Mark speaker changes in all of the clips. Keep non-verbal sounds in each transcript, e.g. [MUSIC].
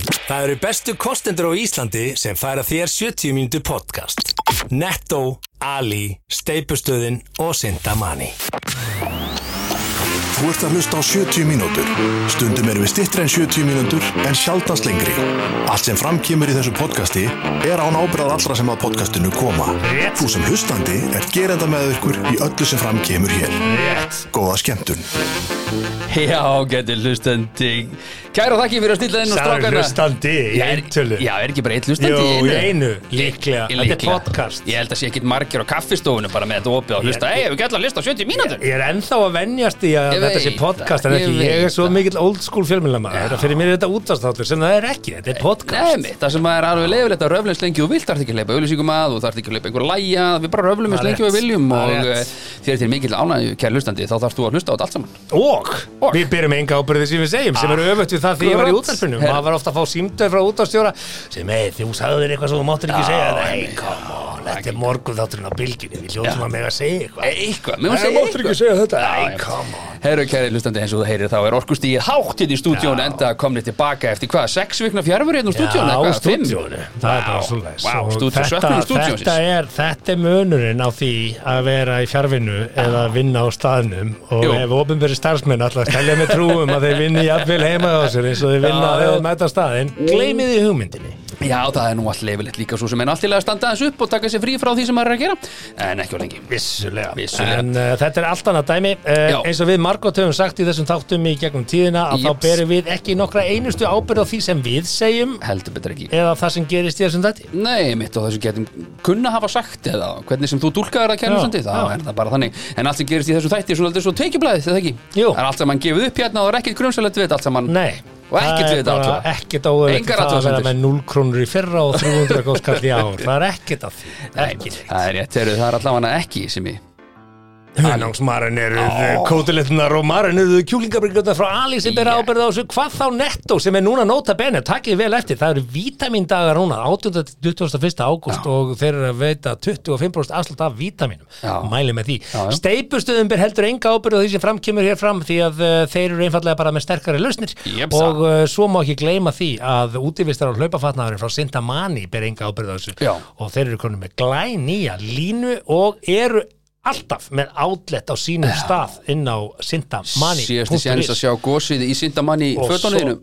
Speaker 1: Það eru bestu kostendur á Íslandi sem færa þér 70 mínútu podcast. Netto, Ali, Steipustöðin og Sindamani.
Speaker 2: Þú ert að hlusta á 70 mínútur. Stundum erum við stittri en 70 mínútur en sjaldast lengri. Allt sem framkýmur í þessu podcasti er án ábyrðað allra sem að podcastinu koma.
Speaker 3: Rétt.
Speaker 2: Þú sem hlustandi er gerenda með ykkur í öllu sem framkýmur hér.
Speaker 3: Rétt
Speaker 2: Góða skemmtun.
Speaker 4: Já, getur hlustandi Kæra þakki fyrir að stilla inn og
Speaker 3: Sæður
Speaker 4: strákana
Speaker 3: hlustandi í
Speaker 4: Já, er-
Speaker 3: eintölu
Speaker 4: Já, er ekki bara eitt hlustandi
Speaker 3: Jú,
Speaker 4: í
Speaker 3: í einu, líklega Þetta er
Speaker 4: Líklega.
Speaker 3: podcast
Speaker 4: Ég held að sé ekkit margir á kaffistofunum bara með þetta opið og hlusta Ei, við gætum að hlusta á 70 mínútur
Speaker 3: Ég er ennþá að venjast í að
Speaker 4: Ég
Speaker 3: þetta sé
Speaker 4: veit
Speaker 3: podcast en
Speaker 4: það,
Speaker 3: ekki,
Speaker 4: ég
Speaker 3: ég er
Speaker 4: veit
Speaker 3: svo
Speaker 4: það.
Speaker 3: mikill old school fjölmjölama
Speaker 4: Já.
Speaker 3: Þetta fyrir mér er þetta útastáttur sem það er ekki, þetta er podcast
Speaker 4: Nei, mitt, það sem er alveg leifilegt að röflum eins lengi og þú vilt þarf ekki að leipa auðlýsingum að og þarf ekki að leipa einhver lægja Við bara röflum eins
Speaker 3: Það er
Speaker 4: lengi og
Speaker 3: rétt,
Speaker 4: við viljum
Speaker 3: það er
Speaker 4: og
Speaker 3: rétt.
Speaker 4: eh, þér til mikil ánægju, kæra hlustandi, þá þarfst þú að hlusta á þetta allt saman
Speaker 3: Og
Speaker 4: Og.
Speaker 3: við byrjum enga ábyrði sem við segjum sem
Speaker 4: Ah,
Speaker 3: eru öfut við það því ég var í
Speaker 4: akkurat.
Speaker 3: útarpinu
Speaker 4: Herra.
Speaker 3: maður var ofta að fá símtöð frá útarstjóra sem, ei, þú sagðir eitthvað sem þú máttir ekki
Speaker 4: Já,
Speaker 3: segja Nei,
Speaker 4: einmitt.
Speaker 3: come on, þetta er morgun þátturinn á bylginni við hljóðum að mega segja eitthvað
Speaker 4: Eh, Eitthvað, mér má
Speaker 3: Nei,
Speaker 4: segja
Speaker 3: máttir ekki
Speaker 4: eitthvað.
Speaker 3: segja þetta
Speaker 4: Já,
Speaker 3: Nei,
Speaker 4: já.
Speaker 3: come on
Speaker 4: Herru kæri hlustandi eins og þú heyrir þá er orkustíð hátt hérna í stúdíón
Speaker 3: Já.
Speaker 4: enda komnið tilbaka eftir hvað, sex vikna fjárfur hérna úr stúdíón
Speaker 3: Já, á stúdíónu, það er bara svolítið
Speaker 4: Vá, stúdíón, söknum stúdíónsins
Speaker 3: þetta, er, þetta er munurinn á því að vera í fjárvinnu eða að vinna á staðnum og
Speaker 4: Jú.
Speaker 3: ef ofinberi starfsmenn alltaf stelja með trúum að þeir vinni jafnvel heima á sér eins og þeir vinna
Speaker 4: Já, Mm.
Speaker 3: þegar
Speaker 4: já.
Speaker 3: þeir mæta á staðinn gleymið í hugmyndinni
Speaker 4: Já, það er nú allt leifilegt líka svo sem en allt í lega að standa aðeins upp og taka sér frí frá því sem maður er að gera en ekki á lengi
Speaker 3: Vissulega.
Speaker 4: Vissulega.
Speaker 3: En uh, þetta er allt annað dæmi.
Speaker 4: Já.
Speaker 3: Uh, eins og við margótt höfum sagt í þessum þáttum í gegnum tíðina að
Speaker 4: Jeps.
Speaker 3: þá berum við ekki nokkra einustu ábyrð á því sem við segjum
Speaker 4: heldur betur ekki
Speaker 3: eða það sem gerist í þessum dæti.
Speaker 4: Nei, mitt og þessu getum kunna hafa sagt eða hvernig sem þú dúlkaður það
Speaker 3: Já,
Speaker 4: kærlusandi þá
Speaker 3: já.
Speaker 4: er það bara þannig en allt sem gerist í þessu þætti er svona aldrei svo teikjublaðið þetta ekki
Speaker 3: Jú.
Speaker 4: það er allt sem hann gefið upp hérna og það er ekkert grunsalegt við þetta allt saman
Speaker 3: Nei
Speaker 4: Og
Speaker 3: Það
Speaker 4: ekkert við
Speaker 3: er
Speaker 4: þetta
Speaker 3: bara
Speaker 4: athuga.
Speaker 3: Ekkert óöðvægt
Speaker 4: Engar
Speaker 3: Það að vera
Speaker 4: athugasemdir.
Speaker 3: með 0 krónur í fyrra og 300 góðskall í ár Það er ekkert að því
Speaker 4: Nei,
Speaker 3: Ekki
Speaker 4: það er rétt, heyrðu, það er allavega ekki sem ég
Speaker 3: Hunangsmarinuð, kótilettunar eh, og marinuð kjúlingabrikjöndar frá Ali sem bera
Speaker 4: Já.
Speaker 3: ábyrða á þessu hvað þá netto sem er núna nota bene takkið vel eftir, það eru vítamindagar núna 18. til 21. ágúst og þeir eru að veita 25% afslut af vítaminum,
Speaker 4: Já.
Speaker 3: mæli með því
Speaker 4: Já, já.
Speaker 3: steipustöðum ber heldur enga ábyrða því sem framkemur hér fram því að uh, þeir eru einfallega bara með sterkari lausnir
Speaker 4: Jepsa.
Speaker 3: og uh, svo má ekki gleyma því að útivistar á hlaupafatnaðurinn frá Sintamani ber enga ábyrða þessu
Speaker 4: Já.
Speaker 3: og þeir eru konum með glænýja línu og eru alltaf með átlett á sínum stað inn á sintamani
Speaker 4: síðasti séns að sjá gósið í syndamanni
Speaker 3: Og Oh,
Speaker 4: fötunniðinu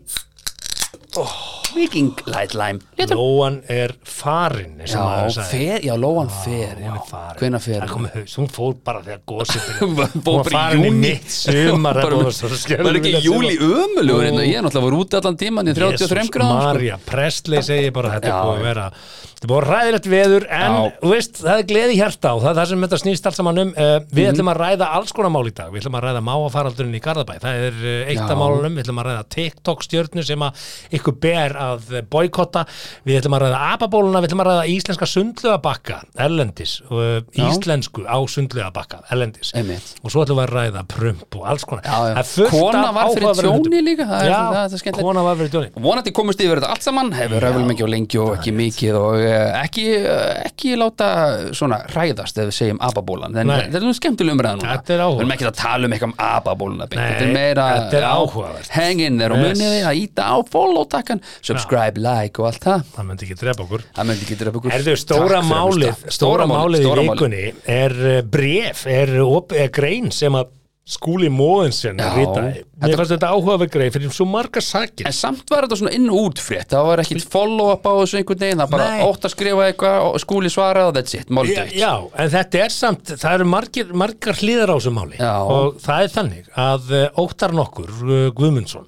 Speaker 4: Viking Light Lime Léttur.
Speaker 3: Lóan er farin eins og
Speaker 4: Já,
Speaker 3: maður sagði.
Speaker 4: fer, já, Lóan fer
Speaker 3: Hún er farin.
Speaker 4: Hvena fer
Speaker 3: Það
Speaker 4: hún?
Speaker 3: kom í haus, hún fór bara þegar
Speaker 4: [LAUGHS]
Speaker 3: gósið
Speaker 4: Hún
Speaker 3: byrjaði.
Speaker 4: var-
Speaker 3: Hún
Speaker 4: fór
Speaker 3: var
Speaker 4: bara í
Speaker 3: farin í
Speaker 4: júní. [LAUGHS]
Speaker 3: mitt sumar
Speaker 4: Bara
Speaker 3: þetta
Speaker 4: með-
Speaker 3: var svo
Speaker 4: Var ekki
Speaker 3: skelfilegt
Speaker 4: júli
Speaker 3: sumar.
Speaker 4: ömulugur hérna Ég er náttúrulega voru úti allan tíman í 33 gráðum sko.
Speaker 3: Marja, Presley segir bara þetta er
Speaker 4: Já,
Speaker 3: búið að vera þetta er búið að ræðilegt veður en
Speaker 4: Já.
Speaker 3: þú veist, það er gleði í hjarta og það er það sem þetta snýst allt saman um uh, við
Speaker 4: Mhm.
Speaker 3: ætlum að ræða alls konar mál í dag við ætlum að ræða máafaraldurinn í Garðabæ það er uh, eitt
Speaker 4: Já.
Speaker 3: af málunum, við ætlum að ræða TikTok stjörnu sem að ykkur ber að eh, boykotta, við ætlum að ræða apabóluna, við ætlum að ræða íslenska sundlugabakka erlendis, uh,
Speaker 4: Já.
Speaker 3: íslensku á sundlugabakka erlendis
Speaker 4: Einmitt.
Speaker 3: og svo ætlum við að ræða prump og alls konar
Speaker 4: Já, já.
Speaker 3: Það er fullt
Speaker 4: Kona
Speaker 3: af
Speaker 4: var fyrir
Speaker 3: áhugaverðum
Speaker 4: tjóni
Speaker 3: hlutum.
Speaker 4: líka, það er-
Speaker 3: Já,
Speaker 4: það er- það er skemmtilegt.
Speaker 3: kona var fyrir tjóni
Speaker 4: Vonandi komust yfir þetta allt saman Hefur röflum ekki og lengi og ekki mikið og eh, ekki, eh, ekki láta svona ræðast ef við segjum ababólan en
Speaker 3: Nei.
Speaker 4: þetta er nú skemmtileg umræða núna
Speaker 3: Þetta er áhugavert.
Speaker 4: Við erum ekki að tala um eitthvað um ababóluna beint.
Speaker 3: Nei,
Speaker 4: Þetta er meira
Speaker 3: þetta er
Speaker 4: já,
Speaker 3: áhugavert.
Speaker 4: Hang in there og
Speaker 3: Yes.
Speaker 4: munið þið að íta á follow takkan subscribe, like og allt það
Speaker 3: það myndi ekki drepa okkur
Speaker 4: Það myndi ekki drepa ykkur
Speaker 3: Erðu, stóra
Speaker 4: Takk fyrir að
Speaker 3: málið,
Speaker 4: hlusta.
Speaker 3: stóra málið í
Speaker 4: stóra
Speaker 3: vikunni er eh, bréf, er, op, er grein sem að skúli móðinsen
Speaker 4: Já.
Speaker 3: ritaði. Mér
Speaker 4: Þetta-
Speaker 3: fannst þetta áhugaverð grein fyrir svo marga sakir.
Speaker 4: En samt var þetta svona inn og út frétt Það var ekkit follow-up á þessu einhvern veginn Það bara
Speaker 3: Nei.
Speaker 4: ótt að skrifa eitthvað og skúli svara og that's it, málið
Speaker 3: Já,
Speaker 4: dautt.
Speaker 3: já, en þetta er samt, það eru margir, margar hlýðar á þessu máli
Speaker 4: Já.
Speaker 3: og það er þannig að eh, óttar nokkur eh, Guðmundsson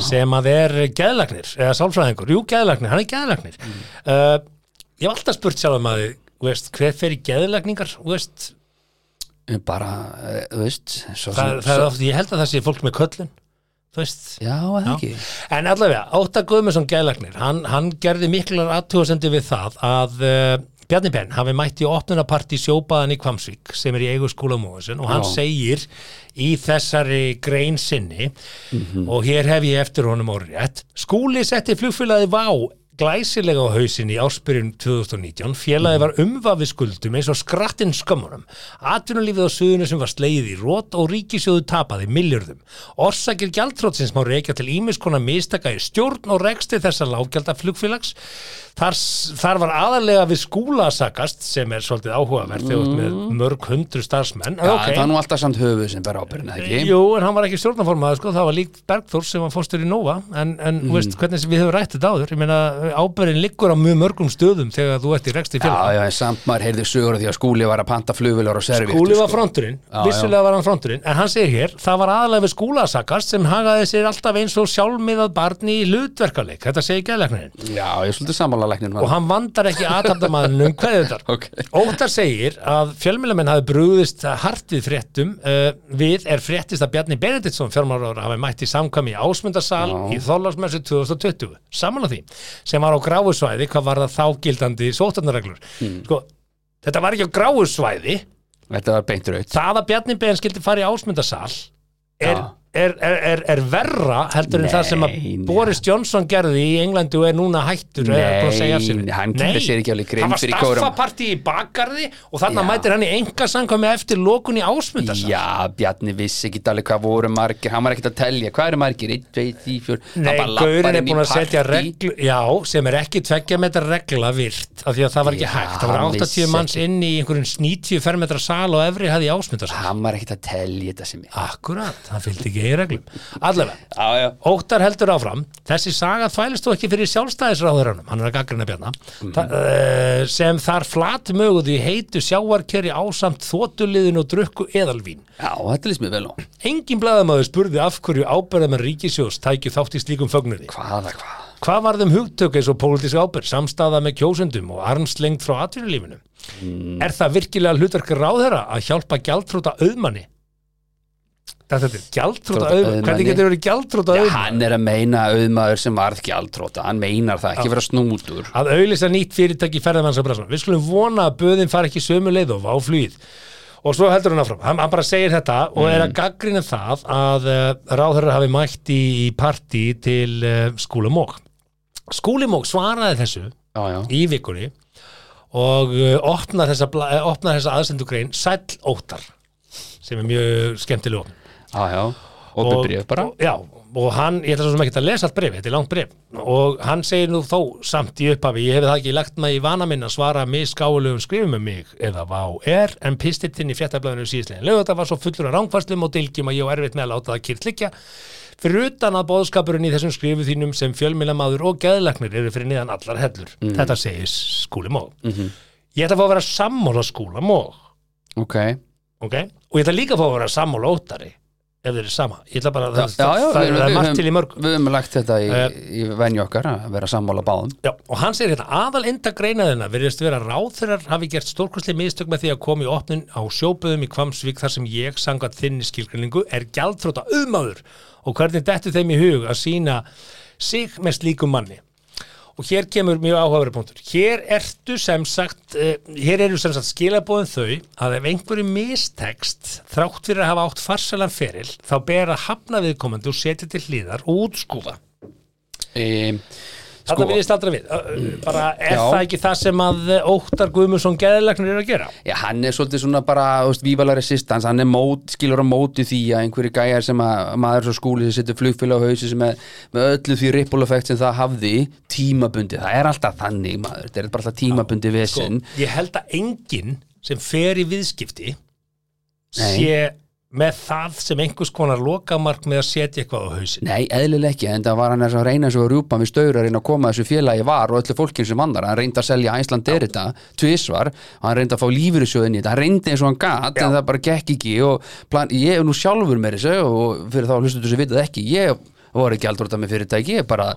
Speaker 3: sem að er geðlagnir eða sálfræðingur, jú geðlagnir, hann er geðlagnir
Speaker 4: Mm.
Speaker 3: uh, ég hef alltaf spurt sjálf um að veist, hver fer í geðlagningar veist,
Speaker 4: Bara, eh, þú veist svo,
Speaker 3: það, það er oft, ég held að það sé fólk með köllun þú veist
Speaker 4: Já, eða ekki
Speaker 3: En allavega, Óttar Guðmundsson gæðlagnir, hann, hann gerði miklar aðtúasendi við það að uh, Bjarni Penn hafi mætt í opnunaparti sjópaðan í Kvamsvík sem er í eigu skólamóðusin og hann
Speaker 4: Já.
Speaker 3: segir í þessari grein sinni og hér hef ég eftir honum orðrétt Skúli setti flugfélagi Vá glæsilega á hausin í áspyrjun 2019. Félagi var umvafið skuldum eins og skrattinn skömmunum. Atvinnulífið á suðunum sem var slegið í rót og ríkisjóðu tapaði milljörðum. Orsakir gjaldtrótsins má reykja til ímiskona mistaka í stjórn og reksti þessa lággjaldar flugfélags. Þar, s- þar var aðalega við skúla að sakast sem er svolítið áhugavert þegar mm. með mörg hundru starfsmenn. En
Speaker 4: Já,
Speaker 3: ókei.
Speaker 4: Það var nú alltaf samt höfuð sem bæra ábyrðina, ekki?
Speaker 3: Jú, en hann var ekki stjórnaformaður, sko, það var líkt Bergþór sem var fórstur í Nova, en, en mm. veist, hvernig sem við höfum rætt þetta áður, ég meina ábyrðin liggur á mjög mörgum stöðum þegar þú ert í reksti
Speaker 4: Já,
Speaker 3: félag.
Speaker 4: já, en samt maður heyrði sögur af því að skúli var að panta flugvilar og servíettur
Speaker 3: Skúli var
Speaker 4: sko.
Speaker 3: fronturinn,
Speaker 4: Já,
Speaker 3: vissulega var hann fronturinn, en hann segir hér, það var aðalega við skúlasakast sem hagaði sér alltaf eins og sjálfmiðað barni í hlutverkaleik, þetta segir gæðleiknarinn.
Speaker 4: Já, ég er svolítið sammála læknir
Speaker 3: og hann vandar ekki aðtapdamann um hvað þetta
Speaker 4: Ok. [LAUGHS]
Speaker 3: Óttar segir að fjölmjölamenn hafi brúðist hart við fréttum uh, við er fréttist að Bjarni Benediktsson fjármálaráður hafi mætt í samkvæmi í Ásmundarsal í Þorláksmessu 2020 saman á því sem var á gráusvæði hvað var það þá gildandi sótarnarreglur
Speaker 4: Hmm.
Speaker 3: sko, þetta var ekki á gráusvæði
Speaker 4: Þetta var beint raut
Speaker 3: það að Bjarni Ben skildi fara í ásmundarsal er,
Speaker 4: Já.
Speaker 3: er, er, er, er verra heldur en það sem að
Speaker 4: Nei, nei.
Speaker 3: Boris Johnson gerði í Englandi og er núna hættur eða er búinn að segja af sér.
Speaker 4: Nei, hann gerði sér ekki alveg grein
Speaker 3: það var
Speaker 4: fyrir kórum.
Speaker 3: staffapartí í bakgarði og þarna
Speaker 4: Já.
Speaker 3: mætir hann í enga samkvæmi eftir lokun í ásmundarsal
Speaker 4: Já, Bjarni vissi ekki alveg hvað voru margir Hann var ekkert að telja, hvað eru margir? 1, 2, 3, 4
Speaker 3: Nei, Gaurin er búin að setja reglu Já, sem er ekki tveggja metra regla virt af því að það var ekki
Speaker 4: Já,
Speaker 3: hægt Það var
Speaker 4: hann vissi
Speaker 3: 80 manns
Speaker 4: ekki.
Speaker 3: inn í einhverjum 90 fermetra sal og efri hefði í ásmundarsal
Speaker 4: Hann var ekkert að telja þetta sem ég
Speaker 3: Akkurat, það fylgdi ekki í reglum Allavega,
Speaker 4: Já, já
Speaker 3: Óttar heldur áfram, þessi saga þvælist þó ekki fyrir sjálfstæðisráðuranum, hann er að gaggrina bjarna,
Speaker 4: Mhm.
Speaker 3: mm. uh, sem þar flatmöguðu í heitu sjáarkjöri ásamt þótuliðin og drukku eðalvín.
Speaker 4: Já, þetta líst mér vel á
Speaker 3: Engin blaðamæður spurði af hverju ábyrðamenn ríkisjós tækju þátt í slíkum fögnuði.
Speaker 4: Hvaða, hvað?
Speaker 3: Hvað varð um hugtök eins og pólitísk ábyrð, samstaða með kjósendum og armslengt frá atvinnulífinu?
Speaker 4: Mm.
Speaker 3: Er það virkilega hlutverk ráðherra að hjálpa gjaldtrúta auðmanni? Þetta er gjaldtrúta
Speaker 4: Gjaldþrota
Speaker 3: auðmanni. Hvernig
Speaker 4: auðmanni.
Speaker 3: getur verið gjaldtrúta
Speaker 4: Já,
Speaker 3: auðmanni?
Speaker 4: hann er að meina auðmaður sem varð gjaldróta Hann meinar það, ekki vera snútur
Speaker 3: að auðlýsa nýtt fyrirtæki ferðamanns að brasa. Við skulum vona að böðin fari ekki sömu leið og váflugið. Og svo heldur hann áfram. Hann, hann bara segir þetta og er að gaggrina það að uh, ráðherra hafi mætt í, í partí til uh, skúlamók. Skúlimók svaraði þessu
Speaker 4: Já, já
Speaker 3: í vikunni og uh, opnar þessa, bla- eh, opnar þessa aðsendugrein Sæll Óttar sem er mjög skemmtileg opn
Speaker 4: Já, já Opið bréf bara
Speaker 3: og, Já, og hann, ég ætla svo sem ekki að lesa allt bref, þetta er langt bref og hann segir nú þó samt í upphafi ég hef það ekki lagt maður í vana minn að svara misgáulegum skrifum um mig eða vá er en pistillinn í fréttablaðinu síðislegin lög þetta var svo fullur af rángfærslim og dylgjum að ég á erfitt með að láta það kýrt liggja fyrir utan að bóðskapurinn í þessum skrifu þínum sem fjölmilamaður og geðlagnir eru fyrir niðan allar hellur
Speaker 4: Mm.
Speaker 3: þetta segir skúli móg
Speaker 4: Mhm.
Speaker 3: ég ætla að fá að vera sammála skúla móg
Speaker 4: Ok
Speaker 3: ok? Og ég ætla líka að fá að vera sammála óttari ef þeir eru sama. Ég ætla bara að
Speaker 4: Já,
Speaker 3: það,
Speaker 4: já, já,
Speaker 3: það,
Speaker 4: við-
Speaker 3: það er
Speaker 4: við
Speaker 3: margt
Speaker 4: höfum-
Speaker 3: til í mörgum.
Speaker 4: Við höfum lagt þetta í,
Speaker 3: Eh.
Speaker 4: í venju okkar að vera sammála báðum
Speaker 3: Já, og hann segir hérna, aðal enda greinaðina veriðist vera ráðherrar hafi gert stórkostli mistök með því að koma í opnun á sjóböðum í Kvamsvík þar sem ég sangat þinni skilgrinningu er gjaldþróta auðmaður og hvernig dettu þeim í hug að sína sig með slíkum manni. og hér kemur mjög áhugaverið punktur hér ertu sem sagt uh, hér eru sem sagt skilabóðin þau að ef einhverju mistekst þrátt fyrir að hafa átt farsalan feril þá ber að hafna viðkomandi og setja til hlýðar og útskúfa
Speaker 4: e,
Speaker 3: Þetta
Speaker 4: Sko- Mm.
Speaker 3: viljast aldrei við, Ö, ö, bara er
Speaker 4: Já.
Speaker 3: það ekki það sem að eh, Óttar Guðmundsson geðilegnir er að gera?
Speaker 4: Já, hann er svolítið svona bara, þú veist, vívala resistance, hann er mót, skilur á móti því að einhverju gæjar sem að maður svo skúli sem setur flugfélag á hausi sem er með öllu því rippuleffekt sem það hafði tímabundi, það er alltaf þannig maður, þetta er bara alltaf tímabundi
Speaker 3: Sko,
Speaker 4: vesinn
Speaker 3: ég held að enginn sem fer í viðskipti
Speaker 4: Nei.
Speaker 3: sé með það sem einhvers konar lokamark með að setja eitthvað á hausin
Speaker 4: Nei, eðlilega ekki, en það var hann að reyna svo að rjúpa með staurar inn að koma þessu félagi var og öllu fólkinn sem annar, hann reyndi að selja Æsland Derita, tvisvar, hann reyndi að fá lífur í sjóðinni, þetta, hann reyndi eins og hann gat en það bara gekk ekki og plan, ég er nú sjálfur með þessu og fyrir þá hlustu þessu vitað ekki, ég voru ekki aldrei með fyrirtæki, ég bara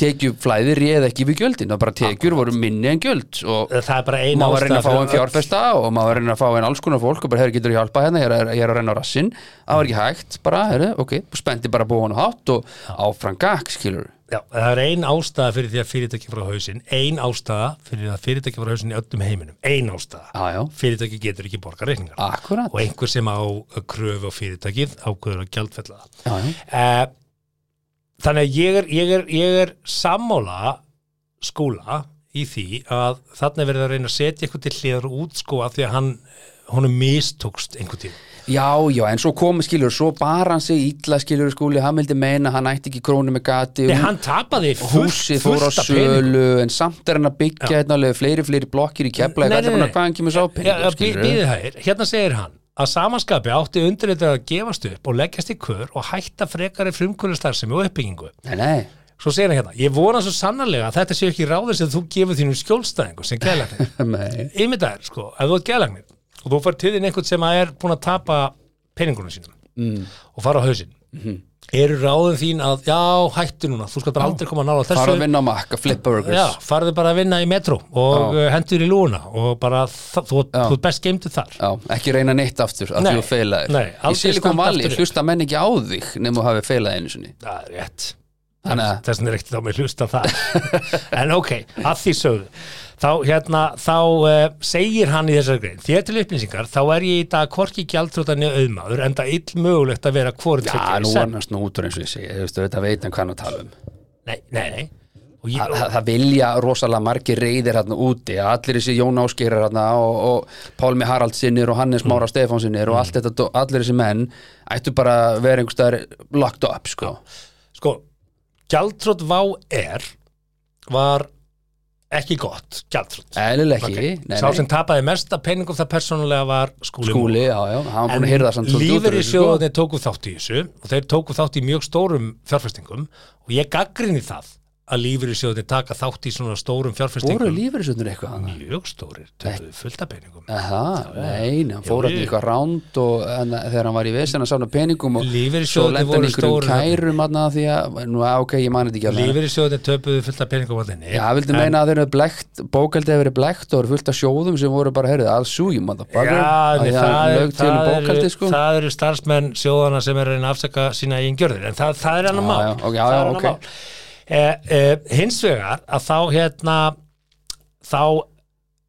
Speaker 4: tekjuflæði réð ekki við gjöldin, það bara tekjur voru minni en gjöld og
Speaker 3: Það er bara eina
Speaker 4: maður var að reyna að fá
Speaker 3: fyrir
Speaker 4: einn fjárfesta og maður var að reyna að fá einn alls konar fólk og bara, herru, getur þú hjálpað hérna, ég er, ég er að reyna á rassin það var ekki hægt, bara, herru, ok spendi bara búin og hátt og áfram gakk, skilur
Speaker 3: Já, það er ein ástæða fyrir því að fyrirtæki frá hausinn, ein ástæða fyrir að fyrirtæki frá hausinn í öllum heiminum, ein ástæða.
Speaker 4: já, já,
Speaker 3: Fyrirtæki getur ekki borgað reikningar
Speaker 4: akkurat
Speaker 3: og einhver sem á kröfu á fyrirtækið ákveður að gjaldfella það.
Speaker 4: já, já.
Speaker 3: Eh, Þannig að ég er, ég er, ég er sammála skóla í því að þarna er verið að reyna að setja eitthvað til hliðar og útskóa því að hann honum mistókst einhvern tíma
Speaker 4: Já, já, en svo komið skilur, svo bar hann sig ítla skilur skúli, hann vildi meina, hann ætti ekki krónu með gati
Speaker 3: Nei,
Speaker 4: hú-
Speaker 3: hann tapaði fullt,
Speaker 4: húsið fór á
Speaker 3: fullt af peningum
Speaker 4: sölu en samt er hann að byggja hérna alveg fleiri, fleiri blokkir í
Speaker 3: Nei,
Speaker 4: kepla nei, nei,
Speaker 3: nei, nei.
Speaker 4: hvað hann kemur sá
Speaker 3: Já,
Speaker 4: peningum,
Speaker 3: bí-
Speaker 4: skilur
Speaker 3: Býðið hægir, hérna segir hann að samanskapi átti undirleitur að gefast upp og leggjast í kör og hætta frekari frumkvölustarfsemi og uppbyggingu.
Speaker 4: Nei, nei,
Speaker 3: Svo segir hann hérna, ég vona svo sannarlega að þetta séu ekki ráðið sem þú gefur þínum skjólstæðingu sem gælagnir.
Speaker 4: nei
Speaker 3: Ímyndaðir, sko, ef þú ert gælagnir og þú fær til þín einhvern sem að er búin að tapa peningunum sínum mm. og fara á hausinn.
Speaker 4: Mhm.
Speaker 3: Eru ráðin þín að, já, hættu núna, þú skal bara aldrei koma nála þessu.
Speaker 4: fara að vinna á makka, flip burgers
Speaker 3: Já, farðu bara að vinna í metro og
Speaker 4: Já.
Speaker 3: uh, hendur í lúna og bara þa- þú,
Speaker 4: Já.
Speaker 3: þú ert best geimtu þar
Speaker 4: Já, ekki reyna neitt aftur að
Speaker 3: Nei,
Speaker 4: þú feilaðir
Speaker 3: nei, aldrei
Speaker 4: í Silicon
Speaker 3: standa
Speaker 4: Valley
Speaker 3: aftur upp.
Speaker 4: hlusta menn ekki á þig nema þú hafi feilað einu sinni
Speaker 3: Það er rétt
Speaker 4: Þannig að-
Speaker 3: Þess vegna er ekkert á mig hlusta það [LAUGHS] En ok, að því sögðu Þá, hérna, þá uh, segir hann í þessari grein Þér til upplýsingar, þá er ég í dag Korki gjaldrótanni auðmaður En það ill mögulegt að vera hvort
Speaker 4: Já, nú var hann snútur eins og ég segi, þú veist, þetta veit hann hvað hann er að tala um
Speaker 3: Nei, nei, nei Og ég,
Speaker 4: Þa- það, það vilja rosalega margir reyðir hérna úti, allir þessi Jón Áskeirar hérna og, og Pálmi Haraldsinnir og Hannes Mára Stefánsinnir og allt þetta, dó- allir þessi menn ættu bara að vera einhverstaðar locked up, sko.
Speaker 3: sko, gjaldrót vá er Var ekki gott, gjaldrót
Speaker 4: Eðlilega
Speaker 3: Ok.
Speaker 4: ekki, nei,
Speaker 3: Sá
Speaker 4: nei,
Speaker 3: sem tapaði mesta peningum það persónulega var skúli,
Speaker 4: skúli, já, já, hann var búin að hýrða samt svolítið út úr
Speaker 3: lífur í
Speaker 4: þessu, sko.
Speaker 3: sjóðunni tóku þátt í þessu og þeir tóku þátt í mjög stórum fjárfestingum og ég gaggrinni það að lífur í sjóðunni taka þátt í svona stórum fjárfestingum
Speaker 4: Voru lífeyrisjóðnir eitthvað hann?
Speaker 3: mjög stórir, töpuðu fullt af peningum
Speaker 4: Það, nein, hann fór
Speaker 3: Jú,
Speaker 4: hann
Speaker 3: jú.
Speaker 4: eitthvað ránd og hann, þegar hann var í vesen að sána peningum og svo
Speaker 3: Lífeyrissjóðirnir
Speaker 4: lenda hann
Speaker 3: voru
Speaker 4: einhverjum
Speaker 3: stórir þarna.
Speaker 4: kærum hann því að, nú, á, ok, ég mani þetta ekki alveg
Speaker 3: lífur í sjóðunni töpuðu fullt af peningum að þenni
Speaker 4: Já, vildi meina að þeir eru blekt, bókaldið hefur verið blekt og eru fullt af sjóðum sem voru bara, heyrðu, að sújum að það
Speaker 3: Já,
Speaker 4: bara,
Speaker 3: en
Speaker 4: að
Speaker 3: það, er,
Speaker 4: lög til um
Speaker 3: það,
Speaker 4: bókaldið,
Speaker 3: eru,
Speaker 4: sko.
Speaker 3: það eru starfsmenn sjóðana sem er að reyna að afsaka sína eigin gjörðir en það, það er annar
Speaker 4: Já,
Speaker 3: mál,
Speaker 4: já, ok, já,
Speaker 3: það
Speaker 4: já,
Speaker 3: er
Speaker 4: ok.
Speaker 3: annar mál. E, e, hins vegar að þá hérna þá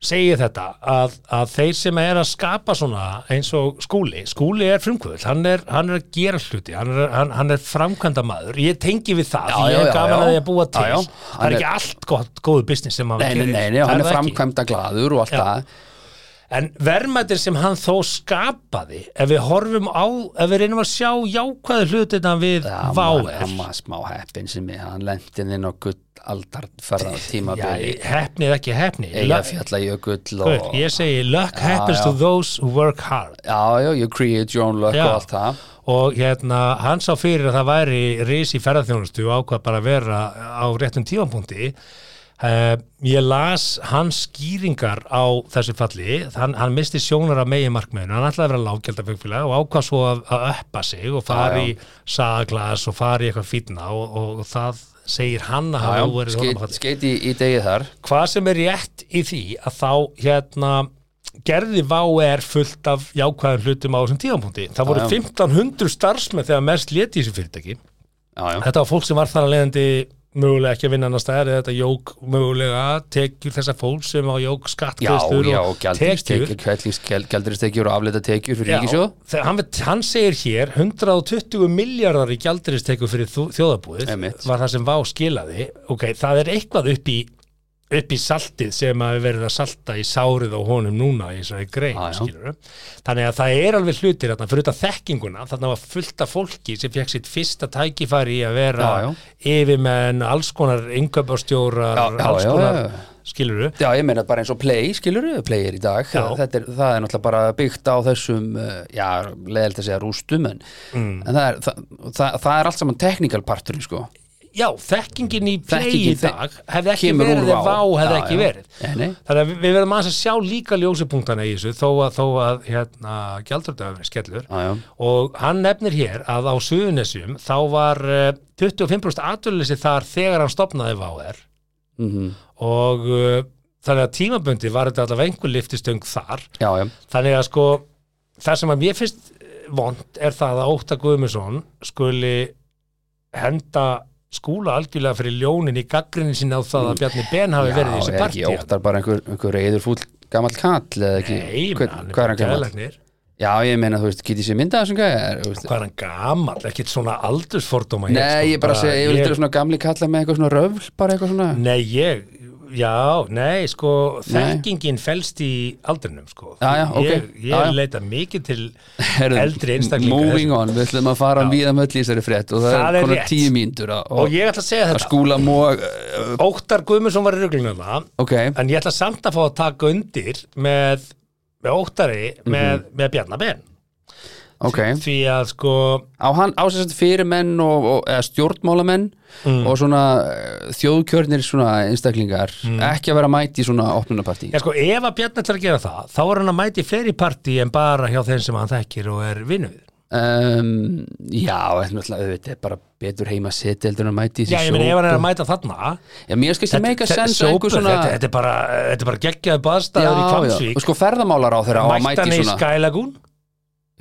Speaker 3: segi ég þetta að, að þeir sem er að skapa svona eins og skúli, skúli er frumkvöld hann er, hann er að gera hluti hann er, hann, hann er framkvæmda maður, ég tengi við það
Speaker 4: Já,
Speaker 3: því
Speaker 4: já,
Speaker 3: ég
Speaker 4: já,
Speaker 3: er gaman
Speaker 4: já.
Speaker 3: að ég búa til
Speaker 4: Já, já,
Speaker 3: það
Speaker 4: hann
Speaker 3: er
Speaker 4: er-
Speaker 3: ekki allt gott, góðu business sem hann
Speaker 4: Nei, nei,
Speaker 3: gerir.
Speaker 4: nei, nei,
Speaker 3: Það
Speaker 4: hann
Speaker 3: það
Speaker 4: er
Speaker 3: ekki.
Speaker 4: framkvæmda gladur og allt það.
Speaker 3: En verðmættir sem hann þó skapaði ef við horfum á, ef við reynum að sjá jákvæðu hlutina við
Speaker 4: Já,
Speaker 3: váer
Speaker 4: maður- hann var smá heppin sem ég, hann lendi inn á gull aldarferða tímabili,
Speaker 3: Já, hefni eða ekki hefni
Speaker 4: eiga
Speaker 3: Lökk-
Speaker 4: fjalla jökull
Speaker 3: Gaur,
Speaker 4: og,
Speaker 3: Ég segi luck happens to those who work hard
Speaker 4: já, já, you create your own luck
Speaker 3: Já.
Speaker 4: og allt það.
Speaker 3: og hérna, hann sá fyrir að það væri risi ferðarþjónustu og ákvað bara að vera á réttum tífampunkti uh, ég las hans skýringar á þessu falli hann, hann misti sjónar af megin markmiðinu hann ætlaði að vera lággjaldafugfélag og ákvað svo að, að öppa sig og fari í sagaglas og fari í eitthvað fýtna og, og, það segir hann að hafa verið honum að
Speaker 4: Skeit,
Speaker 3: falli
Speaker 4: skeiti í, í degið þar.
Speaker 3: hvað sem er rétt í því að þá hérna gerði VAR fullt af jákvæðum hlutum á þessum tíðanpunkti. Það voru
Speaker 4: Já, já.
Speaker 3: 1500 starfsmenn þegar mest leti í þessu fyrirtæki.
Speaker 4: Já, já.
Speaker 3: Þetta var fólk sem var þar að leiðandi mögulega ekki að vinna annar staðar eða þetta jók mögulega tekjur þessa fólk sem á jók
Speaker 4: Já,
Speaker 3: skattgreðslur
Speaker 4: já,
Speaker 3: og
Speaker 4: gjaldristekjur, gjaldristekjur, gjaldristekjur og afleita tekjur fyrir
Speaker 3: Já,
Speaker 4: ríkisjóð.
Speaker 3: þegar hann, hann segir hér 120 miljardar í gjaldiristeku fyrir þjó- þjóðarbúið
Speaker 4: Einmitt.
Speaker 3: var það sem Vá skilaði ok, það er eitthvað upp í upp í saltið sem að við verðum að salta í sárið á honum núna í þessari grein
Speaker 4: Já, já.
Speaker 3: skilurðu. þannig að það er alveg hlutir þarna, fyrir þetta þekkinguna, þarna var fullt af fólki sem fekk sitt fyrsta tækifæri í að vera
Speaker 4: Já,
Speaker 3: yfirmenn alls konar yngöpastjórar
Speaker 4: Já, já,
Speaker 3: alls
Speaker 4: já,
Speaker 3: konar,
Speaker 4: já, já.
Speaker 3: skilur
Speaker 4: Já, ég meina bara eins og play, skilur við, play er í dag
Speaker 3: Já.
Speaker 4: Þetta er, það er náttúrulega bara byggt á þessum eh, já, leðilt að segja rústum en,
Speaker 3: Mm.
Speaker 4: en það, er, það, það, það er allt saman technical parturinn, sko
Speaker 3: já, þekkingin í play í
Speaker 4: Þekkingin þe-
Speaker 3: dag hefði ekki
Speaker 4: kemur úr
Speaker 3: verið ef
Speaker 4: Vá.
Speaker 3: vá hefði
Speaker 4: Já,
Speaker 3: ekki
Speaker 4: já.
Speaker 3: verið
Speaker 4: Nei, nei.
Speaker 3: þannig að við- við verðum aðeins að sjá líka ljósupunktana í þessu þó að, þó að hérna, gjaldröfnda hefur verið skellur
Speaker 4: Já, já.
Speaker 3: og hann nefnir hér að á Suðunessjum þá var eh, 25% atvöldleysi þar þegar hann stopnaði VAR
Speaker 4: Mhm.
Speaker 3: og uh, þannig að tímabundi var þetta allavega einhver liftistöng þar
Speaker 4: Já, já,
Speaker 3: þannig að sko það sem að mér finnst eh, vond er það að Óta Guðmundsson skuli henda skúla algjörlega fyrir ljónin í gaggrinni sinna á það að Bjarni Ben hafi verið í
Speaker 4: já
Speaker 3: þessu
Speaker 4: er
Speaker 3: partí
Speaker 4: ekki óttar bara einhver, einhver reyður fúll gamall kall eða ekki
Speaker 3: Nei, ég meina,
Speaker 4: Hvern-
Speaker 3: hann
Speaker 4: Hvað er
Speaker 3: er
Speaker 4: hann gamall?
Speaker 3: gæðlegnir
Speaker 4: Já, ég meina, þú veist, getið sér myndað þessum gæja er, þú veist.
Speaker 3: Hvað er hann gamall, ekkert svona aldursfordóma hér,
Speaker 4: Nei,
Speaker 3: sko,
Speaker 4: ég bara segja, ég vil eitthvað svona gamli kalla með eitthvað svona röfl bara eitthvað svona
Speaker 3: Nei, ég, Já, nei, sko, þekkingin felst í aldrinum, sko.
Speaker 4: Já, já, ok.
Speaker 3: Ég, ég
Speaker 4: Já, já.
Speaker 3: leita mikið til
Speaker 4: [LAUGHS] Herðu,
Speaker 3: eldri einstaklinga.
Speaker 4: Moving on, við ætlum að fara um víðan öll í þessari frétt og það,
Speaker 3: Það er
Speaker 4: er konar
Speaker 3: rétt.
Speaker 4: tíu mínútur að-
Speaker 3: Og ég ætla að segja
Speaker 4: að sko-
Speaker 3: þetta.
Speaker 4: skúla móg uh,
Speaker 3: Óttar Guðmundsson var í ruglunum það,
Speaker 4: ok,
Speaker 3: en ég ætla samt að fá að taka undir með, með Óttari, með, með Bjarnar Ben.
Speaker 4: Mhm. ok
Speaker 3: Því að, sko,
Speaker 4: á hann ásessandi fyrir menn og, og eða stjórnmálamenn
Speaker 3: Mm.
Speaker 4: og svona eh, þjóðkjörnir svona einstaklingar
Speaker 3: Mm.
Speaker 4: ekki að vera mæti í svona opnunapartí
Speaker 3: já, sko, ef að Bjarnar ætlar að gera það, þá er hann að mæti fleiri partí en bara hjá þeim sem hann þekkir og er vinnu við.
Speaker 4: um, já, en náttúrulega auðvitað er bara betur heima að setja heldur en að mæti í
Speaker 3: Já,
Speaker 4: þessi
Speaker 3: ég meina, ef hann er að
Speaker 4: sópu.
Speaker 3: mæta þarna,
Speaker 4: já, mér skilst ég meika
Speaker 3: þetta,
Speaker 4: sens
Speaker 3: sópur,
Speaker 4: að einhver svona
Speaker 3: þetta, þetta er bara, þetta er bara geggjaði baðstæður í
Speaker 4: já, já,
Speaker 3: Kvamsvík.
Speaker 4: og sko ferðamálar á þeirra á að
Speaker 3: mætti
Speaker 4: mæti
Speaker 3: hann
Speaker 4: í
Speaker 3: í
Speaker 4: svona
Speaker 3: Skælagún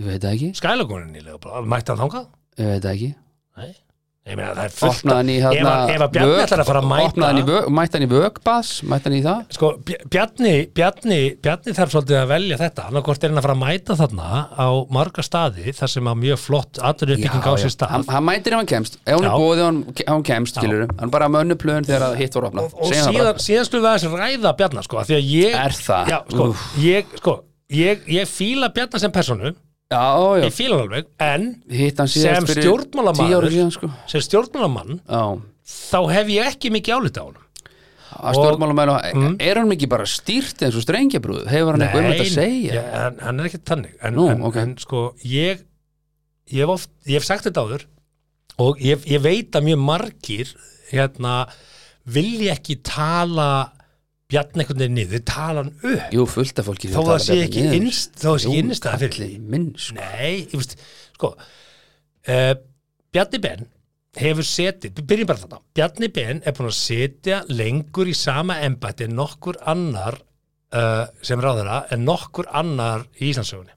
Speaker 4: ég veit það ekki,
Speaker 3: Skælagúnin í Leopold, mætti hann þangað
Speaker 4: ég veit það ekki
Speaker 3: Nei, ég meina það er fullt
Speaker 4: opnaði hann í
Speaker 3: ef,
Speaker 4: hérna
Speaker 3: að- ef að Bjarni
Speaker 4: vök-
Speaker 3: ætlar að fara að
Speaker 4: opnaði hann í
Speaker 3: mæta
Speaker 4: vök- mætti hann í vökbass, mætti hann í það
Speaker 3: sko, Bj- Bjarni, Bjarni, Bjarni þarf svolítið að velja þetta hann hvort er hann að fara að mæta þarna á marga staði þar sem að mjög flott aðrið uppbygging á sér
Speaker 4: hann,
Speaker 3: stað
Speaker 4: hann mætir ef hann kemst ef hún
Speaker 3: Já.
Speaker 4: er bóðið hann, hann kemst, skilur hann bara með önnu plöðun þegar að hitt voru opnað
Speaker 3: og, og
Speaker 4: Segjum það
Speaker 3: síðan,
Speaker 4: bara.
Speaker 3: síðan skulum við aðeins ræða Bjarnar sko, af því að ég
Speaker 4: Er það?
Speaker 3: Já, sko,
Speaker 4: Úff.
Speaker 3: ég, sko, ég, ég fíla Bjarnar sem personu,
Speaker 4: já,
Speaker 3: ég fíla hann alveg en
Speaker 4: já, hitt hann síðast
Speaker 3: sem
Speaker 4: fyrir tíu
Speaker 3: stjórnmálamaður
Speaker 4: ára síðan sko.
Speaker 3: sem stjórnmálamann
Speaker 4: já,
Speaker 3: þá hef ég ekki mikið álita á hann
Speaker 4: að stjórnmálamælu
Speaker 3: Mm.
Speaker 4: er hann mikið bara stýrt eins og strengjabrúð hefur hann eitthvað um þetta að segja
Speaker 3: ja, hann, hann er ekki þannig en,
Speaker 4: Nú,
Speaker 3: en,
Speaker 4: ok.
Speaker 3: en sko, ég ég hef, oft, ég hef sagt þetta áður og ég, ég veit að mjög margir hérna, vilja ekki tala bjarn einhvern veginn niður, tala hann upp
Speaker 4: jú, fullt af fólki
Speaker 3: þó það sé ekki innst þó það sé ekki innstæða fyrir því
Speaker 4: minn, sko.
Speaker 3: nei, ég veist, sko uh, Bjarni Ben hefur setið, við byrjum bara þetta Bjarni Ben er búin að setja lengur í sama embætti en nokkur annar uh, sem ráðara en nokkur annar í Íslandsögunni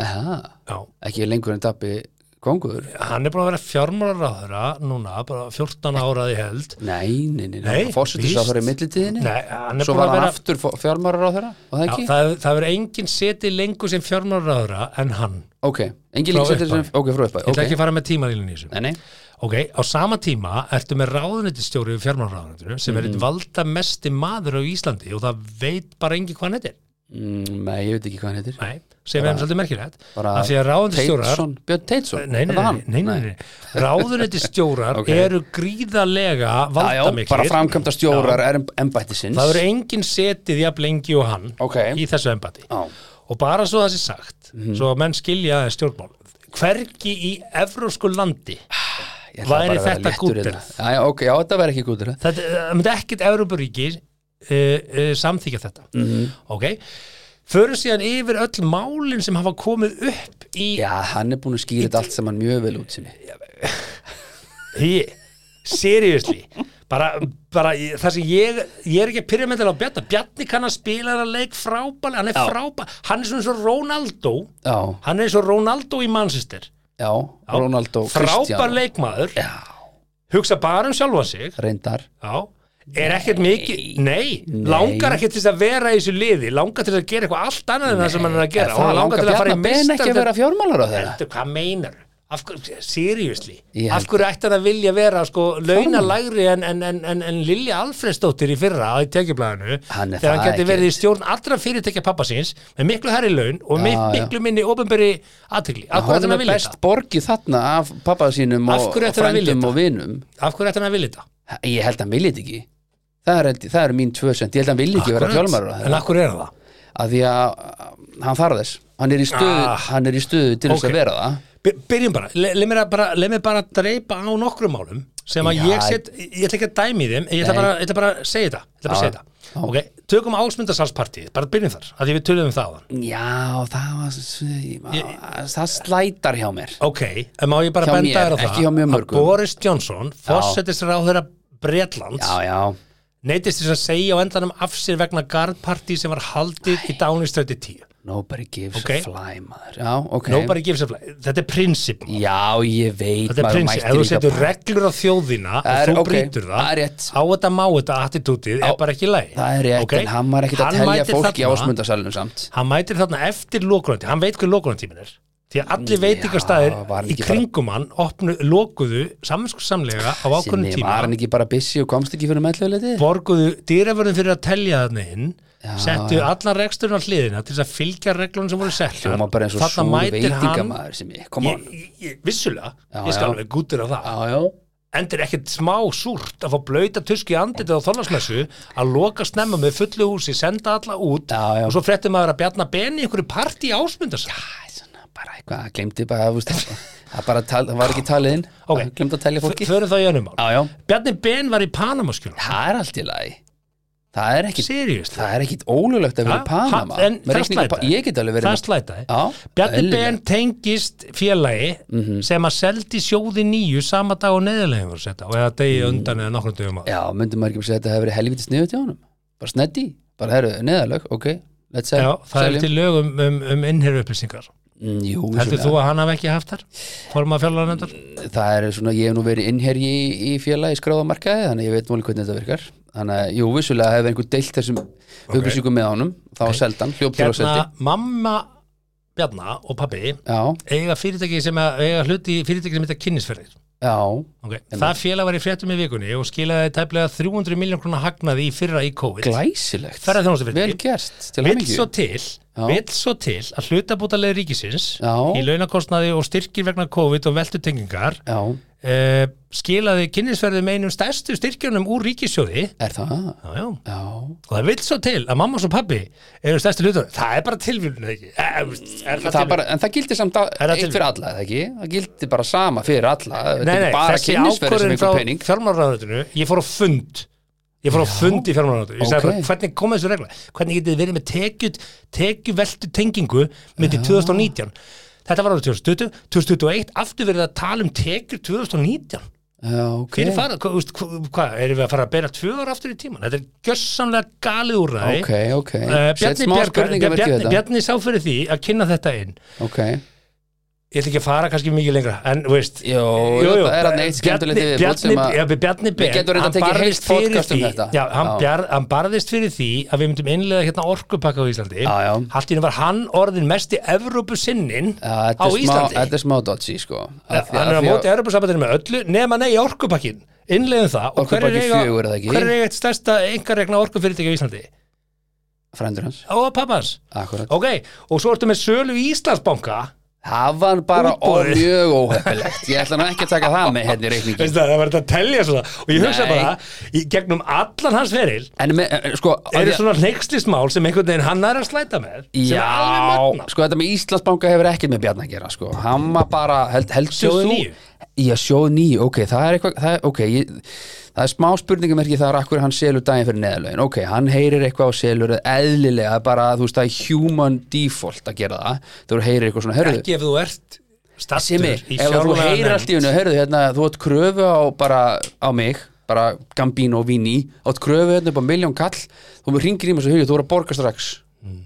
Speaker 4: Aha,
Speaker 3: Já,
Speaker 4: ekki lengur en Dabbi kongur
Speaker 3: hann er búin að vera fjármálar ráðara núna, bara 14 áraði held
Speaker 4: nei, nei, nei,
Speaker 3: Nei,
Speaker 4: nei fórsetis
Speaker 3: víst.
Speaker 4: á þeirra í millitíðinni
Speaker 3: Nei, hann er
Speaker 4: svo
Speaker 3: búin
Speaker 4: var
Speaker 3: að
Speaker 4: hann
Speaker 3: vera
Speaker 4: aftur fjármarar á þeirra og það
Speaker 3: Já,
Speaker 4: ekki?
Speaker 3: það, það verður enginn setið lengur sem fjármálar ráðara en hann
Speaker 4: ok, engin
Speaker 3: Frá
Speaker 4: líksettir sem,
Speaker 3: upphafi.
Speaker 4: ok, frá
Speaker 3: Ég
Speaker 4: uppæð
Speaker 3: ætla
Speaker 4: ok,
Speaker 3: ekki að fara með tímalílun í þessu
Speaker 4: nei, nei
Speaker 3: Ok, á sama tíma ertu með ráðunetistjóri við fjármálaráðunetinu sem er eitt
Speaker 4: Mhm.
Speaker 3: valda mesti maður á Íslandi og það veit bara engin hvað hann heitir
Speaker 4: Mm, Nei, ég veit ekki hvað hann heitir
Speaker 3: Nei, sem er svolítið merkilegt
Speaker 4: bara
Speaker 3: af því að ráðunetistjórar
Speaker 4: Teitsson, Björn Teitsson
Speaker 3: Nei, nei,
Speaker 4: Er það
Speaker 3: nei,
Speaker 4: hann?
Speaker 3: nei, nei, nei. ráðunetistjórar
Speaker 4: [LAUGHS] Ok.
Speaker 3: eru gríðarlega
Speaker 4: Já, já, bara
Speaker 3: valdamiklir
Speaker 4: framkvæmta stjórar er embættisins
Speaker 3: það eru engin setið jafn lengi og hann
Speaker 4: Ok.
Speaker 3: í þessu embati
Speaker 4: Já. Mhm.
Speaker 3: og bara svo það sé sagt svo að menn skilja aðeins stjórnmál hvergi í evrósku landi
Speaker 4: Ég ætla
Speaker 3: væri
Speaker 4: bara að vera
Speaker 3: þetta
Speaker 4: léttur
Speaker 3: gúdderað?
Speaker 4: hérna. Já, já, ok, já, þetta væri ekki gútur
Speaker 3: þetta, eh, það myndi ekkit Európaríki uh, uh, samþykja þetta
Speaker 4: Mhm.
Speaker 3: ok, förum síðan yfir öll málin sem hafa komið upp í
Speaker 4: Já, hann er búin að skýra þetta allt saman mjög vel út sinni
Speaker 3: yeah. seriously bara, bara ég- það sem ég ég er ekki að pyrja með þetta á Bjarni Bjarni kann að spila þetta leik frábæl hann er frábæl, hann er svona eins og Ronaldo
Speaker 4: Já,
Speaker 3: hann er eins og Ronaldo í Manchester
Speaker 4: já, Ronaldo
Speaker 3: frábær
Speaker 4: Kristján
Speaker 3: leikmaður já. hugsa bara um sjálfa sig
Speaker 4: Reyndar
Speaker 3: Já, er ekkert mikið, nei, langar ekkert til þess að vera í þessu liði, langar til þess að gera eitthvað allt annað en það sem hann er að
Speaker 4: Er
Speaker 3: gera og
Speaker 4: Það
Speaker 3: hann langar til að fara í
Speaker 4: Ben ekki að vera
Speaker 3: meistar
Speaker 4: fjármálar á þeirra
Speaker 3: Hvað meinar? Af hverju, seriously,
Speaker 4: Ég held
Speaker 3: af hverju ætti hann að vilja vera sko launalægri en, en, en, en, en Lilja Alfredsdóttir í fyrra í tekjublaðinu
Speaker 4: Hann er
Speaker 3: þegar hann
Speaker 4: það
Speaker 3: geti
Speaker 4: ekki.
Speaker 3: verið í stjórn allra fyrirtekja pappa síns með miklu herri laun og mik
Speaker 4: já.
Speaker 3: miklu minni ofinberi aðtegli. Af hverju ætti
Speaker 4: Hann
Speaker 3: hann
Speaker 4: er
Speaker 3: að vilja
Speaker 4: best
Speaker 3: þetta?
Speaker 4: borgið þarna af pappa sínum
Speaker 3: Af
Speaker 4: og
Speaker 3: hverju
Speaker 4: og
Speaker 3: ætti hann að vilja þetta?
Speaker 4: frændum og vinum
Speaker 3: Af hverju ætti hann að vilja þetta?
Speaker 4: Ég held að hann viljið ekki Það er, held- það er mín tvö sent, ég held að hann viljið ekki vera
Speaker 3: Akkurat.
Speaker 4: fjálmarar
Speaker 3: En af hverju er hann það?
Speaker 4: að því að að hann þarf þess hann er í stöðu,
Speaker 3: Ah.
Speaker 4: hann er í stöðu til þess
Speaker 3: Ok.
Speaker 4: að vera það
Speaker 3: By- byrjum bara, Le- leið mér, að bara leið mér bara að dreipa á nokkrum málum sem að
Speaker 4: Já.
Speaker 3: ég set, ég ætla ekki að dæmi þeim ég ætla
Speaker 4: Nei.
Speaker 3: bara, ég ætla bara að segja þetta, ég ætla bara að segja þetta. ok, tökum ásmundarsalspartíð, bara byrjum þar að því við tölum um það á þann
Speaker 4: já, það var það, það slætar hjá mér
Speaker 3: ok, en má ég bara
Speaker 4: Hjá
Speaker 3: benda
Speaker 4: mér,
Speaker 3: þér á
Speaker 4: ekki hjá
Speaker 3: það
Speaker 4: mjög
Speaker 3: að
Speaker 4: mörgum.
Speaker 3: Boris Johnson, fósettisráðherra Bretlands,
Speaker 4: já, já,
Speaker 3: neytist þess að segja á endanum af sér vegna gardpartí sem var haldið í Downingströti 10
Speaker 4: nobody gives
Speaker 3: Ok.
Speaker 4: a fly maður já, ok,
Speaker 3: nobody gives a fly, þetta er prinsip
Speaker 4: já, ég veit
Speaker 3: Þetta er
Speaker 4: maður
Speaker 3: prinsip, ef
Speaker 4: mættir
Speaker 3: þú
Speaker 4: líka
Speaker 3: setur
Speaker 4: bara-
Speaker 3: reglur á þjóðina og
Speaker 4: Það er-
Speaker 3: þú
Speaker 4: ok,
Speaker 3: brýtur það,
Speaker 4: það er rétt.
Speaker 3: á þetta má þetta attitútið er bara ekki læg
Speaker 4: það er rétt, en hann var ekkert að telja fólk í ásmundasalunum samt
Speaker 3: Hann mætir þarna eftir lókunandi, hann veit hver lókunantímin er því að allir veitingastæðir
Speaker 4: var hann
Speaker 3: í
Speaker 4: ekki bara-
Speaker 3: kringum hann opnu, lokuðu samvinskusamlega á ákveðnum
Speaker 4: Sinni,
Speaker 3: tíma
Speaker 4: var hann ekki bara busy og komst ekki fyrir meðlöfuleiti?
Speaker 3: borguðu dýraförðum fyrir að telja þarna inn
Speaker 4: Já,
Speaker 3: settu allan reksturinn á hliðina til þess að fylgja reglunum sem voru sett
Speaker 4: Hljóma bara eins og súr veitingamaður sem ég, kom on
Speaker 3: ég, ég, ég, vissulega,
Speaker 4: Já,
Speaker 3: ég skal
Speaker 4: já.
Speaker 3: alveg gútur á það
Speaker 4: Já, já,
Speaker 3: endur ekkert smá súrt að fá blöyta tuski andið á þorlagsmessu að loka snemma með fullu húsi, senda alla út
Speaker 4: Já, já.
Speaker 3: og svo fréttum maður að bjarna beni í einhverju partí ásmundars
Speaker 4: Æ, svona bara eitthvað, glemdi bara, þú veist [LAUGHS] það bara tal, það var ekki talið inn
Speaker 3: Ok.
Speaker 4: glemdi að telja fólki Já,
Speaker 3: förum það í önum mál
Speaker 4: já,
Speaker 3: Bjarni Ben var í sko. Panamaskjölum
Speaker 4: það er allt í lagi Það er ekkit,
Speaker 3: seriðist,
Speaker 4: það er ekkit ólulegt að vera
Speaker 3: Ha,
Speaker 4: í Panama
Speaker 3: ha, en
Speaker 4: Með
Speaker 3: það
Speaker 4: reikning á
Speaker 3: slæta.
Speaker 4: Pa- Ég get alveg verið
Speaker 3: það
Speaker 4: með-
Speaker 3: slætaði
Speaker 4: Já,
Speaker 3: Bjarni
Speaker 4: eðlilega. Mhm.
Speaker 3: Ben tengist félagi sem að seldi sjóði nýju sama dag og neðarlegin voru setta og eða degi undan eða nokkrum dögum áður.
Speaker 4: Mm. Já, myndum maður ekki að segja að þetta hefur verið helviti sniðu til honum Bara snetti, bara herru, neðalög, ok Let's sell,
Speaker 3: Já, það er
Speaker 4: seljum.
Speaker 3: til lögum um, um innherru upplýsingar
Speaker 4: Mm, Jú,
Speaker 3: Heldur þú
Speaker 4: svona,
Speaker 3: að hann hafi ekki haft þar? Forma fjárlaganendar?
Speaker 4: það er svona, ég hef nú verið innherji í, í félagi skráðamarkaði Þannig að ég veit nú alveg hvernig þetta virkar Þannig að, jú, vissulega hefur einhver deilt þessum okay. með honum Þá okay. seldan, hljóptur og seldi
Speaker 3: Hérna, mamma Bjarna og pabbi
Speaker 4: Já,
Speaker 3: eiga fyrirtæki sem að, eiga hluti í fyrirtæki sem heitir kynnisferðir
Speaker 4: já,
Speaker 3: okay. Það félag var í fréttum í vikunni og skilaði tæplega 300 miljón krónar hagnaði í fyrra í COVID
Speaker 4: glæsilegt
Speaker 3: Ferðaþjónustufyrirtæki.
Speaker 4: Vel gert, til
Speaker 3: Vill svo
Speaker 4: hamingju
Speaker 3: til, vill svo til að hlutabótalegi ríkisins
Speaker 4: Já.
Speaker 3: í launakostnaði og styrkir vegna COVID og veltutengingar
Speaker 4: Já,
Speaker 3: eh, skilaði kynnisferðum einum stærstu styrkjunum úr ríkissjóði
Speaker 4: er það?
Speaker 3: já, já.
Speaker 4: Já,
Speaker 3: og það vill svo til að mamma og pabbi eru stærstu hlutur, það er bara tilvílun ekki, Eh, er það,
Speaker 4: það bara, en það gildi samt að,
Speaker 3: Er það
Speaker 4: eitt
Speaker 3: til-
Speaker 4: fyrir alla, eða ekki? Það gildi bara sama fyrir alla Þetta
Speaker 3: Nei,
Speaker 4: er
Speaker 3: nei,
Speaker 4: ekki bara
Speaker 3: þessi
Speaker 4: kynnisferði sem
Speaker 3: ákvörðin
Speaker 4: einhver pening
Speaker 3: frá fjármálaráðunitinu, ég fór á fund ég fór á fund í fjármálaráðunitinu ég sagði
Speaker 4: ok.
Speaker 3: bara, hvernig koma þessu regla hvernig getið þið verið með tekjut, tekjuveltu tengingu myndi 2019 þetta var árið 2020, 2021 aftur verið að tala um tekjur 2019
Speaker 4: Já, ok
Speaker 3: fyrir fara, hvað, veist, hvað, hvað, erum við að fara að bera tvö ára aftur í tíman, þetta er gjössanlega galið úr það
Speaker 4: Ok, ok Sett
Speaker 3: Eh, Bjarni,
Speaker 4: smá
Speaker 3: Bjargar-
Speaker 4: spurningamerki í
Speaker 3: Bjarni,
Speaker 4: þetta
Speaker 3: Bjarni sá fyrir því að kynna þetta inn
Speaker 4: Ok
Speaker 3: ég ætla ekki að fara kannski mikið lengra en, þú veist,
Speaker 4: Jú, það er hann eitt skemmtilegt
Speaker 3: Bjarni-
Speaker 4: yfirbót sem
Speaker 3: Bjarni-
Speaker 4: að-
Speaker 3: já, Bjarni Ben
Speaker 4: Við getum reyndar
Speaker 3: hann
Speaker 4: tekið heilt
Speaker 3: barðist fyrir
Speaker 4: podcast um
Speaker 3: því-
Speaker 4: þetta.
Speaker 3: já, hann,
Speaker 4: Já.
Speaker 3: Bjar, hann barðist fyrir því að við myndum innlega hérna orkupakka á Íslandi
Speaker 4: Já, já.
Speaker 3: allt í henni var hann orðin mest í Evrópusinnin
Speaker 4: Já,
Speaker 3: á
Speaker 4: Þetta er smá-
Speaker 3: Íslandi
Speaker 4: þetta er smá dodgy, sko Af því-
Speaker 3: hann er
Speaker 4: af
Speaker 3: á
Speaker 4: því
Speaker 3: móti Evrópusambandinu með öllu nema nei orkupakkin, innlegum það og hver er
Speaker 4: Orkupakkið
Speaker 3: eiga-
Speaker 4: fjögur, er það ekki?
Speaker 3: hver er eiga eitt stærsta einkaregna orkufyrirtæki á Íslandi
Speaker 4: Frændur hans,
Speaker 3: og pappans
Speaker 4: akkurat
Speaker 3: ok, og svo ertu með sölu í Íslandsbanka
Speaker 4: Það var bara
Speaker 3: Útboðið.
Speaker 4: ó- mjög óheppilegt Ég ætla nú ekki að taka það með hérna í reikningi
Speaker 3: [LAUGHS] Veistu það, það var þetta að telja svona og ég hugsa
Speaker 4: Nei.
Speaker 3: bara, í gegnum allan hans feril
Speaker 4: En með, eh, sko af
Speaker 3: eru
Speaker 4: því að-
Speaker 3: svona hneikslismál sem einhvern veginn hann er að slæta með sem er alveg
Speaker 4: Já,
Speaker 3: magna
Speaker 4: sko þetta með Íslandsbanka hefur ekkert með Bjarni að gera sko. hann var bara, held, heldur
Speaker 3: Sjóðu
Speaker 4: þú
Speaker 3: nýju.
Speaker 4: Já, sjóð nýju, ok, það er eitthvað það, er- ok, ég, það er smá spurningamerki þar akkur hann selur daginn fyrir neðalögin ok, hann heyrir eitthvað á selur eðlilega bara, þú veist, það er human default að gera það, þú heyrir eitthvað svona hörðu,
Speaker 3: ekki ef þú ert stattur
Speaker 4: Simmi,
Speaker 3: í
Speaker 4: ef þú heyrir allt í
Speaker 3: fjárlaganefnd
Speaker 4: hennu, hörðu, hérna, þú átt kröfu á bara, á mig, bara Gambino og Vini, átt kröfu hérna upp á miljón kall, þú ringir í mig svo hugið, þú voru að borga strax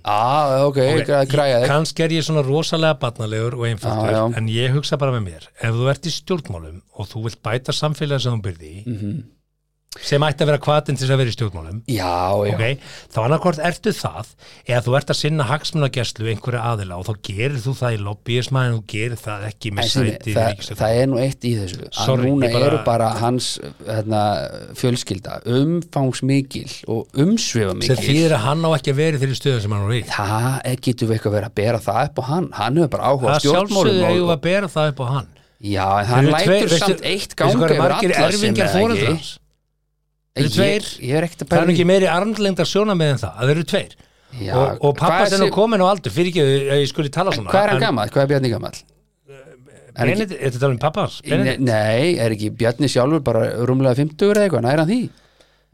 Speaker 4: ah, ok,
Speaker 3: Mm. Ok,
Speaker 4: okay. græja þig
Speaker 3: kannski er ég svona rosalega barnalegur og einfaldur
Speaker 4: Já, já.
Speaker 3: en ég hugsa bara með mér ef þú ert í stjórnmálum og þú vilt bæta samfélagið sem þú byrði í
Speaker 4: Mhm.
Speaker 3: sem ætti að vera hvatin til þess að vera í stjórnmálum
Speaker 4: Já, já,
Speaker 3: okay? þá annarkvort ertu það eða þú ert að sinna hagsmunagesslu einhverja aðila og þá gerir þú það í lobbyisma en þú gerir það ekki
Speaker 4: En
Speaker 3: með
Speaker 4: Simmi,
Speaker 3: sæti í
Speaker 4: það,
Speaker 3: ríkisstjórn.
Speaker 4: það er nú eitt í þessu að
Speaker 3: Sorry,
Speaker 4: núna
Speaker 3: ég bara-
Speaker 4: eru bara hans hérna, fjölskylda umfangsmikil og
Speaker 3: sem
Speaker 4: umsvefamikil
Speaker 3: þýðir að hann á ekki að vera í þeirri stöðu sem hann var í
Speaker 4: það er- getur við eitthvað verið að bera það upp á hann hann hefur bara áhuga á
Speaker 3: það sjálfsögðu
Speaker 4: stjórnmálum
Speaker 3: eigum við
Speaker 4: og,
Speaker 3: að bera það upp á hann
Speaker 4: já, en hann
Speaker 3: Þeir eru
Speaker 4: lætur
Speaker 3: tveir-
Speaker 4: samt
Speaker 3: veistu-
Speaker 4: eitt
Speaker 3: veistu
Speaker 4: ganga
Speaker 3: hvað eru
Speaker 4: yfir
Speaker 3: margir
Speaker 4: alla sem
Speaker 3: erfingjar
Speaker 4: er
Speaker 3: foreldra
Speaker 4: ekki
Speaker 3: hans?
Speaker 4: Ég-
Speaker 3: Eru tveir?
Speaker 4: ég er ekkert að
Speaker 3: það er
Speaker 4: pæla
Speaker 3: ekki meiri armlengdar sjónamið en það það eru tveir
Speaker 4: Já,
Speaker 3: og, og
Speaker 4: hvað
Speaker 3: pappa
Speaker 4: er
Speaker 3: sem er
Speaker 4: þessi-
Speaker 3: komin á aldur fyrir ekki að ég skuli tala svona
Speaker 4: hvað er hann gamall, hvað er Bjarni gamall er ekki-
Speaker 3: Benedikt, er þetta talað um pappa hans? Benedikt?
Speaker 4: nei, er ekki Bjarni sjálfur bara rúmlega 50 eða eitthvað, næra hann því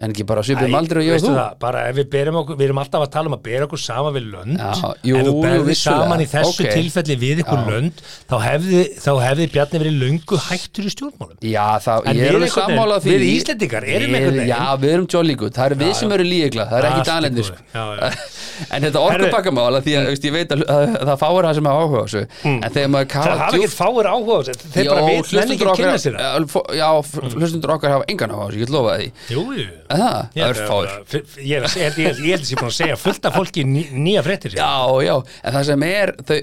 Speaker 4: en ekki bara svipum aldrei og ég og
Speaker 3: veistu
Speaker 4: þú
Speaker 3: það, bara ef við berum okkur, við erum alltaf að tala um að bera okkur saman við lönd
Speaker 4: Já, jú,
Speaker 3: ef þú
Speaker 4: jú,
Speaker 3: berði
Speaker 4: vissulega.
Speaker 3: saman í þessu
Speaker 4: Ok.
Speaker 3: tilfelli við ykkur lönd þá hefði, þá hefði Bjarni verið löngu hættur í stjórnmálum
Speaker 4: Já, það,
Speaker 3: En
Speaker 4: ég
Speaker 3: við
Speaker 4: er
Speaker 3: einhvern
Speaker 4: alveg
Speaker 3: veginn-
Speaker 4: sammála því
Speaker 3: við Íslendingar erum
Speaker 4: Við-
Speaker 3: einhvern veginn.
Speaker 4: Já, við erum jolly good, það eru við sem eru líkla það er ekki
Speaker 3: Allt í
Speaker 4: dalendir
Speaker 3: góðu. Já, já.
Speaker 4: [LAUGHS] En þetta orkupakkamála, því að veist, ég veit að, að, að það fáir það sem að áhuga á þessu En þegar maður kafa
Speaker 3: það Mm. hafa ekkert fáir áhuga á þessu, þeir bara veit menn ekki að kynna sér það Mm.
Speaker 4: Já, fó- já, f- hlustundur okkar hafa engan áhuga á þessu, ég get lofa því
Speaker 3: Jú, jú
Speaker 4: það,
Speaker 3: Ég-
Speaker 4: örfáir
Speaker 3: F- f- Ég held ég held- ég held að ég sé búin að segja fullt af fólki ný, nýja fréttir
Speaker 4: Já, já, en það sem er þau,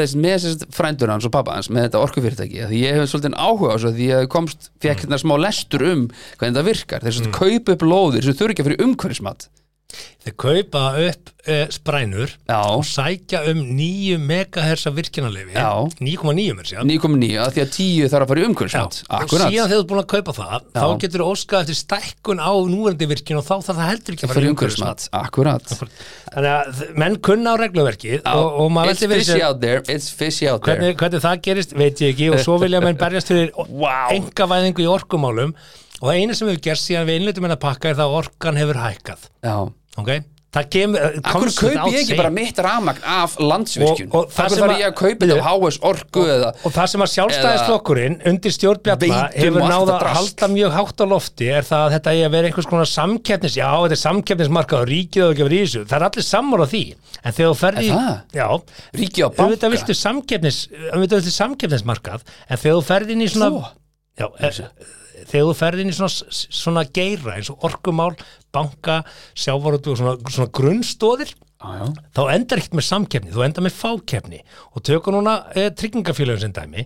Speaker 4: þess með þess frændur hans og pappa hans með þetta orkufyrirtæki, því ég hef svolítið áhuga á þessu, því ég komst, fekk hérna smá lestur um hvernig það virkar, þess að mm. kaupa upp lóðir sem þurfi ekki að fyrir umhverfismat
Speaker 3: Þeir kaupa upp uh, sprænur og
Speaker 4: Já,
Speaker 3: sækja um 9 megahersa virkinarleifi
Speaker 4: Já.
Speaker 3: 9,9 mér sér
Speaker 4: nýkomum nýja, því að tíu þarf að fara í
Speaker 3: og
Speaker 4: umhverfismat
Speaker 3: síðan
Speaker 4: Akkurat,
Speaker 3: þegar þú ert búin að kaupa það
Speaker 4: Já.
Speaker 3: þá getur þú óskað eftir stækkun á núverandi virkin og þá þarf það heldur ekki að fara
Speaker 4: fyrir
Speaker 3: í
Speaker 4: umhverfismat, akkurat
Speaker 3: umhverfismat. þannig að þ- menn kunna á regluverkið og, og maður
Speaker 4: It's
Speaker 3: veldi verið
Speaker 4: fishy
Speaker 3: sér
Speaker 4: out there, it's fishy out there
Speaker 3: hvernig, hvernig það gerist veit ég ekki og svo vilja menn berjast fyrir
Speaker 4: [LAUGHS] Vá.
Speaker 3: engavæðingu í orkumálum og það eina sem hefur gerst síðan við innleitum hennar pakka er það að orkan hefur hækkað
Speaker 4: Já,
Speaker 3: okay? það kemur
Speaker 4: Akkur
Speaker 3: comes
Speaker 4: kaupi
Speaker 3: without
Speaker 4: ég ekki
Speaker 3: saying.
Speaker 4: bara mitt ramagn af landsvirkjun
Speaker 3: Og- og það
Speaker 4: Akkur
Speaker 3: sem
Speaker 4: þarf
Speaker 3: að-
Speaker 4: ég að kaupa þetta á HS orku eða
Speaker 3: og það sem að sjálfstæðisflokkurinn undir stjórnbjarna
Speaker 4: Veitum
Speaker 3: hefur
Speaker 4: og allt
Speaker 3: náða
Speaker 4: þetta
Speaker 3: að
Speaker 4: drasl.
Speaker 3: halda mjög hátt á lofti er það að þetta eigi að vera einhvers konar samkeppnis já, þetta er samkeppnismarkað og ríkið á ekki að vera í þessu það er allir sammála því en þegar þú ferði
Speaker 4: Er það?
Speaker 3: já,
Speaker 4: Ríkið á banka?
Speaker 3: auðvitað viltu, samkeppnis, auðvitað viltu samkeppnismarkað en þegar þú ferði inn í svona
Speaker 4: Þú?
Speaker 3: já, e, þegar þú ferði inn í svona, svona geira eins og orkumál, banka sjávarútu og svona, svona grunnstóðir
Speaker 4: Já, já.
Speaker 3: þá endar ekkert með samkeppni, þú endar með fákeppni og tökum núna e, tryggingafélagin sem dæmi,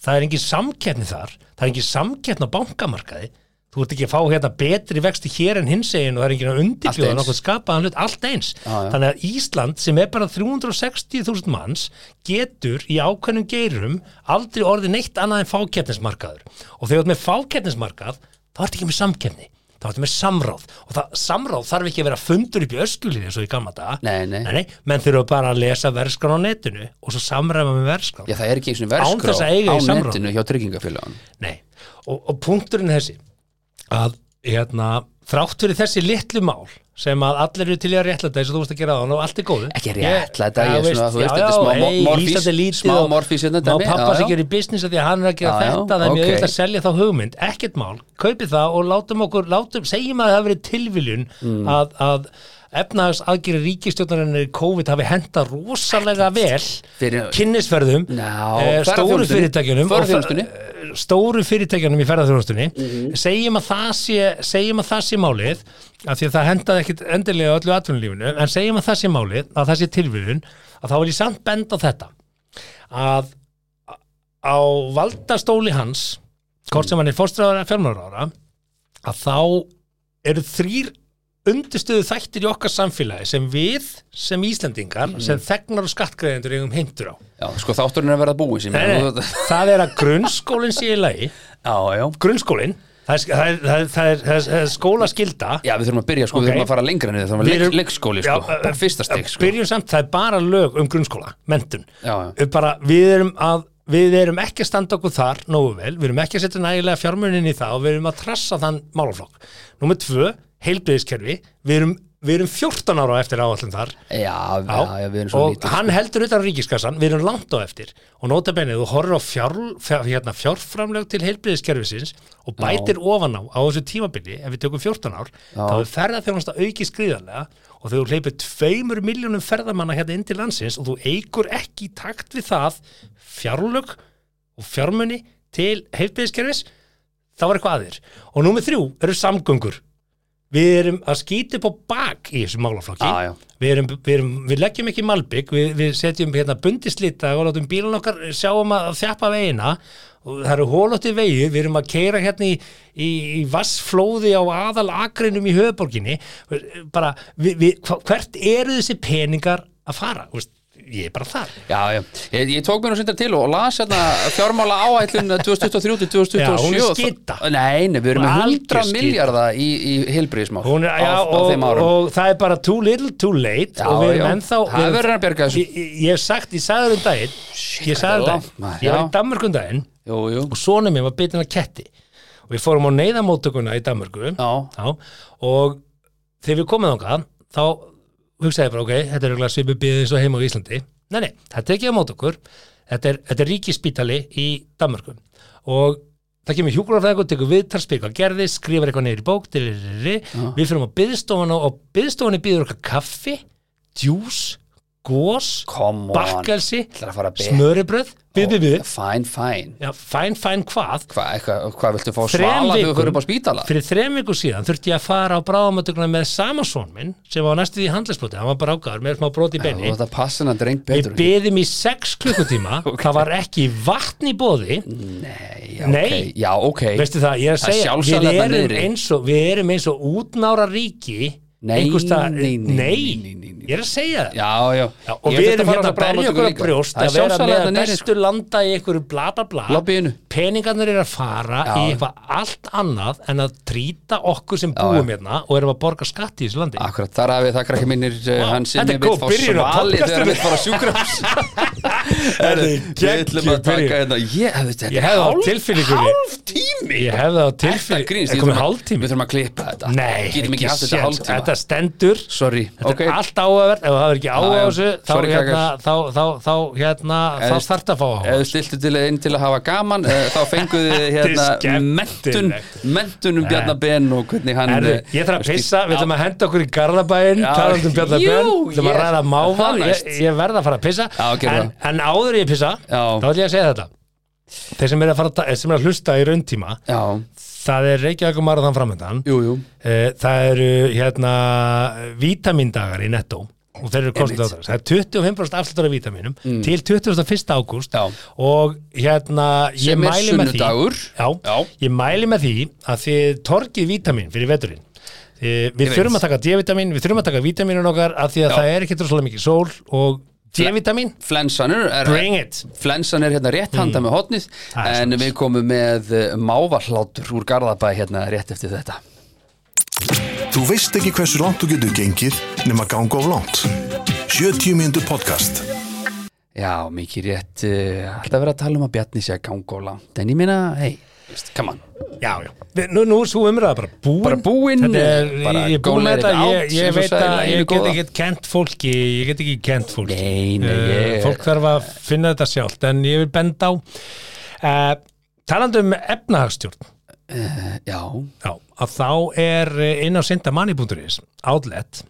Speaker 3: það er engin samkeppni þar, það er engin samkeppni á bankamarkaði þú ert ekki að fá hérna betri vexti hér en hins egin og það er engin að undirbjóða
Speaker 4: Allt eins.
Speaker 3: nokkuð skapaðan hlut, allt eins
Speaker 4: Já, já.
Speaker 3: þannig að Ísland sem er bara 360.000 manns getur í ákveðnum geirum aldrei orðið neitt annað en fákeppnismarkaður og þegar þú ert með fákeppnismarkað þá ert ekki með samkeppni þá ertu með samráð og það, samráð þarf ekki að vera fundur upp í öskulinni eins og í gamla daga
Speaker 4: Nei, nei.
Speaker 3: Nei, nei, menn þurfa bara að lesa verskran á netinu og svo samræma með verskran.
Speaker 4: Já, það er ekki eins og
Speaker 3: Án
Speaker 4: verskrá
Speaker 3: þess að eiga
Speaker 4: á
Speaker 3: í samráð.
Speaker 4: netinu hjá tryggingafélagun
Speaker 3: Nei, og, og punkturinn er þessi að hérna, þrátt fyrir þessi litlu mál sem að allir eru til í að réttlæta eins og þú veist að gera það og allt er góðu
Speaker 4: Ekki réttlæta,
Speaker 3: Já,
Speaker 4: ég er svona, þú veist, þetta er smá
Speaker 3: já,
Speaker 4: mo-
Speaker 3: hey,
Speaker 4: morfís,
Speaker 3: Ísland er lítið
Speaker 4: smá
Speaker 3: og
Speaker 4: morfís hérna
Speaker 3: má
Speaker 4: dæmi,
Speaker 3: pappa
Speaker 4: já,
Speaker 3: sem
Speaker 4: já.
Speaker 3: gerir business af því að hann er að gera
Speaker 4: Já, já,
Speaker 3: þetta það er mjög
Speaker 4: ok.
Speaker 3: auðvitað að selja þá hugmynd, ekkert mál kaupið það og látum okkur, látum, segjum að það hafi verið tilviljun
Speaker 4: Mm.
Speaker 3: að, að efnahags aðgerið ríkistjóðanir COVID hafi henda rosalega vel
Speaker 4: Fyrir-
Speaker 3: kynnisferðum
Speaker 4: Já,
Speaker 3: eh, stóru
Speaker 4: ferðaþjónustunni,
Speaker 3: fyrirtækjunum og-
Speaker 4: ferðaþjónustunni.
Speaker 3: eh, stóru fyrirtækjunum í ferðarþjónustunni segjum, að það sé, segjum að það sé málið af því að það hendaði ekkit endilega öllu atvinnulífinu en segjum að það sé málið, að það sé tilvíðun að þá vil ég samt benda á þetta að á valdastóli hans hvort sem hann er fórstræðara fjármálarára að þá eru þrýr undirstöðu þættir í okkar samfélagi sem við, sem Íslendingar sem þegnar og skattgreðendur eigum heimtur á
Speaker 4: Já, sko þátturinn er að verða búið sem
Speaker 3: Nei, nei, það er að grunnskólinn sé í lagi
Speaker 4: Já, já
Speaker 3: grunnskólinn, það er, það er, það er, það er, það er skólaskylda
Speaker 4: Já, við þurfum að byrja, sko,
Speaker 3: Ok.
Speaker 4: við þurfum að fara lengra niður, þurfum að
Speaker 3: Við
Speaker 4: leik,
Speaker 3: erum-
Speaker 4: leikskóli, sko,
Speaker 3: Já, eh,
Speaker 4: bara fyrsta stig, sko
Speaker 3: byrjum samt, það er bara lög um grunnskóla, mentun
Speaker 4: Já, já.
Speaker 3: Við bara, við, erum að, við erum ekki að standa okkur þar nógu vel, við erum ekki að setja nægilega fjármunin í það og við erum að trassa þann málaflokk Númer tvö, heilbriðiskerfi við erum, við erum 14 ára á eftir áallum þar
Speaker 4: Já, já, já, við erum svo sko.
Speaker 3: og
Speaker 4: lítið
Speaker 3: hann heldur utan um ríkiskassan, við erum langt á eftir og nota benið, þú horfir á fjár, fjár, hérna, fjárframlög til heilbriðiskerfisins og bætir ofan á á þessu tímabili ef við tökum 14 ár
Speaker 4: Já.
Speaker 3: þá er ferðarþjónasta aukið skriðanlega og þegar þú hleypir tveimur miljónum ferðamanna hérna inn til landsins og þú eigur ekki í takt við það fjárlög og fjármunni til heilbriðiskerfis þá var eitthvað aðir og númer þrjú eru samgöngur við erum að skýta upp á bak í þessu málaflokki
Speaker 4: Já, já.
Speaker 3: Við, erum, við, erum, við leggjum ekki malbygg við, við setjum hérna bundislita og látum bílan okkar sjáum að þjappa veginna og það eru hólótti vegi við erum að keira hérna í, í, í vassflóði á aðal akrinum í höfuborginni bara við, við, hva- hvert eru þessi peningar að fara Þú veist, ég er bara þar
Speaker 4: Já, já, ég, ég tók mér nú sindar til og las hérna fjármála áætlun eh, 2023-2027
Speaker 3: Já, hún er skita.
Speaker 4: Nei, nei, við erum með
Speaker 3: Hún er algjör
Speaker 4: 100
Speaker 3: skita.
Speaker 4: miljardar í, í heilbriðismál
Speaker 3: Hún er, já,
Speaker 4: á, á
Speaker 3: og,
Speaker 4: þeim árum
Speaker 3: og það er bara too little, too late
Speaker 4: Já,
Speaker 3: og við erum
Speaker 4: já.
Speaker 3: ennþá
Speaker 4: Það
Speaker 3: við erum-
Speaker 4: verður að bjarga þessu.
Speaker 3: Ég- ég- Ég hef sagt, ég sagði um daginn Ég
Speaker 4: þetta er
Speaker 3: sagði um
Speaker 4: langt,
Speaker 3: daginn,
Speaker 4: maður,
Speaker 3: ég var
Speaker 4: já.
Speaker 3: í Danmörku um daginn
Speaker 4: Jú, jú,
Speaker 3: og sonum mér var bitin að ketti og við fórum á neyðamóttökuna í Danmörku
Speaker 4: já,
Speaker 3: Já, og þegar við komum þangað þá hugsaði ég bara, ok, þetta er örugglega svipuð bið eins og heima á Íslandi nei, nei, þetta er ekki á mót okkur þetta er, þetta er ríkispítali í Danmörku og það kemur hjúkurafræðingur, tekur viðtalspyr hvað gerði, skrifar eitthvað niður í bók dilirri, við fyrir á byðstofan og byðstofanni býður okkar kaffi, djús gós,
Speaker 4: Come on.
Speaker 3: bakkelsi,
Speaker 4: Ætlar að fara að be-
Speaker 3: smöribröð, byrði við,
Speaker 4: Fæn, fæn
Speaker 3: já, fæn, fæn hvað,
Speaker 4: Hva, eitthvað, Hvað viltu fá
Speaker 3: Þrem
Speaker 4: svala þegar þú
Speaker 3: vikum-
Speaker 4: fyrir upp á spítala?
Speaker 3: fyrir þrem viku síðan þurfti ég að fara á bráðamöndugna með samasón minn sem var næstu því handlisbroti, hann var bara ágæður með smá brot í
Speaker 4: Þú
Speaker 3: benni
Speaker 4: þetta passa hann drengt
Speaker 3: Við
Speaker 4: betur
Speaker 3: byðum í sex klukkutíma
Speaker 4: [LAUGHS]
Speaker 3: það var ekki vatn í bóði
Speaker 4: Nei, já,
Speaker 3: Nei.
Speaker 4: ok, já, ok.
Speaker 3: veistu það, ég er að
Speaker 4: Það er
Speaker 3: segja
Speaker 4: sjálfsagt
Speaker 3: við
Speaker 4: þarna
Speaker 3: erum,
Speaker 4: niðri.
Speaker 3: eins og, við erum eins og útnára ríki
Speaker 4: Nei,
Speaker 3: einhvers staðar-
Speaker 4: nei, nei, nei, nei, nei, nei.
Speaker 3: ég er að segja það
Speaker 4: Já, já,
Speaker 3: Já, og
Speaker 4: Ég
Speaker 3: við
Speaker 4: þurfti
Speaker 3: erum hérna
Speaker 4: fara á
Speaker 3: að berja
Speaker 4: bráðamóttöku
Speaker 3: okkur að
Speaker 4: líka.
Speaker 3: brjóst
Speaker 4: Það er
Speaker 3: að vera
Speaker 4: sjálfsagt
Speaker 3: með
Speaker 4: þarna niðri, sko.
Speaker 3: bestu landa í einhverju bla bla bla
Speaker 4: Lobbyinu.
Speaker 3: peningarnir eru að fara
Speaker 4: Já.
Speaker 3: í eitthvað allt annað en að trýta okkur sem
Speaker 4: já.
Speaker 3: búum hérna og erum að borga skatt í þessu landi
Speaker 4: Akkurat, þar hafið það krakki minnir eh, wow,
Speaker 3: Vá,
Speaker 4: hann sem
Speaker 3: þetta er
Speaker 4: ég vil
Speaker 3: góð
Speaker 4: fá
Speaker 3: byrjun á
Speaker 4: svali þegar hann
Speaker 3: podcastinu.
Speaker 4: vil fara á
Speaker 3: [LAUGHS]
Speaker 4: sjúkrafs Við ætlum að taka hérna Ég hefði þetta
Speaker 3: Ég
Speaker 4: er
Speaker 3: hefði á
Speaker 4: hálf-
Speaker 3: tilfinningunni-
Speaker 4: Hálf tími
Speaker 3: ég hefði á
Speaker 4: Þetta
Speaker 3: tilfyrir
Speaker 4: grínst,
Speaker 3: er
Speaker 4: ég
Speaker 3: komið
Speaker 4: þurfum að-
Speaker 3: hálftími
Speaker 4: Við þurfum að klippa þetta
Speaker 3: nei,
Speaker 4: Getum ekki haft þetta
Speaker 3: séns.
Speaker 4: hálf tíma
Speaker 3: þetta stendur
Speaker 4: Sorry,
Speaker 3: Þetta
Speaker 4: ok
Speaker 3: er allt áhugavert, ef það er ekki áhuga á
Speaker 4: já.
Speaker 3: þessu, þá,
Speaker 4: Sorry,
Speaker 3: hérna,
Speaker 4: krakkar.
Speaker 3: þá, þá, þá, hérna,
Speaker 4: Ef-
Speaker 3: þá þarf að fá áhuga.
Speaker 4: Ef þú stiltu til einn til að hafa gaman eh, þá fenguðu þið
Speaker 3: Þetta
Speaker 4: hérna
Speaker 3: er
Speaker 4: mentun
Speaker 3: skemmtilegt.
Speaker 4: mentun um Bjarnar Ben og hvernig hann
Speaker 3: Herðu,
Speaker 4: eh,
Speaker 3: ég þarf að
Speaker 4: skil-
Speaker 3: pissa, við ætlum að henda okkur í Garðabæinn,
Speaker 4: Já,
Speaker 3: talandi um Bjarnar
Speaker 4: jú,
Speaker 3: Björn, við ætlum að
Speaker 4: ég-
Speaker 3: ræða máva,
Speaker 4: það
Speaker 3: ég,
Speaker 4: næst.
Speaker 3: ég verð að fara að pissa,
Speaker 4: Já, gerðu
Speaker 3: en, en áður en ég pissa,
Speaker 4: Já.
Speaker 3: þá ætlum ég að segja þetta. Þeir sem eru að, fara, að ta- eh, sem eru að hlusta í rauntíma,
Speaker 4: Já,
Speaker 3: það er Reykjavík og Marathon framöndan,
Speaker 4: jú, jú
Speaker 3: Eh, það eru hérna vítamindagar í netto og þeir eru kostið á það. Það er 25% afslutur af vítaminum til 21. ágúst
Speaker 4: Mm. Já.
Speaker 3: og hérna ég
Speaker 4: Sem er
Speaker 3: mæli með því
Speaker 4: sunnudagur.
Speaker 3: já,
Speaker 4: Já.
Speaker 3: ég mæli með því að þið torgið vítamin fyrir veturinn Eh, við
Speaker 4: veit.
Speaker 3: þurfum að taka D-vitamin, við þurfum að taka vítaminin okkar af því að
Speaker 4: Já.
Speaker 3: það er ekki droslega mikið sól og D-vitamin,
Speaker 4: Flensan er, er
Speaker 3: bring it Mm.
Speaker 4: Flensan er hérna rétt handa með hotnið
Speaker 3: Það er
Speaker 4: en
Speaker 3: svoleiðis.
Speaker 4: við komum með eh, mávahlátur úr Garðabæ hérna rétt eftir þetta.
Speaker 2: Þú veist ekki hversu langt þú getur gengið nema ganga of langt. 70 mínútur podcast.
Speaker 4: Já, mikið rétt eh, alltaf verið að tala um að Bjarni sé að ganga og langt en ég meina, hei, veist, come on
Speaker 3: Já, já. Við- Nú, nú er svo umræða bara búin.
Speaker 4: Bara búin,
Speaker 3: Þetta er,
Speaker 4: bara
Speaker 3: ég er
Speaker 4: go
Speaker 3: búin
Speaker 4: let
Speaker 3: með
Speaker 4: it
Speaker 3: þetta.
Speaker 4: out,
Speaker 3: Ég, ég
Speaker 4: eins og
Speaker 3: veit
Speaker 4: sagði
Speaker 3: að
Speaker 4: laginu
Speaker 3: ég get
Speaker 4: góða.
Speaker 3: ekki kent fólki, ég get ekki kent fólki.
Speaker 4: Nei, nei,
Speaker 3: Eh,
Speaker 4: ég-
Speaker 3: Fólk þarf að finna þetta sjálft, en ég vil benda á. Uh, talandi um efnahagstjórn,
Speaker 4: Já,
Speaker 3: já, að þá er eh, inn á sindamanni.is outlet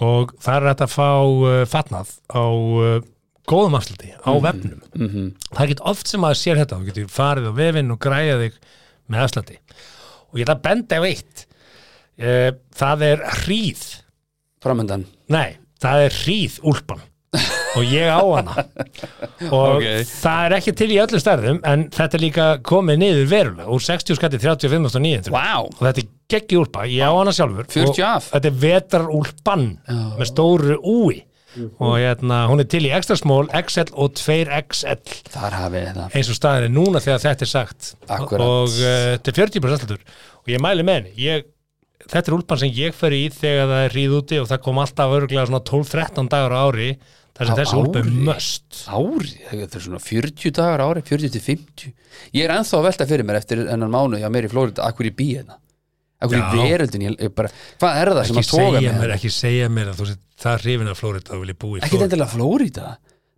Speaker 3: og það er hægt að fá uh, fatnað á uh, góðum afsluti á vefnum. Það er ekki oft sem maður sér þetta, þú getur farið á vefinn og græja þig með afsluti. Og ég ætla að benda á eitt, uh, það er hríð,
Speaker 4: framöndan
Speaker 3: nei, það er hríð úlpan og ég á hana og
Speaker 4: Ok.
Speaker 3: það er ekki til í öllum stærðum en þetta er líka komið niður verulega úr 60 skatti 35.900
Speaker 4: Vá,
Speaker 3: og þetta er geggi úlpa, ég á hana sjálfur
Speaker 4: 40
Speaker 3: og
Speaker 4: af.
Speaker 3: þetta er vetarúlpan með stóru úi og hérna, hún er til í extra small, XL og 2XL
Speaker 4: þar hafið þið það
Speaker 3: eins og staðin er núna þegar þetta er sagt
Speaker 4: Akkúrat.
Speaker 3: og uh, þetta er 40% afslutur og ég mæli með henni ég, þetta er úlpan sem ég fer í þegar það er ríð úti og það kom alltaf örglega svona 12-13 dagar á ári þar sem
Speaker 4: Á
Speaker 3: þessi úlpa er
Speaker 4: ári?
Speaker 3: möst
Speaker 4: Ári, þetta er svona 40 dagar ári 40 til 50 Ég er ennþá að velta fyrir mér eftir ennan mánu hjá mér í Flórida, akkur ég bý hérna Akkur
Speaker 3: Já.
Speaker 4: í veröldin, ég, ég bara Hvað er það sem
Speaker 3: ekki
Speaker 4: að toga
Speaker 3: segja,
Speaker 4: mig
Speaker 3: mér,
Speaker 4: hérna?
Speaker 3: ekki segja mér að þú sér það hrifin af Flórið þá vil ég búi í
Speaker 4: Ekkert
Speaker 3: Flórið
Speaker 4: endilega Flórida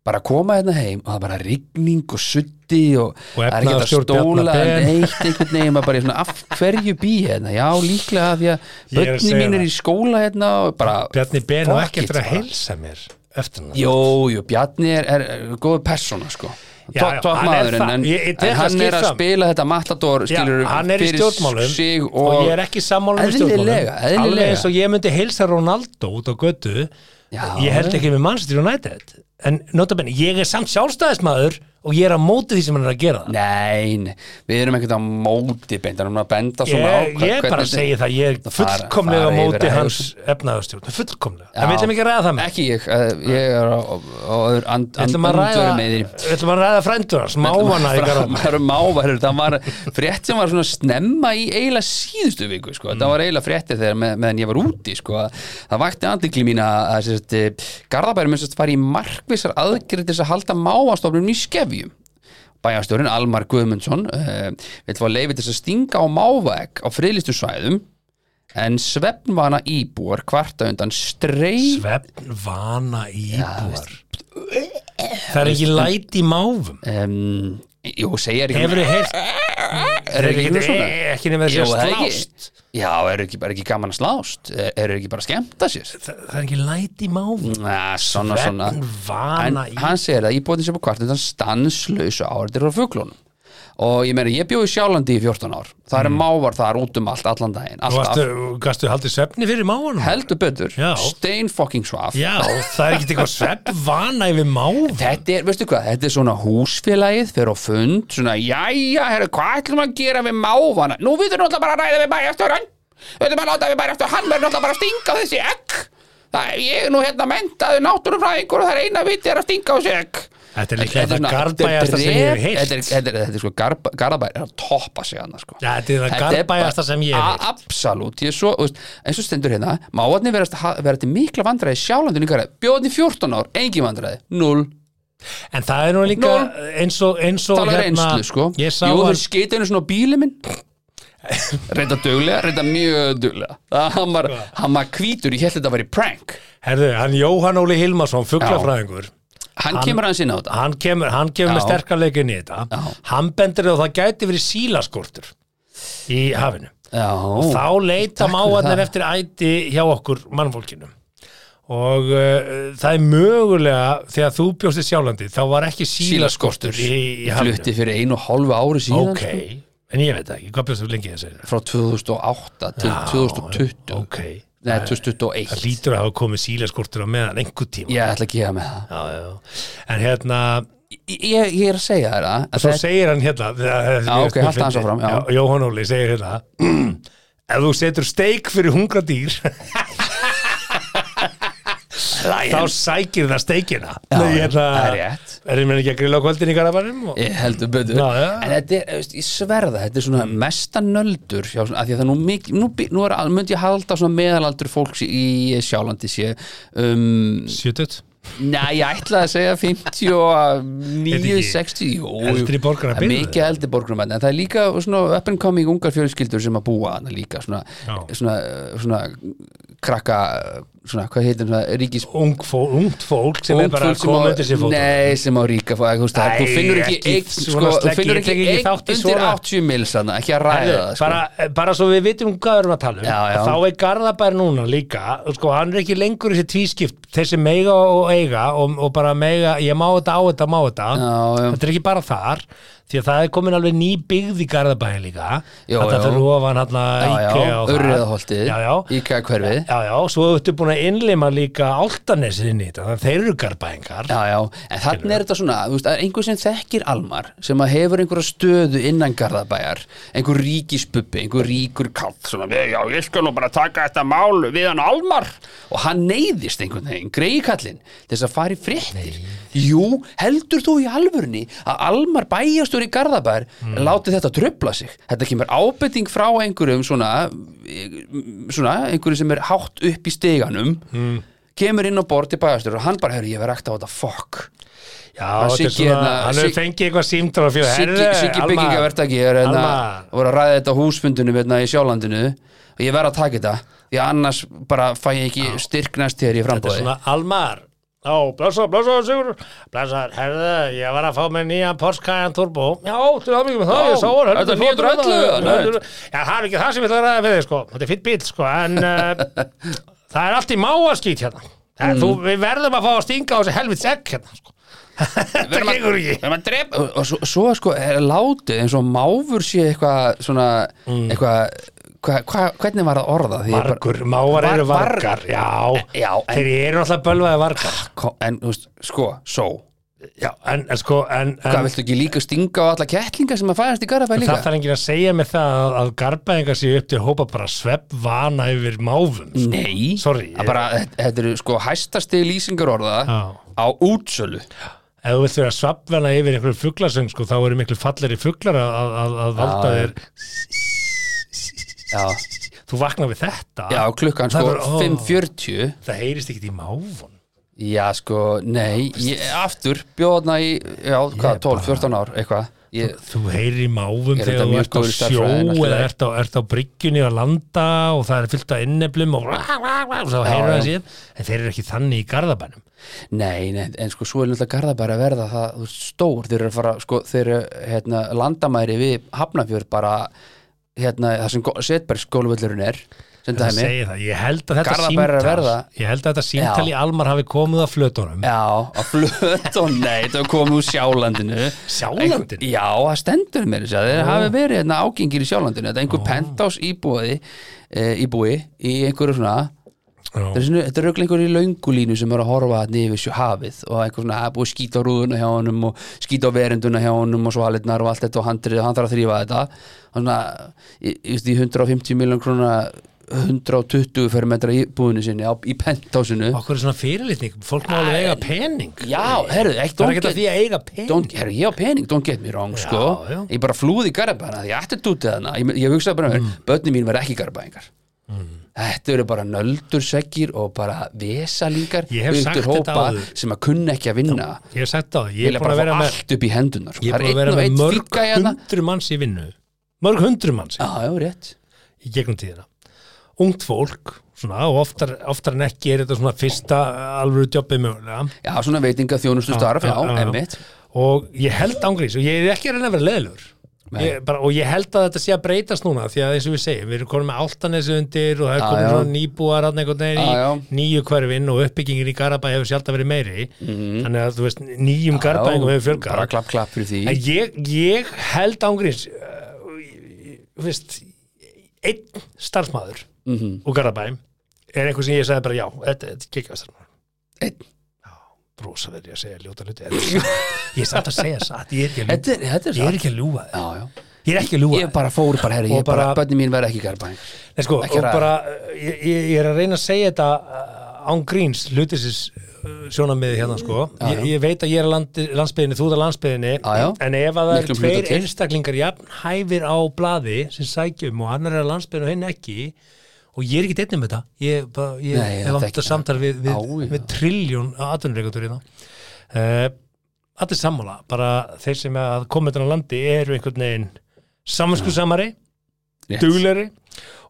Speaker 4: bara að koma hérna heim og það er bara rigning og sutti og,
Speaker 3: Og
Speaker 4: það er ekki að
Speaker 3: efnahagsstjórn
Speaker 4: stóla
Speaker 3: Bjarna Ben.
Speaker 4: neitt einhvern veginn maður bara er svona af hverju bý hérna já líklega af því að
Speaker 3: Ég er að
Speaker 4: börni
Speaker 3: segja
Speaker 4: mín er
Speaker 3: það.
Speaker 4: í skóla hérna og bara
Speaker 3: Bjarni Ben og
Speaker 4: fuck
Speaker 3: ekki
Speaker 4: it,
Speaker 3: eftir að
Speaker 4: bara.
Speaker 3: heilsa mér eftir hann
Speaker 4: Jú, jú, Bjarni er, er, er góð persóna sko
Speaker 3: Já,
Speaker 4: Top,
Speaker 3: já,
Speaker 4: top
Speaker 3: hann er
Speaker 4: maðurinn
Speaker 3: það.
Speaker 4: en,
Speaker 3: Ég- ég tek
Speaker 4: en
Speaker 3: það
Speaker 4: hann
Speaker 3: skýrt
Speaker 4: er að
Speaker 3: fram.
Speaker 4: spila þetta matador
Speaker 3: Já,
Speaker 4: skilur
Speaker 3: hann er í
Speaker 4: fyrir
Speaker 3: stjórnmálum
Speaker 4: sig
Speaker 3: og, ég er ekki sammála um stjórnmálum
Speaker 4: Eðlilega, eðlilega.
Speaker 3: alveg eins og ég myndi heilsa Ronaldo út á götu
Speaker 4: Já.
Speaker 3: ég held ekki með Manchester United en notabene, ég er samt sjálfstæðismæður og ég er á móti því sem hann er að gera það
Speaker 4: Nei, nei, við erum ekkert á móti beinta, hann er að benda svona á
Speaker 3: ég,
Speaker 4: hvað-
Speaker 3: ég bara
Speaker 4: hvernig-
Speaker 3: segi það, ég er
Speaker 4: Það fara-
Speaker 3: fullkomlega á
Speaker 4: fara yfir
Speaker 3: móti
Speaker 4: að
Speaker 3: hans efnaðastjórn fullkomlega, en við ætlum ekki að ræða það með
Speaker 4: ekki ég, eh, ég er á, á öður and,
Speaker 3: við
Speaker 4: and,
Speaker 3: ætlum að ræða,
Speaker 4: með því
Speaker 3: við ætlum að ræða frændur hans, mávana í garðan
Speaker 4: Það eru máva, heyrðu, það var frétt sem var svona snemma í eiginlega síðustu viku sko.
Speaker 3: Mm.
Speaker 4: það var eiginlega fréttið þegar með, meðan ég var úti sko. það vakti andikli mín að, að sem sagt, Garðabæri minnst fari í markvissar aðgerð til þess að halda mávastofnum í skefjum bæjarstjórin Almar Guðmundsson uh, vil fá leifið þess að stinga á mávaegg á friðlistu svæðum en svefnvana íbúar kvarta undan streif
Speaker 3: svefn, vana, íbúar það er ekki læti í mávum
Speaker 4: um, Jú, segir ekki
Speaker 3: hefur þið heilt
Speaker 4: Er ekki
Speaker 3: ekki,
Speaker 4: eitthvað svona?
Speaker 3: ekki nema
Speaker 4: Jú,
Speaker 3: þessi
Speaker 4: það er ekki-
Speaker 3: slást
Speaker 4: Já, er ekki, er ekki gaman að slást Er, er ekki bara að skemmta sér
Speaker 3: það, það er ekki læti í máfum
Speaker 4: Næ, svona, svona
Speaker 3: Vegn
Speaker 4: En
Speaker 3: vana í
Speaker 4: hann segir að íbúðin sem er kvartundan stanslaus og áriðir á fuglunum Og ég meina, ég bjóði sjálandi í 14 ár Það eru mávar þar út um allt, allan daginn
Speaker 3: Mm. Þú
Speaker 4: Alltaf,
Speaker 3: varstu, gastu haldið svefni fyrir máfunum
Speaker 4: heldur betur
Speaker 3: Já.
Speaker 4: Stein fucking svaf
Speaker 3: Já, það er ekki eitthvað svepp vana yfir máf
Speaker 4: Þetta er, veistu hvað, þetta er svona húsfélagið fyrir á fund, svona, jæja, herru, hvað ætlum að gera við mávana? Nú við erum náttúrulega bara að ræða við bæjastjóran, við erum að láta við bæjastjóran, hann verður náttúrulega bara að stinga þessi egg. Það er ég er nú hérna mentaði náttúrufræðingur og það er eina viti er að stinga þessi egg.
Speaker 3: Þetta er líklega
Speaker 4: svona-
Speaker 3: það garðbæjasta sem ég hef
Speaker 4: drep-
Speaker 3: heilt
Speaker 4: Þetta er, þetta er, þetta er sko, garba, garabæ er að toppa sig annars, sko.
Speaker 3: Já, þetta er það
Speaker 4: Þetta er
Speaker 3: garðbæjasta
Speaker 4: bara-
Speaker 3: sem ég hef
Speaker 4: A- Absolút, ég er svo, þú veist, eins og stendur hérna Máarnir verðast að vera til mikla vandræði sjálfandi líka Bjóðin í 14 ár, engin vandræði, 0
Speaker 3: En það er nú líka
Speaker 4: Nú,
Speaker 3: eins og, eins og hérna,
Speaker 4: talar reynslu sko
Speaker 3: Ég sá
Speaker 4: Jú,
Speaker 3: að
Speaker 4: þau skita einu svona á bílið
Speaker 3: [LAUGHS]
Speaker 4: minn reynda duglega, reynda mjög duglega það hann var,
Speaker 3: Sko.
Speaker 4: hann var hvítur ég held þetta að vera prank
Speaker 3: Herðu, hann Jóhann Óli Hilmarsson, fuglafræðingur
Speaker 4: hann, kemur aðeins inn á þetta
Speaker 3: Hann kemur, hann kemur með
Speaker 4: Já.
Speaker 3: sterkar leikin í þetta Hann bendir á að það gæti verið sílaskortur í hafinu
Speaker 4: já,
Speaker 3: Þá leita
Speaker 4: takk fyrir
Speaker 3: máarnir
Speaker 4: það.
Speaker 3: eftir æti hjá okkur mannfólkinu Og uh, það er mögulega þegar þú bjóst í sjálandi þá var ekki sílaskortur, í, í hafinu
Speaker 4: flutti fyrir einu og hálfu ári síðan sko,
Speaker 3: Ok, en ég veit það ekki, hvað bjóst þú lengi þessi?
Speaker 4: frá 2008 til 2020
Speaker 3: Ok,
Speaker 4: neða
Speaker 3: það
Speaker 4: 2021
Speaker 3: lítur að hafa komið sílaskortur á meðan einhver tíma
Speaker 4: ég ætla að gefa með það
Speaker 3: já, já. En hérna,
Speaker 4: ég, ég- ég er að segja þér að að
Speaker 3: svo
Speaker 4: þetta-
Speaker 3: segir hann hérna Já,
Speaker 4: ok, haltu aðeins áfram, já.
Speaker 3: Jóhann Óli segir hérna Ef þú setur steik fyrir hungra dýr þá sækir það steikina
Speaker 4: Já,
Speaker 3: Nei,
Speaker 4: já,
Speaker 3: hérna,
Speaker 4: það er rétt.
Speaker 3: Er þið mér ekki að grilla á kvöldin í garabænum? Og...
Speaker 4: Ég heldur betur
Speaker 3: Já, já. Mm.
Speaker 4: En þetta er, þú veist, ég sverða, þetta er svona mesta nöldur hjá, svona- af því að það er nú mikið, nú, by- nú er, al- myndi ég halda svona meðalaldur fólks í sjálandi sé um,
Speaker 3: Sjötut
Speaker 4: Næ, ég ætlaði að segja 59, 60 jú, jú.
Speaker 3: Eldri borgarar
Speaker 4: Það er
Speaker 3: byrjuðu.
Speaker 4: Mikið eldri borgarar en það er líka svona up and coming ungar fjölskyldur sem að búa hana líka svona,
Speaker 3: Já.
Speaker 4: svona, svona krakka, svona, hvað heitir svona, ríkis
Speaker 3: Ung fó, Ungt fólk sem er
Speaker 4: Ungt
Speaker 3: bara að
Speaker 4: fólk
Speaker 3: koma undir sér
Speaker 4: á,
Speaker 3: fótum
Speaker 4: Nei, sem á ríka fólk þú, veist, það-
Speaker 3: Æ,
Speaker 4: þú finnur ekki,
Speaker 3: ekki
Speaker 4: eign,
Speaker 3: svona
Speaker 4: sko, þú
Speaker 3: sleggi,
Speaker 4: finnur
Speaker 3: ég tek
Speaker 4: ekki,
Speaker 3: ekki
Speaker 4: eign
Speaker 3: þátt í
Speaker 4: undir
Speaker 3: svona.
Speaker 4: 80 mils þarna, ekki að ræða
Speaker 3: Herðu,
Speaker 4: það sko.
Speaker 3: bara, eh, bara svo við vitum um hvað við erum að tala um
Speaker 4: Já, já.
Speaker 3: þá er Garðabær núna líka sko, hann er ekki lengur þessi tvískipt þessi meiga og eiga og, og bara meiga, ég má þetta á þetta, má þetta
Speaker 4: Já, já.
Speaker 3: þetta er ekki bara þar því að það er komin alveg ný byggð í Garðabæin líka
Speaker 4: Jó,
Speaker 3: þetta
Speaker 4: jó.
Speaker 3: fyrir ofan hann að
Speaker 4: Já, já,
Speaker 3: IKEA og það.
Speaker 4: Urriðaholtið,
Speaker 3: já, já,
Speaker 4: IKEA hverfið
Speaker 3: já, já, svo ertu búin að innlima líka áltanesið inn í þetta, þannig að þeir eru Garðabæingar
Speaker 4: Já, já, en þannig er þetta svona, þú veist, það er einhver sem þekkir Almar, sem að hefur einhverja stöðu innan Garðabæjar, einhver ríkispubbi, einhver ríkur kall, svona, já, ég skal nú bara taka þetta mál við hann Almar, og hann neyðist einhvern veginn, greiði kallinn, til þess að fara í fréttir. Jú, heldur þú í alvörni að Almar bæjastur í Garðabæjar láti þetta tröfla sig? Þetta kemur ábending frá einhverjum svona, svona, einhverjum sem er hátt upp í steganum, kemur inn á borð til bæjastur og hann bara, herru, ég verð ekta á þetta, fuck
Speaker 3: Já,
Speaker 4: Hann
Speaker 3: þetta er
Speaker 4: Siggi
Speaker 3: svona,
Speaker 4: hérna-
Speaker 3: hann hefur
Speaker 4: Sig-
Speaker 3: fengið eitthvað símtala fyrir
Speaker 4: Siggi, Siggi byggingavertaki er hérna
Speaker 3: Alma.
Speaker 4: voru að ræða þetta á húsfundunum hérna í sjálandinu og ég verð að taka þetta því að annars bara fæ ég ekki styrk næst
Speaker 3: Þetta
Speaker 4: þér í
Speaker 3: er
Speaker 4: frambóði
Speaker 3: svona Almar Já, blessaður, blessaður Sigur Blessaður, herðu, ég var að fá mér nýja Porsche-Cayenne Turbo Já, þú hafði mikið með það, ég sá hann
Speaker 4: þetta er 911,
Speaker 3: Já, það er ekki það sem ég ætla að ræða við þig, sko Þetta er fýtt bíl, sko,
Speaker 4: [LAUGHS]
Speaker 3: en uh, Það er allt í máaskýt hérna Það, þú,
Speaker 4: Mm.
Speaker 3: Við verðum að fá að stinga á þessi helvits egg hérna, sko Þetta gengur ekki
Speaker 4: Verðum að drepa og, og svo, svo sko er látið eins og máfur sé eitthvað svona
Speaker 3: Mm.
Speaker 4: eitthvað hva, hva, hvernig var það orða því ég bara-
Speaker 3: Vargur, mávar eru
Speaker 4: Var- Eh,
Speaker 3: vargar Já,
Speaker 4: Já, en-
Speaker 3: þeir eru alltaf bölvaði vargar
Speaker 4: Ko- en þú veist, sko, svo
Speaker 3: Já, en, en sko en,
Speaker 4: hvað
Speaker 3: en,
Speaker 4: viltu ekki líka stinga á alla kettlinga sem að fæðast í Garabæ líka
Speaker 3: Það þarf enginn að segja mér það að, að garbaðingar séu upp til hópa bara svepp vana yfir máfum sko.
Speaker 4: Nei,
Speaker 3: Sorry,
Speaker 4: Það bara, þetta- þetta eru sko hæstasti lýsingar orða
Speaker 3: Já.
Speaker 4: á útsölu
Speaker 3: Ef þú vilt vera sveppvana yfir einhverjum fuglasöng sko, þá eru miklu falleri fuglar að, að- að, að valda
Speaker 4: Já, já.
Speaker 3: þér
Speaker 4: Já,
Speaker 3: Þú vaknar við þetta
Speaker 4: já klukkan
Speaker 3: Það
Speaker 4: sko
Speaker 3: var- ó.
Speaker 4: 5.40
Speaker 3: Það heyrist ekkit í máfun
Speaker 4: Já sko, nei, ég, aftur bjóðna í, já, hvað,
Speaker 3: Ég
Speaker 4: 12, 14 ár, eitthvað ég,
Speaker 3: Þú heyrir í máfum
Speaker 4: Er
Speaker 3: þegar
Speaker 4: þetta
Speaker 3: þú
Speaker 4: mjög
Speaker 3: ert á
Speaker 4: góður
Speaker 3: sjó
Speaker 4: stærðfræði,
Speaker 3: eða
Speaker 4: náttúrulega?
Speaker 3: ert á, ert á bryggjunni að landa og það er fyllt af inneblum og, og þá heyrir
Speaker 4: já.
Speaker 3: það síðan en þeir eru ekki þannig í garðabænum
Speaker 4: Nei, nei, en sko svo er náttúrulega Garðabæri að verða það þú veist, stór, þeir eru að fara sko, þeir eru hérna, landamæri við Hafnafjörð bara hérna, það sem setbergsskóluvöllurinn er sem
Speaker 3: það
Speaker 4: dæmi,
Speaker 3: segir það, ég held að þetta
Speaker 4: Garðabær er að
Speaker 3: símtal
Speaker 4: verða-
Speaker 3: ég held að þetta símtal
Speaker 4: Já.
Speaker 3: í Almar hafi komið að flötunum
Speaker 4: já að flöt og nei, það komið úr sjálandinu
Speaker 3: [LAUGHS] Sjálandinu?
Speaker 4: Einhver- Já, það stendur mér þess að þeir hafi verið hérna, ágengir í sjálandinu, þetta er einhver pentás íbúi, e, íbúi í einhverju svona Þetta er, svona, þetta er auðvitað einhver í löngulínu sem er að horfa hann yfir sjó- hafið og einhver svona að búið að skýta á rúðuna hjá honum og skýta á verenduna hjá honum og svo halitnar og allt þetta og hann, þri- hann þarf að þrýfa þetta og svona, í, í, í 150 miljón króna 120 fermetra íbúðinu sinni á, í pentásinu
Speaker 3: okkur er svona fyrirlitning, fólk má alveg eiga pening
Speaker 4: Já, herru, ekki
Speaker 3: það er ekkert að
Speaker 4: don't
Speaker 3: því
Speaker 4: get
Speaker 3: að eiga
Speaker 4: Don't,
Speaker 3: pening
Speaker 4: herru, ég á pening, don't get me wrong sko.
Speaker 3: já.
Speaker 4: ég bara flúði í garabæna því ég ætti dútið hana, ég, ég hugsaði bara mm. börni mín verða ekki garabæingar
Speaker 3: Mm.
Speaker 4: þetta eru bara nöldursegir og bara vesalíkar
Speaker 3: Ég hef sagt þetta áður.
Speaker 4: sem að kunna ekki að vinna
Speaker 3: ég hef sagt það, ég
Speaker 4: vilja
Speaker 3: er búin
Speaker 4: bara
Speaker 3: að vera
Speaker 4: fá
Speaker 3: með
Speaker 4: allt upp í sko. hendunar
Speaker 3: ég er búin að vera með mörg
Speaker 4: hérna.
Speaker 3: hundru manns í vinnu mörg hundru manns
Speaker 4: já, já, rétt
Speaker 3: í gegnum tíðina ungt fólk, svona, og oftar, oftar en ekki er þetta svona fyrsta alvöru jobbið mögulega
Speaker 4: já, svona veitinga þjónustu starf, já,
Speaker 3: já, já.
Speaker 4: emmitt
Speaker 3: og ég held ángrís og ég er ekki að reyna að vera leðlur
Speaker 4: Nei.
Speaker 3: ég, bara, og ég held að þetta sé að breytast núna því að eins og við segjum, við erum komin með áltanesi undir og það er
Speaker 4: Já,
Speaker 3: komin
Speaker 4: já.
Speaker 3: svona nýbúar þarna einhvern veginn
Speaker 4: Já, já.
Speaker 3: í nýju hverfin og uppbyggingin í Garabæ hefur sjálf verið meiri þannig að þú veist, nýjum Garabæingum hefur fjölgað
Speaker 4: Mhm. bara klapp, klapp fyrir því
Speaker 3: En ég, ég held ángríns veist einn starfsmæður
Speaker 4: Mhm.
Speaker 3: og Garabæm er einhver sem ég sagði bara já, þetta þetta er kikjað starfsmæður
Speaker 4: Einn?
Speaker 3: Já, brosa verið að segja ljóta hluti Þetta er satt. Ég er samt að segja satt, ég er ekki að ljúga
Speaker 4: þetta er, þetta er
Speaker 3: Ég er
Speaker 4: satt
Speaker 3: ekki að ljúga þér.
Speaker 4: já, já.
Speaker 3: Ég er ekki að ljúga
Speaker 4: ég
Speaker 3: þér.
Speaker 4: bara fór bara, herri,
Speaker 3: Og
Speaker 4: ég bara,
Speaker 3: bara-
Speaker 4: börni mín verða ekki garabæingar
Speaker 3: Nei, sko,
Speaker 4: ekki
Speaker 3: og
Speaker 4: ræða.
Speaker 3: bara, ég, ég ég er að reyna að segja þetta uh, án gríns, hlutisins sjónamiði hérna, sko. Ég, ég veit að ég er á landi, landsbyðinni, þú ert að landsbyðinni,
Speaker 4: Já, já.
Speaker 3: en ef að það eru
Speaker 4: Miklum hluta
Speaker 3: tveir
Speaker 4: til.
Speaker 3: einstaklingar jafn hæfir á blaði sem sækjum og annar er að landsbyðinni og hinn ekki, og ég er ekki deitt um þetta, ég, bara, ég
Speaker 4: Nei,
Speaker 3: hef
Speaker 4: þetta
Speaker 3: átt
Speaker 4: ekki.
Speaker 3: að samtala við, við,
Speaker 4: Já, já.
Speaker 3: við triljón atvinnureikandur í það. Uh, allir sammála, bara þeir sem að koma þetta á landi eru einhvern veginn samanskusamari, duglegri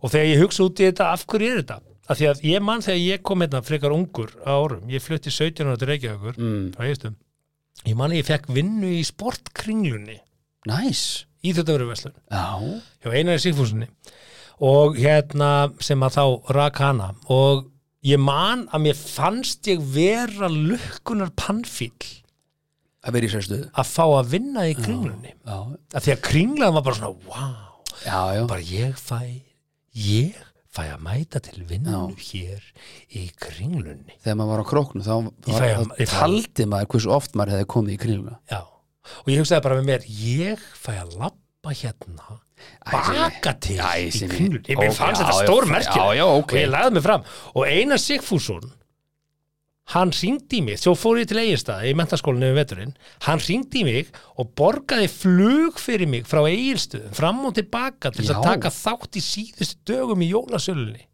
Speaker 3: og þegar ég hugsa út í þetta, af hverju er þetta? Af því að ég mann þegar ég kom hérna frekar ungur á árum, ég flutti 17 ára til Reykjavíkur
Speaker 4: Mm.
Speaker 3: frá Eistum, ég mann að ég fekk vinnu í sportkringlunni
Speaker 4: næs,
Speaker 3: í þetta verið verslun,
Speaker 4: já
Speaker 3: hjá Einari Sigfúsinni og hérna sem að þá rak hana og ég man að mér fannst ég vera lukkunar pannfíl
Speaker 4: að vera í sér stöðu
Speaker 3: að fá að vinna í kringlunni
Speaker 4: já,
Speaker 3: af því að kringlan var bara svona, wow
Speaker 4: já, já,
Speaker 3: bara ég fæ ég fæ að mæta til vinnu hér í kringlunni
Speaker 4: þegar maður var á króknu þá var,
Speaker 3: fæ-
Speaker 4: þá
Speaker 3: ég fæ-
Speaker 4: taldi maður hversu oft maður hefði komið í kringluna
Speaker 3: já, og ég hugsaði bara með mér ég fæ að lappa hérna baka til
Speaker 4: Æ,
Speaker 3: í
Speaker 4: sem ég-
Speaker 3: kringlunni mér
Speaker 4: Ó,
Speaker 3: fannst
Speaker 4: já,
Speaker 3: þetta
Speaker 4: já,
Speaker 3: stór
Speaker 4: já,
Speaker 3: merkja
Speaker 4: já, já, ok.
Speaker 3: og ég laði mig fram og Einar Sigfússon hann ringdi í mig, svo fór ég til Egilstaða í mentaskólinu við veturinn, hann ringdi í mig og borgaði flug fyrir mig frá Egilstöðum, fram og tilbaka til þess að
Speaker 4: Já.
Speaker 3: taka þátt í síðustu dögum í jólasölunni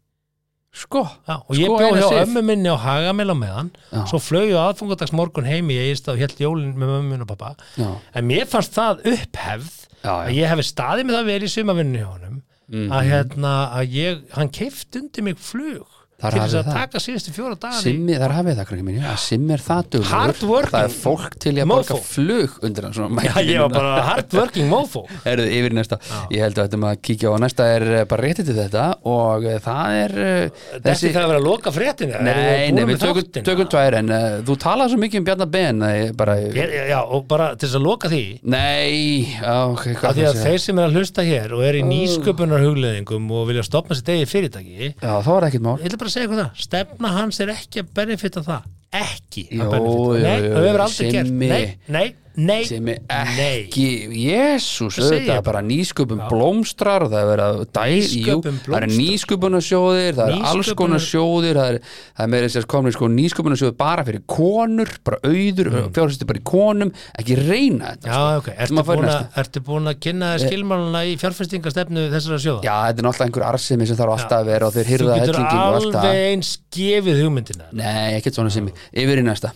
Speaker 4: sko,
Speaker 3: Já, og ég
Speaker 4: Sko,
Speaker 3: bjóði
Speaker 4: Einar
Speaker 3: hjá
Speaker 4: Sif.
Speaker 3: ömmu minni á Hagamel á meðan
Speaker 4: Já.
Speaker 3: svo flög ég aðfungadags morgun heim í Egilstað og held jólin með mömmu minni og pappa
Speaker 4: já,
Speaker 3: en mér fannst það upphefð
Speaker 4: Já, já. Mhm.
Speaker 3: að ég hefði staðið með það vel í sumavinni hjá honum að, hérna, að ég, hann keift undir mig flug
Speaker 4: Þar
Speaker 3: til þess
Speaker 4: hafið
Speaker 3: að
Speaker 4: það.
Speaker 3: taka síðustu fjóra dagar í
Speaker 4: simmi, þar hafið það krakki mín já, simmi er það
Speaker 3: Hard
Speaker 4: dugur
Speaker 3: working
Speaker 4: það er fólk til í að borga
Speaker 3: mofo.
Speaker 4: flug undir hann svona
Speaker 3: Já, [LAUGHS] ég var bara hardworking mofo
Speaker 4: Erðu yfir í næsta, ég held að þetta maður kíkja á næsta er eh, bara réttið til þetta og eh, það er eh,
Speaker 3: Þessi það að vera að loka fréttinu
Speaker 4: Nei, nei, við tökum, tökum tvær en uh, þú talar svo mikið um Bjarnar Ben að ég bara,
Speaker 3: Já, og bara til þess að loka því
Speaker 4: nei, á, ok,
Speaker 3: að
Speaker 4: hvað
Speaker 3: því
Speaker 4: það
Speaker 3: að
Speaker 4: sé
Speaker 3: þeir sem er að hlusta hér og er í nýsköpunar hugleðingum og vilja stopna sér degi fyrirtæki
Speaker 4: Já, þá er ekkert mál
Speaker 3: ég ætla bara að segja eitthvað það stefna hans er ekki að benefita það ekki
Speaker 4: Jó,
Speaker 3: að benefita
Speaker 4: jó,
Speaker 3: það nei,
Speaker 4: jó,
Speaker 3: það hefur aldrei
Speaker 4: Simmi.
Speaker 3: gert nei, nei, nei,
Speaker 4: sem er
Speaker 3: nei.
Speaker 4: ekki jésús,
Speaker 3: Það segi
Speaker 4: auðvitað
Speaker 3: ég
Speaker 4: bara nýsköpum blómstrar, það er verið að dæl, jú,
Speaker 3: Nýsköpun
Speaker 4: það er
Speaker 3: blómstrar.
Speaker 4: nýsköpunarsjóðir það er
Speaker 3: Nýsköpunar-
Speaker 4: alls konar sjóðir það er, það er meira sér komin sko nýsköpunarsjóð bara fyrir konur, bara auður mm. fjárhæstu bara í konum, ekki reyna þetta
Speaker 3: já, ok,
Speaker 4: Þú
Speaker 3: ertu
Speaker 4: maður fær
Speaker 3: búin, að,
Speaker 4: næsta.
Speaker 3: ertu búin að kynna þér skilmáluna í fjárfestingastefnu þessara sjóða
Speaker 4: Já, þetta er náttúrulega einhver arsimi sem þarf alltaf að vera og þeir hyrða
Speaker 3: þú getur
Speaker 4: hellingin og allt það
Speaker 3: alveg eins gefið hugmyndina
Speaker 4: Nei, ekkert svona sem yfir í næsta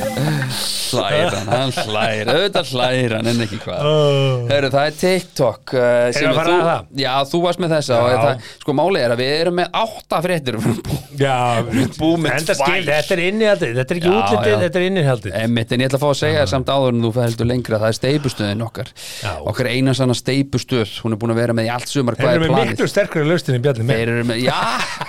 Speaker 4: hlæra hann, hann hlæra, auðvitað hlæra hann en ekki hvað Heru, það er TikTok uh, sem
Speaker 3: Erum við að fara
Speaker 4: þú,
Speaker 3: að það?
Speaker 4: já, þú varst með þessa og
Speaker 3: Já.
Speaker 4: það, sko málið er að við erum með átta fréttir
Speaker 3: Já,
Speaker 4: búið með
Speaker 3: enda
Speaker 4: tvær.
Speaker 3: skil, þetta er innihaldið, þetta er ekki
Speaker 4: Já,
Speaker 3: útlitið,
Speaker 4: já.
Speaker 3: þetta er innihaldið
Speaker 4: Einmitt, en ég ætla að fá að segja þér samt áður en þú heldur lengra það er steipustöðin okkar
Speaker 3: Já.
Speaker 4: okkar einasanna steipustuð, hún er búin að vera með í allt sumar
Speaker 3: Þeir
Speaker 4: hvað
Speaker 3: eru
Speaker 4: er
Speaker 3: með
Speaker 4: planið
Speaker 3: miklu sterkri laustin en Bjarni með
Speaker 4: Þeir eru með, já,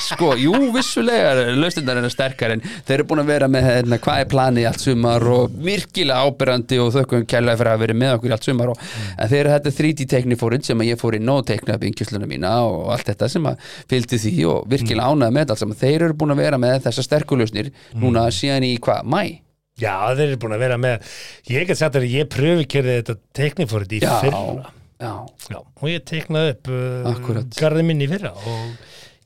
Speaker 4: sko, jú, vissulega eru lausnirnar eru sterkar en þeir eru búin að vera með hérna, hvað er planið í allt sumar og virkilega ábyrrandi og þökkum kærlega fyrir að vera með okkur í allt sumar og
Speaker 3: Mm.
Speaker 4: en þeir eru þetta 3D teknifórin sem að ég fór inn og tekna upp yngjusluna mína og allt þetta sem að fylgdi því og virkilega
Speaker 3: Mm.
Speaker 4: ánægði með þetta allt saman. Þeir eru búin að vera með þessar sterkulusnir
Speaker 3: Mm.
Speaker 4: núna síðan í hvað, mæ?
Speaker 3: Já, þeir eru búin að vera með Ég get sagt þér að ég pröfi kerði þetta teknifórið í fyrra
Speaker 4: já.
Speaker 3: Já, og ég teknaði upp uh,
Speaker 4: Akkúrat.
Speaker 3: garði minni í fyrra og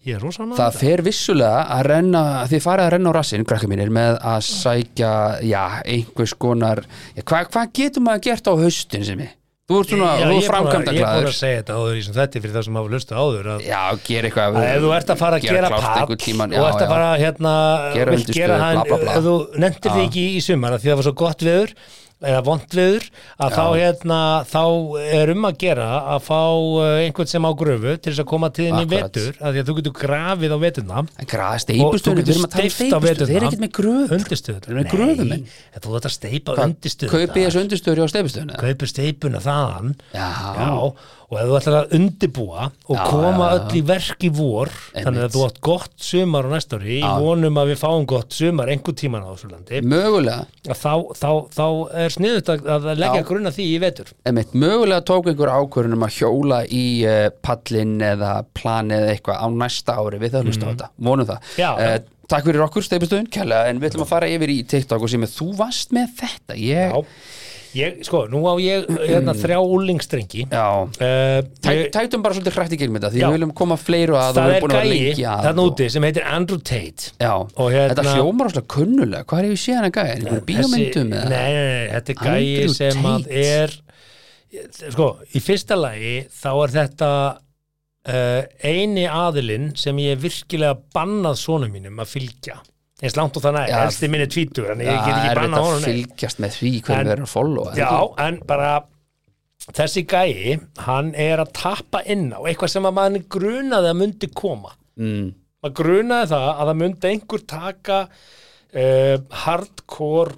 Speaker 3: ég er rosa ánægður
Speaker 4: Það
Speaker 3: með
Speaker 4: fer vissulega að renna, þið farið að renna á rassinn, krakka mínir, með að sækja, já, einhvers konar, já, hvað hva getur maður gert á haustin sem ég? Þú ert
Speaker 3: Já,
Speaker 4: svona, þú
Speaker 3: ég er
Speaker 4: ert
Speaker 3: búin að-
Speaker 4: framkvæmda
Speaker 3: Ég er búin
Speaker 4: glæður.
Speaker 3: að segja þetta áður í sem þetta fyrir það sem hafa lustu áður að
Speaker 4: Já, gera eitthvað.
Speaker 3: að ef þú ert að fara að gera
Speaker 4: klárt
Speaker 3: pall
Speaker 4: einhvern tímann,
Speaker 3: og ert að fara hérna
Speaker 4: Gera
Speaker 3: vilt
Speaker 4: undirstöðu,
Speaker 3: gera hann,
Speaker 4: bla, bla, bla.
Speaker 3: ef þú nefndir því ekki í sumar að því það var svo gott veður eða vond veður að þá, hérna, þá er um að gera að fá eh, einhvern sem á gröfu til þess að koma til þín í
Speaker 4: Akkurat.
Speaker 3: vetur að því að þú getur grafið á veturna
Speaker 4: En grafa steipustöðunum, við erum að tala um
Speaker 3: steypt á
Speaker 4: steipustöð, þeir eru
Speaker 3: veturna.
Speaker 4: ekkert með gröf.
Speaker 3: undirstöður
Speaker 4: Þeir eru með gröfu, menn.
Speaker 3: en þú þetta steipa
Speaker 4: Kaupið
Speaker 3: undirstöður
Speaker 4: þessu undirstöður á steipustöðunum.
Speaker 3: kaupir steipuna þaðan
Speaker 4: Já.
Speaker 3: og ef þú ætlar að undibúa og
Speaker 4: Já,
Speaker 3: koma
Speaker 4: já, já.
Speaker 3: öll í verk í vor þannig
Speaker 4: Einmitt.
Speaker 3: að þú átt gott sumar á næsta ári í vonum að við fáum gott sumar einhver tíman á þessu landi
Speaker 4: Mögulega,
Speaker 3: að þá, þá, þá er sniðut að að leggja
Speaker 4: Já.
Speaker 3: grunna því í vetur
Speaker 4: emitt, mögulega tók einhver ákvörunum að hjóla í uh, pallin eða planið eða eitthvað á næsta ári við það hlusta á þetta, vonum það
Speaker 3: Mhm. Já, já.
Speaker 4: Eh, Takk fyrir okkur, steipustöðun, kærlega en við ætlum að fara yfir í TikTok og sem að þú varst með þetta ég,
Speaker 3: Já. ég, sko, nú á ég hérna, þrjá úlingstrengi
Speaker 4: já.
Speaker 3: uh,
Speaker 4: Tæk, tæktum bara svolítið hrætt í gegnum þetta því
Speaker 3: Já.
Speaker 4: við viljum koma fleiru að og
Speaker 3: það
Speaker 4: við
Speaker 3: er
Speaker 4: erum búin að vera
Speaker 3: gæi
Speaker 4: lengi að
Speaker 3: þann
Speaker 4: og-
Speaker 3: úti sem heitir Andrew Tate
Speaker 4: Já,
Speaker 3: Og hérna-
Speaker 4: þetta hljómar rosalega kunnulega hvað er ég séð hann að gæja, er einhver bíómyndum
Speaker 3: Þessi-
Speaker 4: eða?
Speaker 3: Nei, nei, nei, þetta er gæi
Speaker 4: Andrew
Speaker 3: sem að
Speaker 4: Tate.
Speaker 3: er sko, í fyrsta lagi þá er þetta uh, eini aðilinn sem ég hef virkilega bannað sonu mínum að fylgja eins langt og þannig,
Speaker 4: Já.
Speaker 3: elsti minn er tvítur en ég
Speaker 4: Já,
Speaker 3: get ekki
Speaker 4: erfitt
Speaker 3: bannað
Speaker 4: að
Speaker 3: honum neitt.
Speaker 4: fylgjast með því hvernig
Speaker 3: En-
Speaker 4: við erum að followa er
Speaker 3: Já,
Speaker 4: ekki?
Speaker 3: en bara þessi gæi, hann er að tappa inn á eitthvað sem að maður grunaði að myndi koma
Speaker 4: mm,
Speaker 3: maður grunaði það að það myndi einhver taka uh, hardcore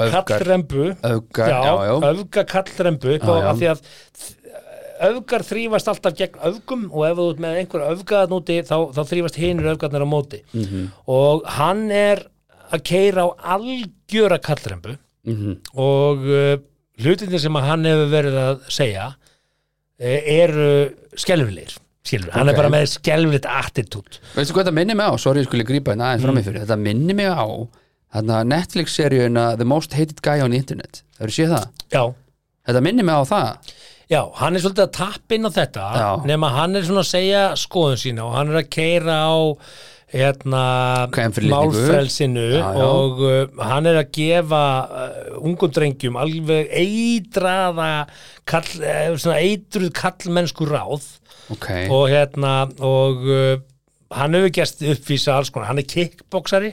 Speaker 4: öfgar,
Speaker 3: kallrembu
Speaker 4: öfgar, já, já,
Speaker 3: öfga kallrembu upp á
Speaker 4: Já, já.
Speaker 3: að því að öfgar þrýfast alltaf gegn öfgum og ef þú ert með einhver öfgaðan úti þá, þá þrýfast hinur öfgarnar á móti
Speaker 4: Mm. Mhm,
Speaker 3: og hann er að keira á algjöra kallrembu
Speaker 4: Mhm.
Speaker 3: og uh, hlutindir sem að hann hefur verið að segja uh, eru skelfilegir skilur, hann er
Speaker 4: Ok.
Speaker 3: bara með skelfilegt attitút
Speaker 4: Veistu hvað þetta minnir mig á? Sorry, ég skulle grípa hérna aðeins fram
Speaker 3: Mm.
Speaker 4: í fyrir. Þetta minnir mig á þarna Netflix-seríuna The Most Hated Guy on the Internet. Það eru séð það?
Speaker 3: já,
Speaker 4: Þetta minnir mig á það.
Speaker 3: Já, hann er svolítið að tappa inn á þetta
Speaker 4: Já.
Speaker 3: nema hann er svona að segja skoðun sína og hann er að keira á hérna,
Speaker 4: Kvenfyrirlitningu.
Speaker 3: málfrelsinu
Speaker 4: Já, já.
Speaker 3: og uh, hann er að gefa uh, ungum drengjum alveg eitraða kall, uh, svona eitruð kallmennsku ráð
Speaker 4: Ok.
Speaker 3: og hérna og uh, hann hefur gerst uppvísa alls konar, hann er kickboxari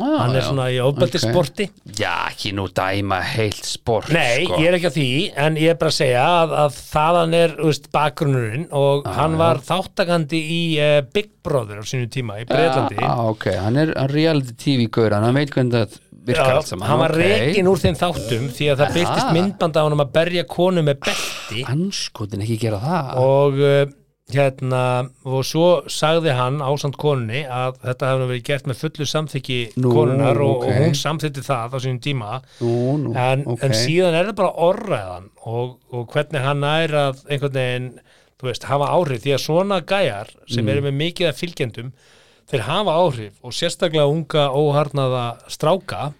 Speaker 4: ah,
Speaker 3: hann er
Speaker 4: já.
Speaker 3: svona í ofbeldisporti
Speaker 4: Já, ekki nú dæma heilt sport,
Speaker 3: Nei,
Speaker 4: sko.
Speaker 3: ég er ekki að því, en ég er bara að segja að, að þaðan er þú veist, bakgrunnurinn og hann var þáttakandi í uh, Big Brother á sínu tíma í Breitlandi
Speaker 4: Já, ah, ok. Hann er hann reality TV-gaur, hann veit hvernig það virkar allt saman.
Speaker 3: hann var
Speaker 4: Ok.
Speaker 3: rekin úr þeim þáttum því að það byrtist
Speaker 4: Aha.
Speaker 3: myndbanda á honum að berja konu með belti
Speaker 4: Andskotin ekki gera það.
Speaker 3: og uh, hérna og svo sagði hann ásand konunni að þetta hefði nú verið gert með fullu samþykki
Speaker 4: Nú,
Speaker 3: konunar og,
Speaker 4: ok.
Speaker 3: og hún samþykti það á sínum tíma
Speaker 4: Nú, nú,
Speaker 3: en,
Speaker 4: ok.
Speaker 3: en síðan er það bara orðræðan og, og hvernig hann nær að einhvern veginn, þú veist, hafa áhrif því að svona gæjar sem
Speaker 4: Mm.
Speaker 3: eru með mikið af fylgjendum, þeir hafa áhrif og sérstaklega unga óharnaða stráka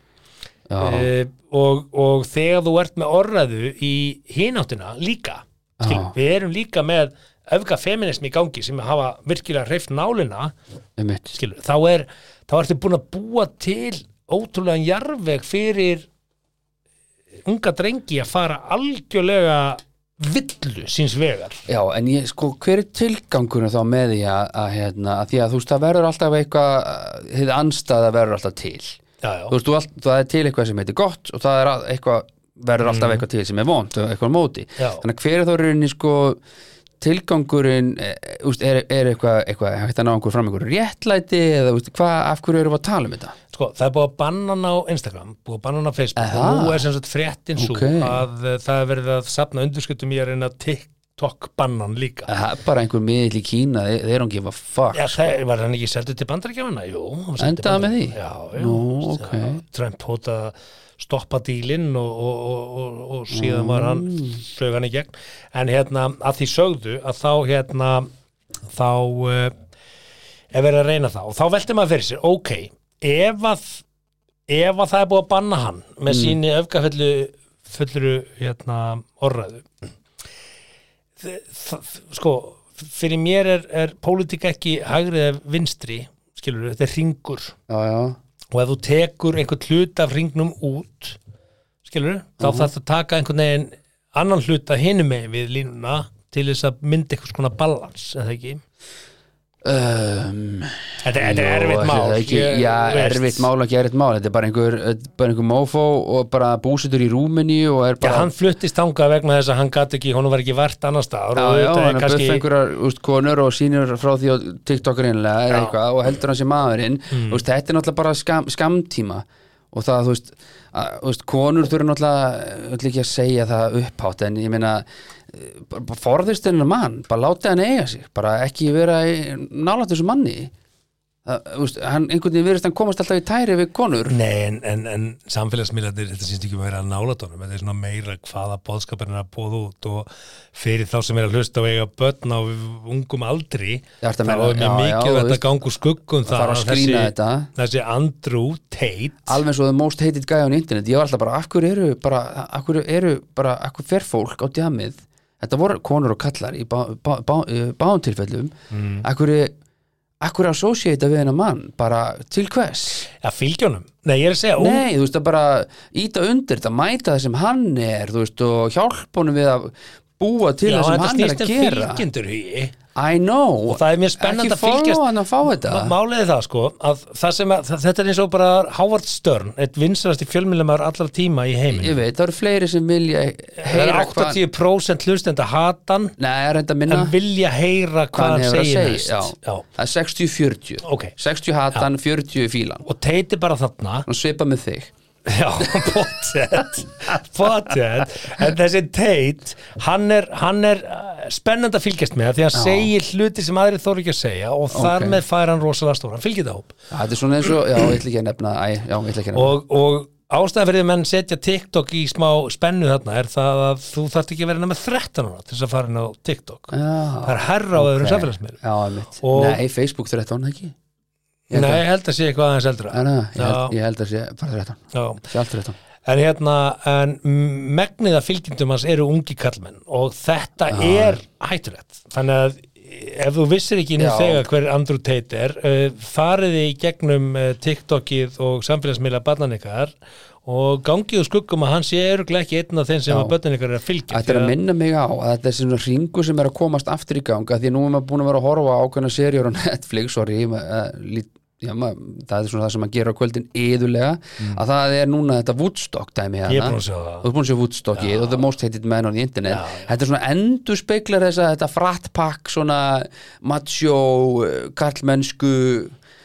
Speaker 4: já,
Speaker 3: e, og, og þegar þú ert með orðræðu í hináttina líka Skil,
Speaker 4: Já.
Speaker 3: við erum líka með öfga feminismi í gangi sem hafa virkilega hreift nálina
Speaker 4: einmitt.
Speaker 3: skilur, þá er þá ertu búin að búa til ótrúlegan jarðveg fyrir eh, unga drengi að fara algjörlega villu síns vegar
Speaker 4: Já, en ég, sko, hver er tilgangurinn þá með því að, að, hérna, að því að þú veist, það verður alltaf eitthvað, hið anstæða verður alltaf til.
Speaker 3: já, já.
Speaker 4: þú veist, þú allt, það er til eitthvað sem heitir gott og það er að, eitthvað, verður alltaf eitthvað til sem er vond og eitthvað á móti
Speaker 3: Mhm. Já.
Speaker 4: þannig að hver er þá rauninni sko tilgangurinn, e, úst, er, er eitthvað, eitthvað hægt að ná einhver fram einhver réttlæti eða úst, hvað, af hverju erum við að tala um þetta
Speaker 3: Sko, það er búið að banna hann á Instagram, búið að banna hann á Facebook
Speaker 4: Aha.
Speaker 3: og nú er sem sagt fréttin svo
Speaker 4: Ókei.
Speaker 3: að uh, það er verið að safna undirskutum í að reyna TikTok bannan líka.
Speaker 4: það er bara einhver miðill í Kína þeir, þeir eru ekki að fuck
Speaker 3: Já, það var hann ekki seldur til bandarækjafana, jú. hann var seldur til
Speaker 4: Endaði með því?
Speaker 3: Bandaríkjamanna. Já, já.
Speaker 4: Nú, ok.
Speaker 3: Já, Trump hóta að stoppa dílinn og, og, og, og, og síðan var hann,
Speaker 4: Mm.
Speaker 3: flög hann í gegn. En hérna, að því sögðu að þá hérna, þá uh, er verið að reyna það. Og þá velti maður fyrir sér, ok, ef að, ef að það er búið að banna hann með mm. síni öfgafullu fulluru hérna, orðræðu Þ- þ- sko, fyrir mér er, er pólitík ekki hægrið eða vinstri skilur þetta er ringur
Speaker 4: já, já,
Speaker 3: og ef þú tekur einhvern hlut af ringnum út skilur þá
Speaker 4: Mhm.
Speaker 3: þarf að taka einhvern veginn annan hlut að hinum megin við línuna til þess að mynda einhvers konar balans eða ekki Ehm,
Speaker 4: Um,
Speaker 3: þetta, þetta er
Speaker 4: Jó,
Speaker 3: erfitt
Speaker 4: ætli
Speaker 3: mál
Speaker 4: það ekki,
Speaker 3: ég-
Speaker 4: Já,
Speaker 3: þú veist.
Speaker 4: erfitt mál, ekki erfitt mál Þetta er bara einhver, þetta er bara einhver mófó og bara búsitur í rúminni og er
Speaker 3: Já,
Speaker 4: bara
Speaker 3: hann fluttist þangað vegna þess að hann gat ekki, honum var ekki vart annar staðar
Speaker 4: Já,
Speaker 3: og
Speaker 4: já,
Speaker 3: auðvitað er
Speaker 4: hann er kannski... böff einhverjar úst, konur og sýnir frá því á TikTok reynilega eða
Speaker 3: Já.
Speaker 4: eitthvað og heldur hann sem maðurinn úst, Þetta er náttúrulega bara skam, skamtíma og það, þú veist, að, þú veist konur þurfa náttúrulega, ég ætla ekki að segja það upphátt en ég meina eh, bara- bara forðist hennar mann, bara láta hann eiga sig bara ekki vera nálægt þessu manni það, úst, hann, einhvern veginn virðist hann komast alltaf í tæri við konur
Speaker 3: Nei, en, en, en samfélagsmiðlarnir, þetta syns ekki meira að nálatónum, þetta er svona meira hvaða bóðskapin er að bóða út og fyrir þá sem er að hlusta og eiga börn á ungum aldri,
Speaker 4: Já, ertu
Speaker 3: þá
Speaker 4: að meina-
Speaker 3: er mjög
Speaker 4: já, já,
Speaker 3: mikið þetta
Speaker 4: veist.
Speaker 3: gangu skuggum
Speaker 4: þarf að skrýna þetta.
Speaker 3: um þessi Andrew Tate,
Speaker 4: alveg svo the most hated guy on internet ég var alltaf bara, af hverju eru bara, af hverju eru bara, af hverju fer fólk á djamið þetta voru konur og kallar í báðum bá, bá, eh, báðum tilfellum
Speaker 3: Mm.
Speaker 4: af hverju, af hverju associata við hennar mann, bara til hvers
Speaker 3: að fylgjónum, nei, ég er að segja, ung-
Speaker 4: nei, þú veist að bara íta undir þetta, mæta það sem hann er þú veist, og hjálpa honum við að búa til
Speaker 3: já,
Speaker 4: það sem
Speaker 3: þetta
Speaker 4: hann er
Speaker 3: snýst
Speaker 4: að
Speaker 3: um
Speaker 4: gera
Speaker 3: fylgjendur hugi.
Speaker 4: I know,
Speaker 3: og það er mjög spennandi
Speaker 4: ekki follow hann að fá þetta
Speaker 3: Ma- Málið er það sko að það sem að, það- þetta er eins og bara Howard Stern, eitt vinsalasti fjölmjölamar allra tíma í heiminu.
Speaker 4: ég veit, það eru fleiri sem vilja
Speaker 3: Það
Speaker 4: heyra
Speaker 3: er 80% hlustenda hatan
Speaker 4: nei, það er reynda minna
Speaker 3: en vilja heyra
Speaker 4: hvað
Speaker 3: hvað hann
Speaker 4: hefur að
Speaker 3: segir
Speaker 4: segja
Speaker 3: næst
Speaker 4: já. það er 60-40
Speaker 3: Ok.
Speaker 4: 60 hatan, 40 fílan
Speaker 3: og teiti bara
Speaker 4: [LAUGHS]
Speaker 3: þarna
Speaker 4: og svipa með þig
Speaker 3: já, pottet pottet, en þessi teit hann er, hann er uh, spennandi að fylgjast með því að hann segir hluti sem aðri þóru ekki að segja og þar
Speaker 4: Ok.
Speaker 3: með fær hann rosalega stóra, hann fylgir það hóp
Speaker 4: Já, þetta er svona eins og, já, ég ætla ekki að nefna æ, já, ég ætla ekki að nefna
Speaker 3: og, og ástæðan fyrir að menn setja TikTok í smá spennu þarna er það að þú þarft ekki að vera nema 13 ára til þess að fara inn á TikTok
Speaker 4: Já,
Speaker 3: það er herra á öðrum samfélagsmiðlum
Speaker 4: já, mitt
Speaker 3: Og-
Speaker 4: nei, Facebook 13 ekki Ég held
Speaker 3: Nei,
Speaker 4: að-
Speaker 3: ég held að sé eitthvað aðeins eldra
Speaker 4: Nei, nei, ég,
Speaker 3: Já.
Speaker 4: held, ég held að sé bara 13
Speaker 3: Já.
Speaker 4: sé allt 13
Speaker 3: En hérna, en megniða fylgjendum hans eru ungi kallmenn og þetta er hættulegt. Þannig að ef þú vissir ekki nú
Speaker 4: Já.
Speaker 3: þegar hver Andrew Tate er, uh, fariði í gegnum uh, TikTokið og samfélagsmiðla barnan ykkar og gangið og skuggum að hann sé öruglega ekki einn af þeim sem
Speaker 4: Já.
Speaker 3: að börnin ykkar er að fylgja.
Speaker 4: Þetta er
Speaker 3: því
Speaker 4: að minna mig á að þetta er svona ringu sem er að komast aftur í ganga því að nú er maður búin að vera að horfa á ákveðna serjur á Netflix, sorry ma- að lít, já, maður, það er svona það sem maður gerir á kvöldin yðurlega, að það er núna þetta Woodstock dæmi
Speaker 3: Mm. Ég er
Speaker 4: hérna
Speaker 3: búinn að sjá það.
Speaker 4: Þú er búin að sjá Woodstockið og The Most Hated Man on the Internet Þetta er svona endur speklar þess að þetta frattpakk svona macho, eh, karlmennsku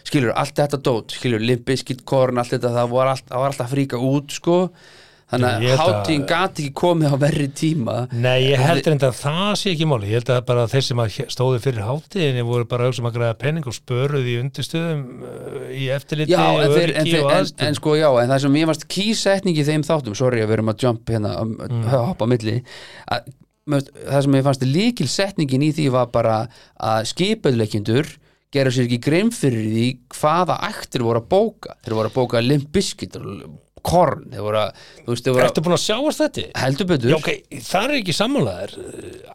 Speaker 4: skilur, allt þetta dót skilur, limpiskit, korn, allt þetta það var, allt, það var alltaf að fríka út sko Þannig
Speaker 3: Ég
Speaker 4: að
Speaker 3: held að-
Speaker 4: hátíðin gati ekki komið á verri tíma
Speaker 3: Nei, ég held reynda að það sé ekki máli. Ég held að bara þeir sem að hé- stóðu fyrir hátíðinni voru bara auðvitað sem að græða penning og spöruði í undirstöðum uh, í eftirliti
Speaker 4: Já, en,
Speaker 3: og
Speaker 4: þeir, en,
Speaker 3: öryggi
Speaker 4: þeir,
Speaker 3: og
Speaker 4: en,
Speaker 3: aðstöðum.
Speaker 4: en sko já, en það sem ég varst kýsetningi í þeim þáttum, sorry að við erum að jump hérna, um,
Speaker 3: Mm.
Speaker 4: að hoppa á milli að, mér veist, það sem ég fannst líkil setningin í því var bara að skipauleikendur gera sér ekki grein fyrir því hvaða ættir voru að bóka, þeir voru að bóka limbiskit og korn, þeir voru að þú veist, þeir voru
Speaker 3: Ertu búin að sjáast þetta?
Speaker 4: að heldur betur
Speaker 3: Já, ok, það er ekki sammálaðar.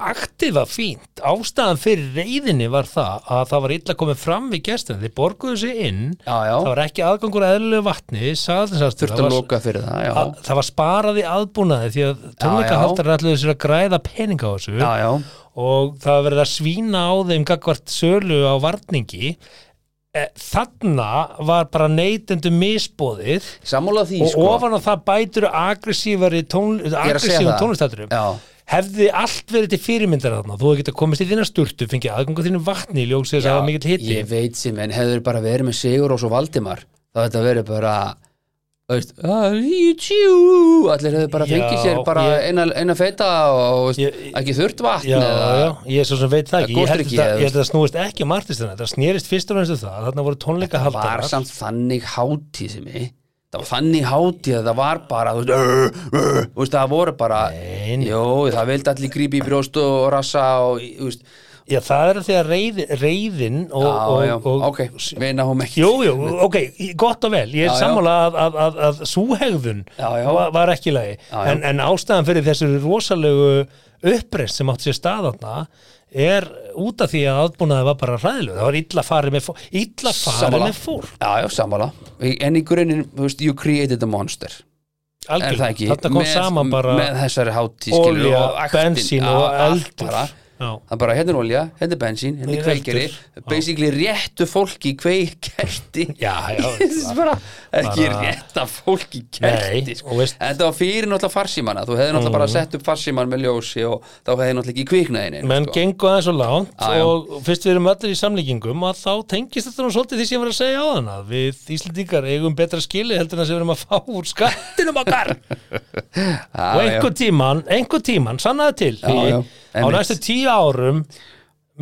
Speaker 3: Aktið var fínt. Ástæðan fyrir reyðinni var það að það var illa komið fram við gestina. Þeir borguðu sig inn,
Speaker 4: Já, já.
Speaker 3: það var ekki aðgangur að eðlilegu vatni, saðinsastur.
Speaker 4: þurfti að loka fyrir það, já
Speaker 3: Það var sparað í aðbúnaði því að tónleikahaldar ætluðu sér að græða peninga á þessu
Speaker 4: já, já,
Speaker 3: og það var verið að svína á þeim gagvart sölu á varningi e, þarna var bara neytendu misbóðið
Speaker 4: sammála því
Speaker 3: og
Speaker 4: sko
Speaker 3: ofan á það bætur aggressívari tón,
Speaker 4: að segja
Speaker 3: aggressívan
Speaker 4: það.
Speaker 3: tónlistaturum
Speaker 4: Já.
Speaker 3: hefði allt verið til fyrirmyndar þarna þú hefði getað komist í þína sturtu, fengið aðgöngu þínu vatni í ljósið þess að það var mikill hitti
Speaker 4: ég veit sem en hefur bara verið með Sigur og svo Valdimar þá þetta verið bara þú veist, "Ah, you too." allir hefur bara
Speaker 3: Já,
Speaker 4: fengið sér bara
Speaker 3: ég-
Speaker 4: eina, eina feita og þú veist,
Speaker 3: Ég-
Speaker 4: ekki þurrt vatn
Speaker 3: Já,
Speaker 4: eða,
Speaker 3: já, ég er svo sem veit það ekki Ég
Speaker 4: gosdrykki
Speaker 3: held þetta-
Speaker 4: eða-
Speaker 3: ég held að það snúist ekki um artistina Það snerist fyrst og fremst um það Þarna voru tónleika
Speaker 4: var
Speaker 3: haldarar
Speaker 4: samt þannig hátíð sem ég það var þannig hátíð að það var bara þú veist, uh, uh, þú veist, það voru bara
Speaker 3: Nei, nei.
Speaker 4: jó, það vildi allir grípi í brjóst og rassa og þú veist,
Speaker 3: Já, það er þegar reyðin, reyðin og,
Speaker 4: já,
Speaker 3: og,
Speaker 4: já,
Speaker 3: og,
Speaker 4: ok, vinna hún ekki
Speaker 3: Jú, jú, ok, gott og vel Ég
Speaker 4: Já,
Speaker 3: er
Speaker 4: já.
Speaker 3: sammála að, að, að, að súhegðun
Speaker 4: Já, já.
Speaker 3: Var, var ekki í lagi
Speaker 4: Já, já.
Speaker 3: En, en ástæðan fyrir þessu rosalegu uppreist sem átti sér stað þarna er út af því að aðbúnaði var bara hræðilegu það var illa farið með, fó- illa farið
Speaker 4: Sammála.
Speaker 3: með fór
Speaker 4: já, já, sammála en í grunin, þú veist, you created a monster er það ekki,
Speaker 3: algjörlega, þarna kom saman bara
Speaker 4: með þessari hátíð skilur,
Speaker 3: olja,
Speaker 4: og aktin,
Speaker 3: bensín
Speaker 4: já,
Speaker 3: og
Speaker 4: allt
Speaker 3: eldur
Speaker 4: bara.
Speaker 3: Já.
Speaker 4: það er bara, hérna er olja, hérna er bensín, hérna
Speaker 3: Ég
Speaker 4: er kveikeri
Speaker 3: eldur, já.
Speaker 4: basically réttu fólki kveikerti
Speaker 3: Já, [LAUGHS] já,
Speaker 4: Þetta er bara ekki
Speaker 3: bara-
Speaker 4: rétt að fólki
Speaker 3: Nei,
Speaker 4: kerti sko.
Speaker 3: og veist-
Speaker 4: En þetta var fyrir náttúrulega farsímana þú hefði náttúrulega
Speaker 3: Mhm.
Speaker 4: bara sett upp farsíman með ljósi og þá hefði náttúrulega ekki kviknaðin
Speaker 3: menn gengu aðeins og langt
Speaker 4: sko. Já, já.
Speaker 3: og fyrst við erum allir í samlíkingum að þá tengist þetta nú svolítið því sem ég var að segja á þann að við Íslendingar eigum betra skili heldur en það sem við erum að fá úr skattinum okkar
Speaker 4: [LAUGHS]
Speaker 3: og einhver tíman, einhver tíman, sannaði til því á
Speaker 4: já, einmitt.
Speaker 3: næstu tíu árum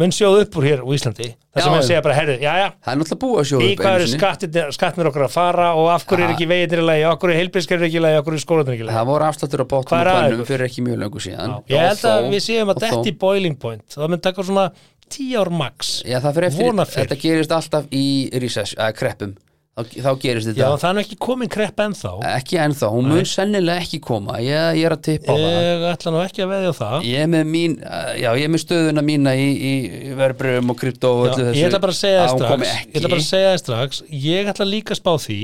Speaker 3: mun sjóð upp úr hér á Íslandi það sem
Speaker 4: Já,
Speaker 3: menn
Speaker 4: já.
Speaker 3: segja bara, herri, já, já
Speaker 4: Það er náttúrulega búið að sjóða
Speaker 3: Í
Speaker 4: upp
Speaker 3: hvað
Speaker 4: einu
Speaker 3: eru
Speaker 4: sinni.
Speaker 3: skattirnir- skattirnir okkar að fara og af hverju er ekki veginir í lagi, af hverju er heilbíðskerfir ekki í lagi, af hverju er skólanir ekki í lagi
Speaker 4: Það voru afsláttur á bóttum
Speaker 3: Hvað
Speaker 4: og
Speaker 3: er að
Speaker 4: bannum
Speaker 3: ykkur?
Speaker 4: fyrir ekki mjög löngu síðan
Speaker 3: Ég held að
Speaker 4: Og þó-
Speaker 3: við séum
Speaker 4: og
Speaker 3: að þetta
Speaker 4: þó-
Speaker 3: í boiling point það mun taka svona 10 ár max
Speaker 4: Já, það fyrir eftir,
Speaker 3: Vona fyrr.
Speaker 4: þetta gerist alltaf í recess, að, kreppum þá, þá gerist
Speaker 3: Já,
Speaker 4: þetta
Speaker 3: það er nú ekki komin krepp ennþá
Speaker 4: ekki ennþá, hún mun sennilega ekki koma ég, ég er að tippa á það
Speaker 3: Ég ætla nú ekki að veðja á það
Speaker 4: ég er með, mín, eh, já, ég er með stöðuna mína í, í verbröfum og krypto og
Speaker 3: Já,
Speaker 4: öllu þessu
Speaker 3: Ég ætla bara að segja
Speaker 4: að
Speaker 3: það
Speaker 4: hún komi
Speaker 3: strax Ég ætla bara að
Speaker 4: ekki.
Speaker 3: segja það strax Ég ætla líka að spá því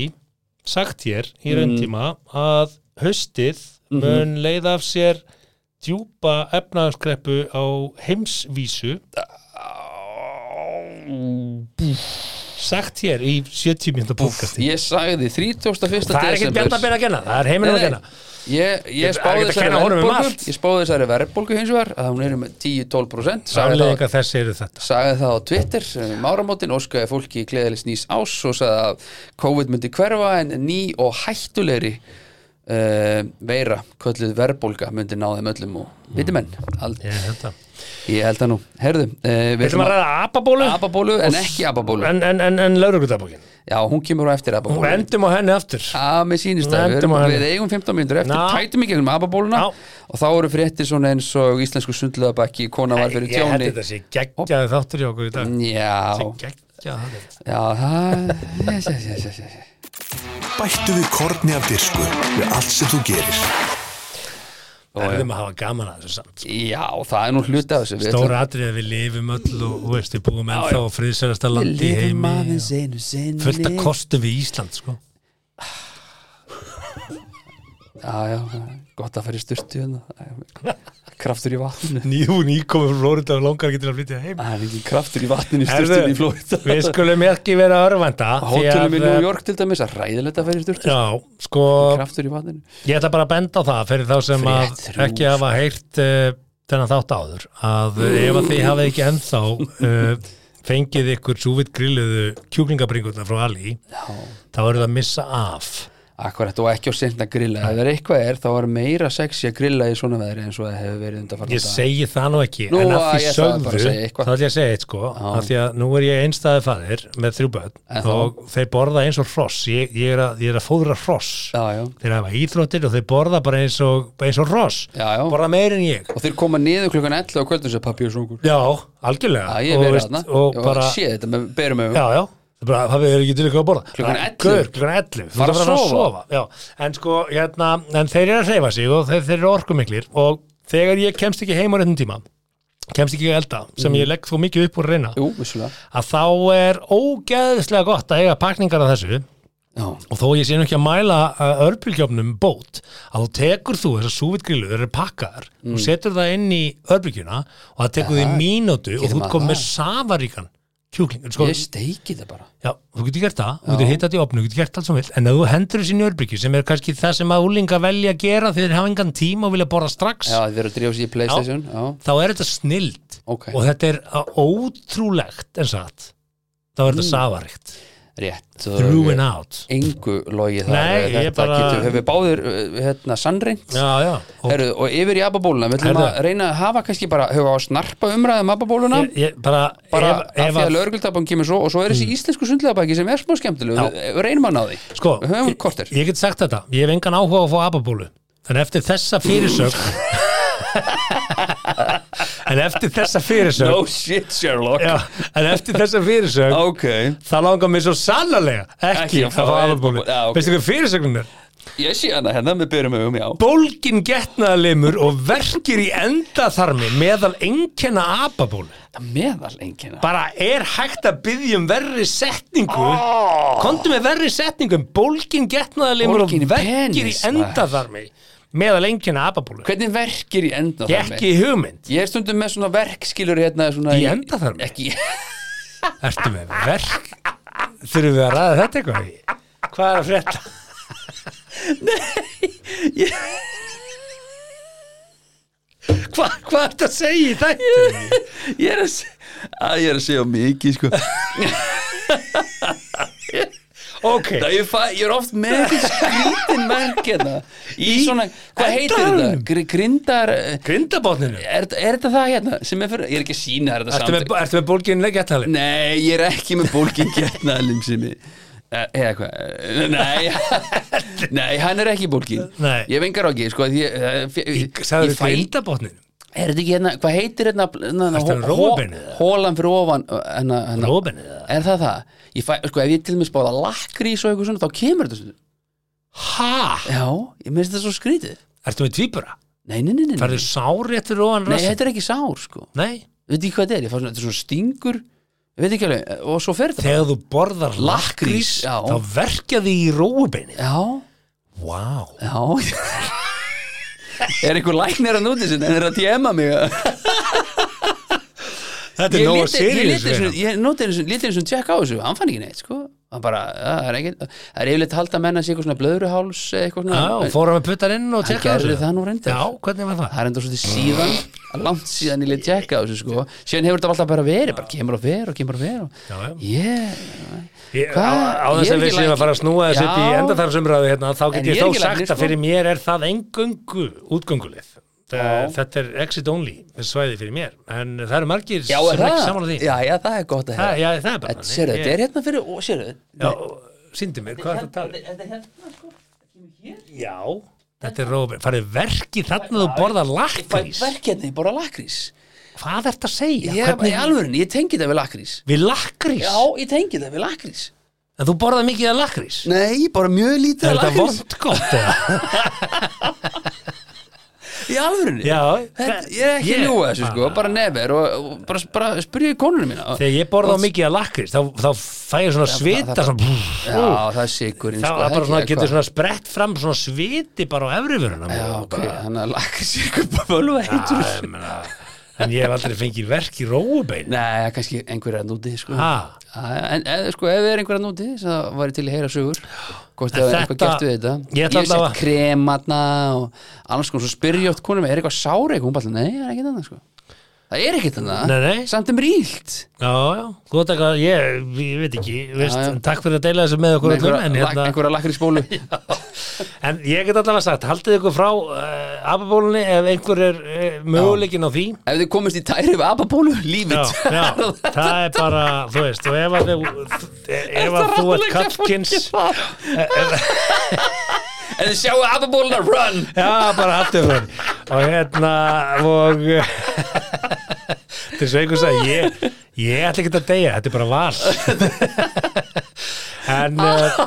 Speaker 3: sagt hér í
Speaker 4: Mm.
Speaker 3: rauntíma að haustið
Speaker 4: Mhm.
Speaker 3: mun leiða af sér djúpa efnaðskreppu á heimsvísu sagt hér í 70 mjönda bókastíð
Speaker 4: ég sagði 31.
Speaker 3: Það er ekkert bjönda að
Speaker 4: desember
Speaker 3: byrja að genna, það er heiminn að
Speaker 4: Nei, nei.
Speaker 3: genna
Speaker 4: ég, ég
Speaker 3: Það er ekkert
Speaker 4: spáði
Speaker 3: að
Speaker 4: þessari
Speaker 3: kenna honum um
Speaker 4: verðbólgu
Speaker 3: allt.
Speaker 4: ég spáði þessari verðbólgu hins vegar að hún er um 10-12% sagði það-
Speaker 3: Afleðingar þess eru þetta
Speaker 4: sagði það á Twitter um áramótin, óskaði fólki í gleðilis nýs ás og sagði að COVID myndi hverfa en ný og hættulegri uh, veira, kölluð verðbólga myndi ná þeim öllum og viti menn, ald,
Speaker 3: Ég held að
Speaker 4: ég held það nú herðu, uh, við
Speaker 3: Við ætlum að ræða apabólu
Speaker 4: ababólu en ekki ababólu,
Speaker 3: en, en, en, en laurugutabókin
Speaker 4: já hún kemur á eftir
Speaker 3: og
Speaker 4: ababólu
Speaker 3: endum á henni aftur
Speaker 4: að með sínist að við,
Speaker 3: Nefndum
Speaker 4: erum,
Speaker 3: á henni.
Speaker 4: við eigum 15 mínútur eftir,
Speaker 3: Ná.
Speaker 4: tætum í gegnum ababóluna
Speaker 3: Ná.
Speaker 4: og þá eru fréttir svona eins og íslensku sundlöðabækki, kona var fyrir
Speaker 3: ég held
Speaker 4: tjóni Mm,
Speaker 3: þetta sé geggjaði þáttur í okkur í dag
Speaker 4: já,
Speaker 3: geggjaði þáttur.
Speaker 4: já það, yes, yes, yes, yes, yes.
Speaker 2: Bættu við korni af dirsku við allt sem þú gerir.
Speaker 3: verðum að hafa gaman að þessu samt
Speaker 4: Já, það er nú hluti af þessu Við ætlum-
Speaker 3: stóra atrið að við lifum öll og þú veist, við búum ennþá á friðsælasta
Speaker 4: Við
Speaker 3: landi í
Speaker 4: lifum
Speaker 3: heimi
Speaker 4: aðeins
Speaker 3: og
Speaker 4: einu sinni
Speaker 3: fullt að kostum við Ísland sko.
Speaker 4: Já, já, gott að fara í sturtu hérna. [LAUGHS] Kraftur í vatninu
Speaker 3: nýjún íkomur frá Florida og langar ekki til að flytja heim
Speaker 4: Það er ekki kraftur í vatninu í sturtunni
Speaker 3: Herðu,
Speaker 4: í Flóita
Speaker 3: við skulum ekki vera örvenda
Speaker 4: Hótelum í New York til dæmis að ræðilegt að fara í sturtu
Speaker 3: já, sko,
Speaker 4: Kraftur í vatninu
Speaker 3: Ég ætla bara að benda á það fyrir þá sem að
Speaker 4: Frétt sko. þrjú,
Speaker 3: ekki hafa heyrt uh, þennan þátt áður að uh, ef að þið hafið ekki ennþá uh, fengið ykkur súvitt grilluðu kjúklingabringurna frá Ali
Speaker 4: Já,
Speaker 3: þá eru það að missa af
Speaker 4: akkurat og ekki á sent að grilla Ef það er eitthvað er, þá er meira sexy að grilla í svona veðri eins og það hefur verið undanfarna
Speaker 3: ég segi það nú ekki
Speaker 4: Nú,
Speaker 3: en að
Speaker 4: að
Speaker 3: því
Speaker 4: ég ætlaði bara
Speaker 3: sögðu
Speaker 4: að segja eitthvað.
Speaker 3: þá ætla ég að segja eitt sko að því að nú er ég einstæði faðir með þrjú
Speaker 4: En
Speaker 3: börn
Speaker 4: þá?
Speaker 3: og þeir borða eins og hross ég, ég, er, að, ég er að fóðra hross
Speaker 4: Já, já,
Speaker 3: þeir hafa íþróttir og þeir borða bara eins og, eins og hross
Speaker 4: Já, já.
Speaker 3: borða meir en ég
Speaker 4: og þeir koma niður klukkan 11 á kvöldum sem pappi og svongur
Speaker 3: Já, algjörlega
Speaker 4: Já, ég
Speaker 3: Og
Speaker 4: verið
Speaker 3: veist-
Speaker 4: þarna
Speaker 3: og
Speaker 4: Ég
Speaker 3: bara,
Speaker 4: sé þetta með berum augum
Speaker 3: já, já Það er bara, það er ekki til eitthvað að borða
Speaker 4: Klukkan
Speaker 3: Það er
Speaker 4: 11.
Speaker 3: gaur, Klukkan 11 Þú
Speaker 4: Fara
Speaker 3: ert að
Speaker 4: að
Speaker 3: fara að
Speaker 4: sofa.
Speaker 3: sofa Já, en sko, hérna En þeir eru að hreyfa sig og þeir, þeir eru orkumiklir og þegar ég kemst ekki heim á réttum tíma kemst ekki í elda, sem ég legg þó mikið upp úr að reyna
Speaker 4: Mm. Jú, vissulega
Speaker 3: að þá er ógeðslega gott að eiga pakningar af þessu
Speaker 4: Já,
Speaker 3: og þó ég sé nú ekki að mæla örbylgjöfnum bót að þú tekur þú þessar súvitgrillu þeir eru pakkaðar
Speaker 4: Mm.
Speaker 3: og setur það inn í örbylgjuna og það tekur því mínútu og
Speaker 4: Getur
Speaker 3: þú
Speaker 4: maður
Speaker 3: ert komið
Speaker 4: það?
Speaker 3: með safaríkan kjúklingur sko,
Speaker 4: ég steiki það bara
Speaker 3: já, þú getur gert það, þú getur hittat í opnu, þú getur gert allt sem vilt en ef þú hendur þessi njörbryggju sem er kannski það sem að úlinga velja að gera þegar þeir hafa engan tíma og vilja borða strax
Speaker 4: já, þið verður að drífa sér í Playstation já,
Speaker 3: þá er þetta snild
Speaker 4: Ok.
Speaker 3: og þetta er á- ótrúlegt en satt þá
Speaker 4: Mm.
Speaker 3: er þetta safaríkt
Speaker 4: rétt
Speaker 3: through and out
Speaker 4: engu logi það
Speaker 3: Nei, ég
Speaker 4: þetta
Speaker 3: bara-
Speaker 4: getur, höfum við báðir uh, hérna, sannreint
Speaker 3: já, já, og
Speaker 4: Heru, og yfir í ababóluna, við ætlum
Speaker 3: Herðu.
Speaker 4: að reyna að hafa kannski bara, höfum á að snarpa um umræðum ababóluna
Speaker 3: ég, ég, bara,
Speaker 4: bara
Speaker 3: ef,
Speaker 4: af
Speaker 3: ef Mm.
Speaker 4: því að lögreglutapan kemur svo og svo er þessi íslensku sundlegabæki sem er smá skemmtileg við við reynum að ná því
Speaker 3: sko,
Speaker 4: Við höfum
Speaker 3: ég-
Speaker 4: korter.
Speaker 3: ég get sagt þetta, ég hef engan áhuga á að fá ababólu en eftir þessa fyrirsög
Speaker 4: [LAUGHS]
Speaker 3: en eftir þessa fyrirsög
Speaker 4: shit Sherlock
Speaker 3: já, en eftir þessa fyrirsög
Speaker 4: ok,
Speaker 3: það langar mér svo sannlega ekki
Speaker 4: Ekki
Speaker 3: að fá ababólu
Speaker 4: Já, ok.
Speaker 3: veistu hvað fyrirsögnum er?
Speaker 4: ég sé hana hérna, við byrjum um já
Speaker 3: Bólgin getnaðalimur og verkir í endaþarmi meðal einkenna ababól
Speaker 4: meðal engina
Speaker 3: bara er hægt að byggja um verri setningu oh. komdu með verri setningu um bólgin getnaðalimur og
Speaker 4: Bólgin í
Speaker 3: verkir í
Speaker 4: penis, maður.
Speaker 3: endaþarmi meðal einkenna ababól
Speaker 4: hvernig verkir í enda
Speaker 3: ekki hugmynd
Speaker 4: ég er stundum með svona verkskilur hérna svona
Speaker 3: Í endaþarmi?
Speaker 4: ekki, [LAUGHS]
Speaker 3: ertu með verk þurfum við að ræða þetta eitthvað hvað er að frétta
Speaker 4: hva, hva
Speaker 3: þetta segi í þetta
Speaker 4: ég er að se- að ég er að segja
Speaker 3: [LAUGHS]
Speaker 4: mikið sko
Speaker 3: ok
Speaker 4: það, ég, fæ, ég er oft með eitthvað skrítin verk hérna í svona, hvað heitir þetta
Speaker 3: endanum.
Speaker 4: Gr, grindar eh,
Speaker 3: grindabotninu
Speaker 4: er, er þetta það hérna sem er fyrir, ég er ekki að sína þér þetta
Speaker 3: ertu með,
Speaker 4: samt
Speaker 3: ertu með bólgin getnaðalimur
Speaker 4: nei, ég er ekki með bólgin getnaðalim sem ég eh, eða hvað, eh,
Speaker 3: [LAUGHS]
Speaker 4: nei nei, hann er ekki bólgin
Speaker 3: Nei.
Speaker 4: ég vengar á ekki, sko því ég, ég, ég,
Speaker 3: sagður
Speaker 4: ég fæl
Speaker 3: grindabotninu
Speaker 4: er þetta ekki hérna, hvað heitir hérna, hérna
Speaker 3: Ertu með rófubeinið eða?
Speaker 4: hólan fyrir ofan hérna, hérna,
Speaker 3: Rófubeinið eða?
Speaker 4: er það það? Ég fæ, sko, ef ég til mér spáða lakrís og eitthvað svona, þá kemur þetta svona
Speaker 3: hæ
Speaker 4: já, ég minnst þetta svo skrítið
Speaker 3: ertu með tvíbura
Speaker 4: nei, nei, nei, nei, nei.
Speaker 3: færðu sáréttur ofan
Speaker 4: nei
Speaker 3: rassin
Speaker 4: þetta er ekki sár, sko
Speaker 3: nei
Speaker 4: veit ekki hvað þetta er, ég fá svona, þetta er svona stingur ég veit ekki alveg, og svo fer þetta
Speaker 3: þegar þú borðar lakrís
Speaker 4: Lakkrís, já.
Speaker 3: þá verkja því í róubeinið
Speaker 4: já,
Speaker 3: wow.
Speaker 4: já [LAUGHS] er einhver læknir að núti sinni en er að djema mig
Speaker 3: þetta er
Speaker 4: ég
Speaker 3: nóg að
Speaker 4: lítið, ég
Speaker 3: seriðis
Speaker 4: lítið svona, ég nóti einu sinni, lítið einu sinni tjekka á þessu hann fann ekki neitt, sko hann bara, ja, það er ekkert, það er yfirleitt að halda menna sig eitthvað svona blöðruháls eða eitthvað svona
Speaker 3: og fórum við puttar inn og
Speaker 4: hann
Speaker 3: tekka
Speaker 4: gerði það nú reyndar.
Speaker 3: já, hvernig var það?
Speaker 4: það er enda svolítið síðan langt síðan ég leitt tjekka á þessu, sko síðan hefur þetta alltaf bara verið, bara kemur og fer og kemur og fer og,
Speaker 3: Já, já.
Speaker 4: yeah
Speaker 3: Ég,
Speaker 4: Hvað?
Speaker 3: á, á
Speaker 4: Ég
Speaker 3: þess
Speaker 4: er
Speaker 3: að við
Speaker 4: ekki
Speaker 3: séum
Speaker 4: læknir.
Speaker 3: að fara að snúa þess upp í
Speaker 4: Já.
Speaker 3: endaþarmsumræðu hérna, þá
Speaker 4: En
Speaker 3: get
Speaker 4: ég
Speaker 3: ég
Speaker 4: er
Speaker 3: þó
Speaker 4: ekki læknir,
Speaker 3: sagt að
Speaker 4: sko.
Speaker 3: fyrir mér er það engöngu útgöngulið Það- Þetta er exit only svæði fyrir mér, en það eru margir
Speaker 4: já,
Speaker 3: sem
Speaker 4: er
Speaker 3: er ekki
Speaker 4: það,
Speaker 3: saman á því
Speaker 4: já, já, það er gott að
Speaker 3: Það-
Speaker 4: heyra
Speaker 3: já, það er bara
Speaker 4: Þetta-
Speaker 3: þannig.
Speaker 4: sérðu, þetta
Speaker 3: Ég-
Speaker 4: er hérna fyrir, og sérðu
Speaker 3: já, síndi mér, hvað er það að tala? um?
Speaker 4: þetta er hérna, sko
Speaker 3: Já, þetta er róubeinið, farið verki þarna þú borðar lakrís
Speaker 4: verkefni, bara lakrís
Speaker 3: Hvað ert að segja?
Speaker 4: ég, í alvörun, ég tengi þetta við lakrís
Speaker 3: Við lakrís?
Speaker 4: já, ég tengi þetta við lakrís
Speaker 3: En þú borðað mikið af lakrís?
Speaker 4: nei, bara mjög lítið
Speaker 3: Er
Speaker 4: af
Speaker 3: þetta
Speaker 4: lakrís
Speaker 3: vond gott eða?
Speaker 4: í alvörun
Speaker 3: Já.
Speaker 4: Þetta, ég er
Speaker 3: Ég- Ah.
Speaker 4: ekki yeah. ljúa þessu sko, bara never og, og bara, bara spyrja konunum mína
Speaker 3: Þegar ég borða á mikið af lakrís þá, þá fæ ég svona svita
Speaker 4: það-
Speaker 3: svona,
Speaker 4: Já, það er sigurinn
Speaker 3: þá
Speaker 4: sko,
Speaker 3: það bara svona,
Speaker 4: ekki,
Speaker 3: getur
Speaker 4: eitthvað.
Speaker 3: svona sprett fram svona sviti bara á efrivöruna
Speaker 4: Já, ok, þannig að lakrís er eitthvað bölu heitur
Speaker 3: En ég hef aldrei fengið verk í róubein
Speaker 4: Nei, það er kannski einhverja núti sko.
Speaker 3: Ha,
Speaker 4: Já, En eða, sko, ef er einhverja núti það væri til að heyra sögur Hvort
Speaker 3: En
Speaker 4: það er eitthvað
Speaker 3: þetta-
Speaker 4: gert við þetta
Speaker 3: Ég ætla
Speaker 4: Ég hef
Speaker 3: allavega-
Speaker 4: sett krematna og annars konar svo spyrjótt konum er eitthvað sári eitthvað, hún bara, nei, það er ekkert annað sko. Það er ekkert annað,
Speaker 3: Nei, nei.
Speaker 4: samt um rílt
Speaker 3: já, já, gott eitthvað, ég, ég veit ekki, veist,
Speaker 4: Já, já.
Speaker 3: takk fyrir að deila þessu með okkur öllum,
Speaker 4: einhverja,
Speaker 3: en,
Speaker 4: lak,
Speaker 3: hérna,
Speaker 4: einhverja
Speaker 3: [LAUGHS]
Speaker 4: lakrísbólu
Speaker 3: en ég get allavega sagt, haldið ykkur frá uh, apabólunni ef einhver er uh, möguleikin á því,
Speaker 4: Ef þið komist í tæri við ababólu,
Speaker 3: já,
Speaker 4: lífið [LAUGHS]
Speaker 3: já, það er bara, þú veist, og ef að, þau- ef að þú ert Eh, kallkins, [LAUGHS]
Speaker 4: En þið sjáu ababóluna run
Speaker 3: já, bara haldið frá henni. og hérna, og [LAUGHS] til svo einhvers að ég, ég ætla ekki að deyja, þetta er bara val,
Speaker 4: [LAUGHS]
Speaker 3: en uh,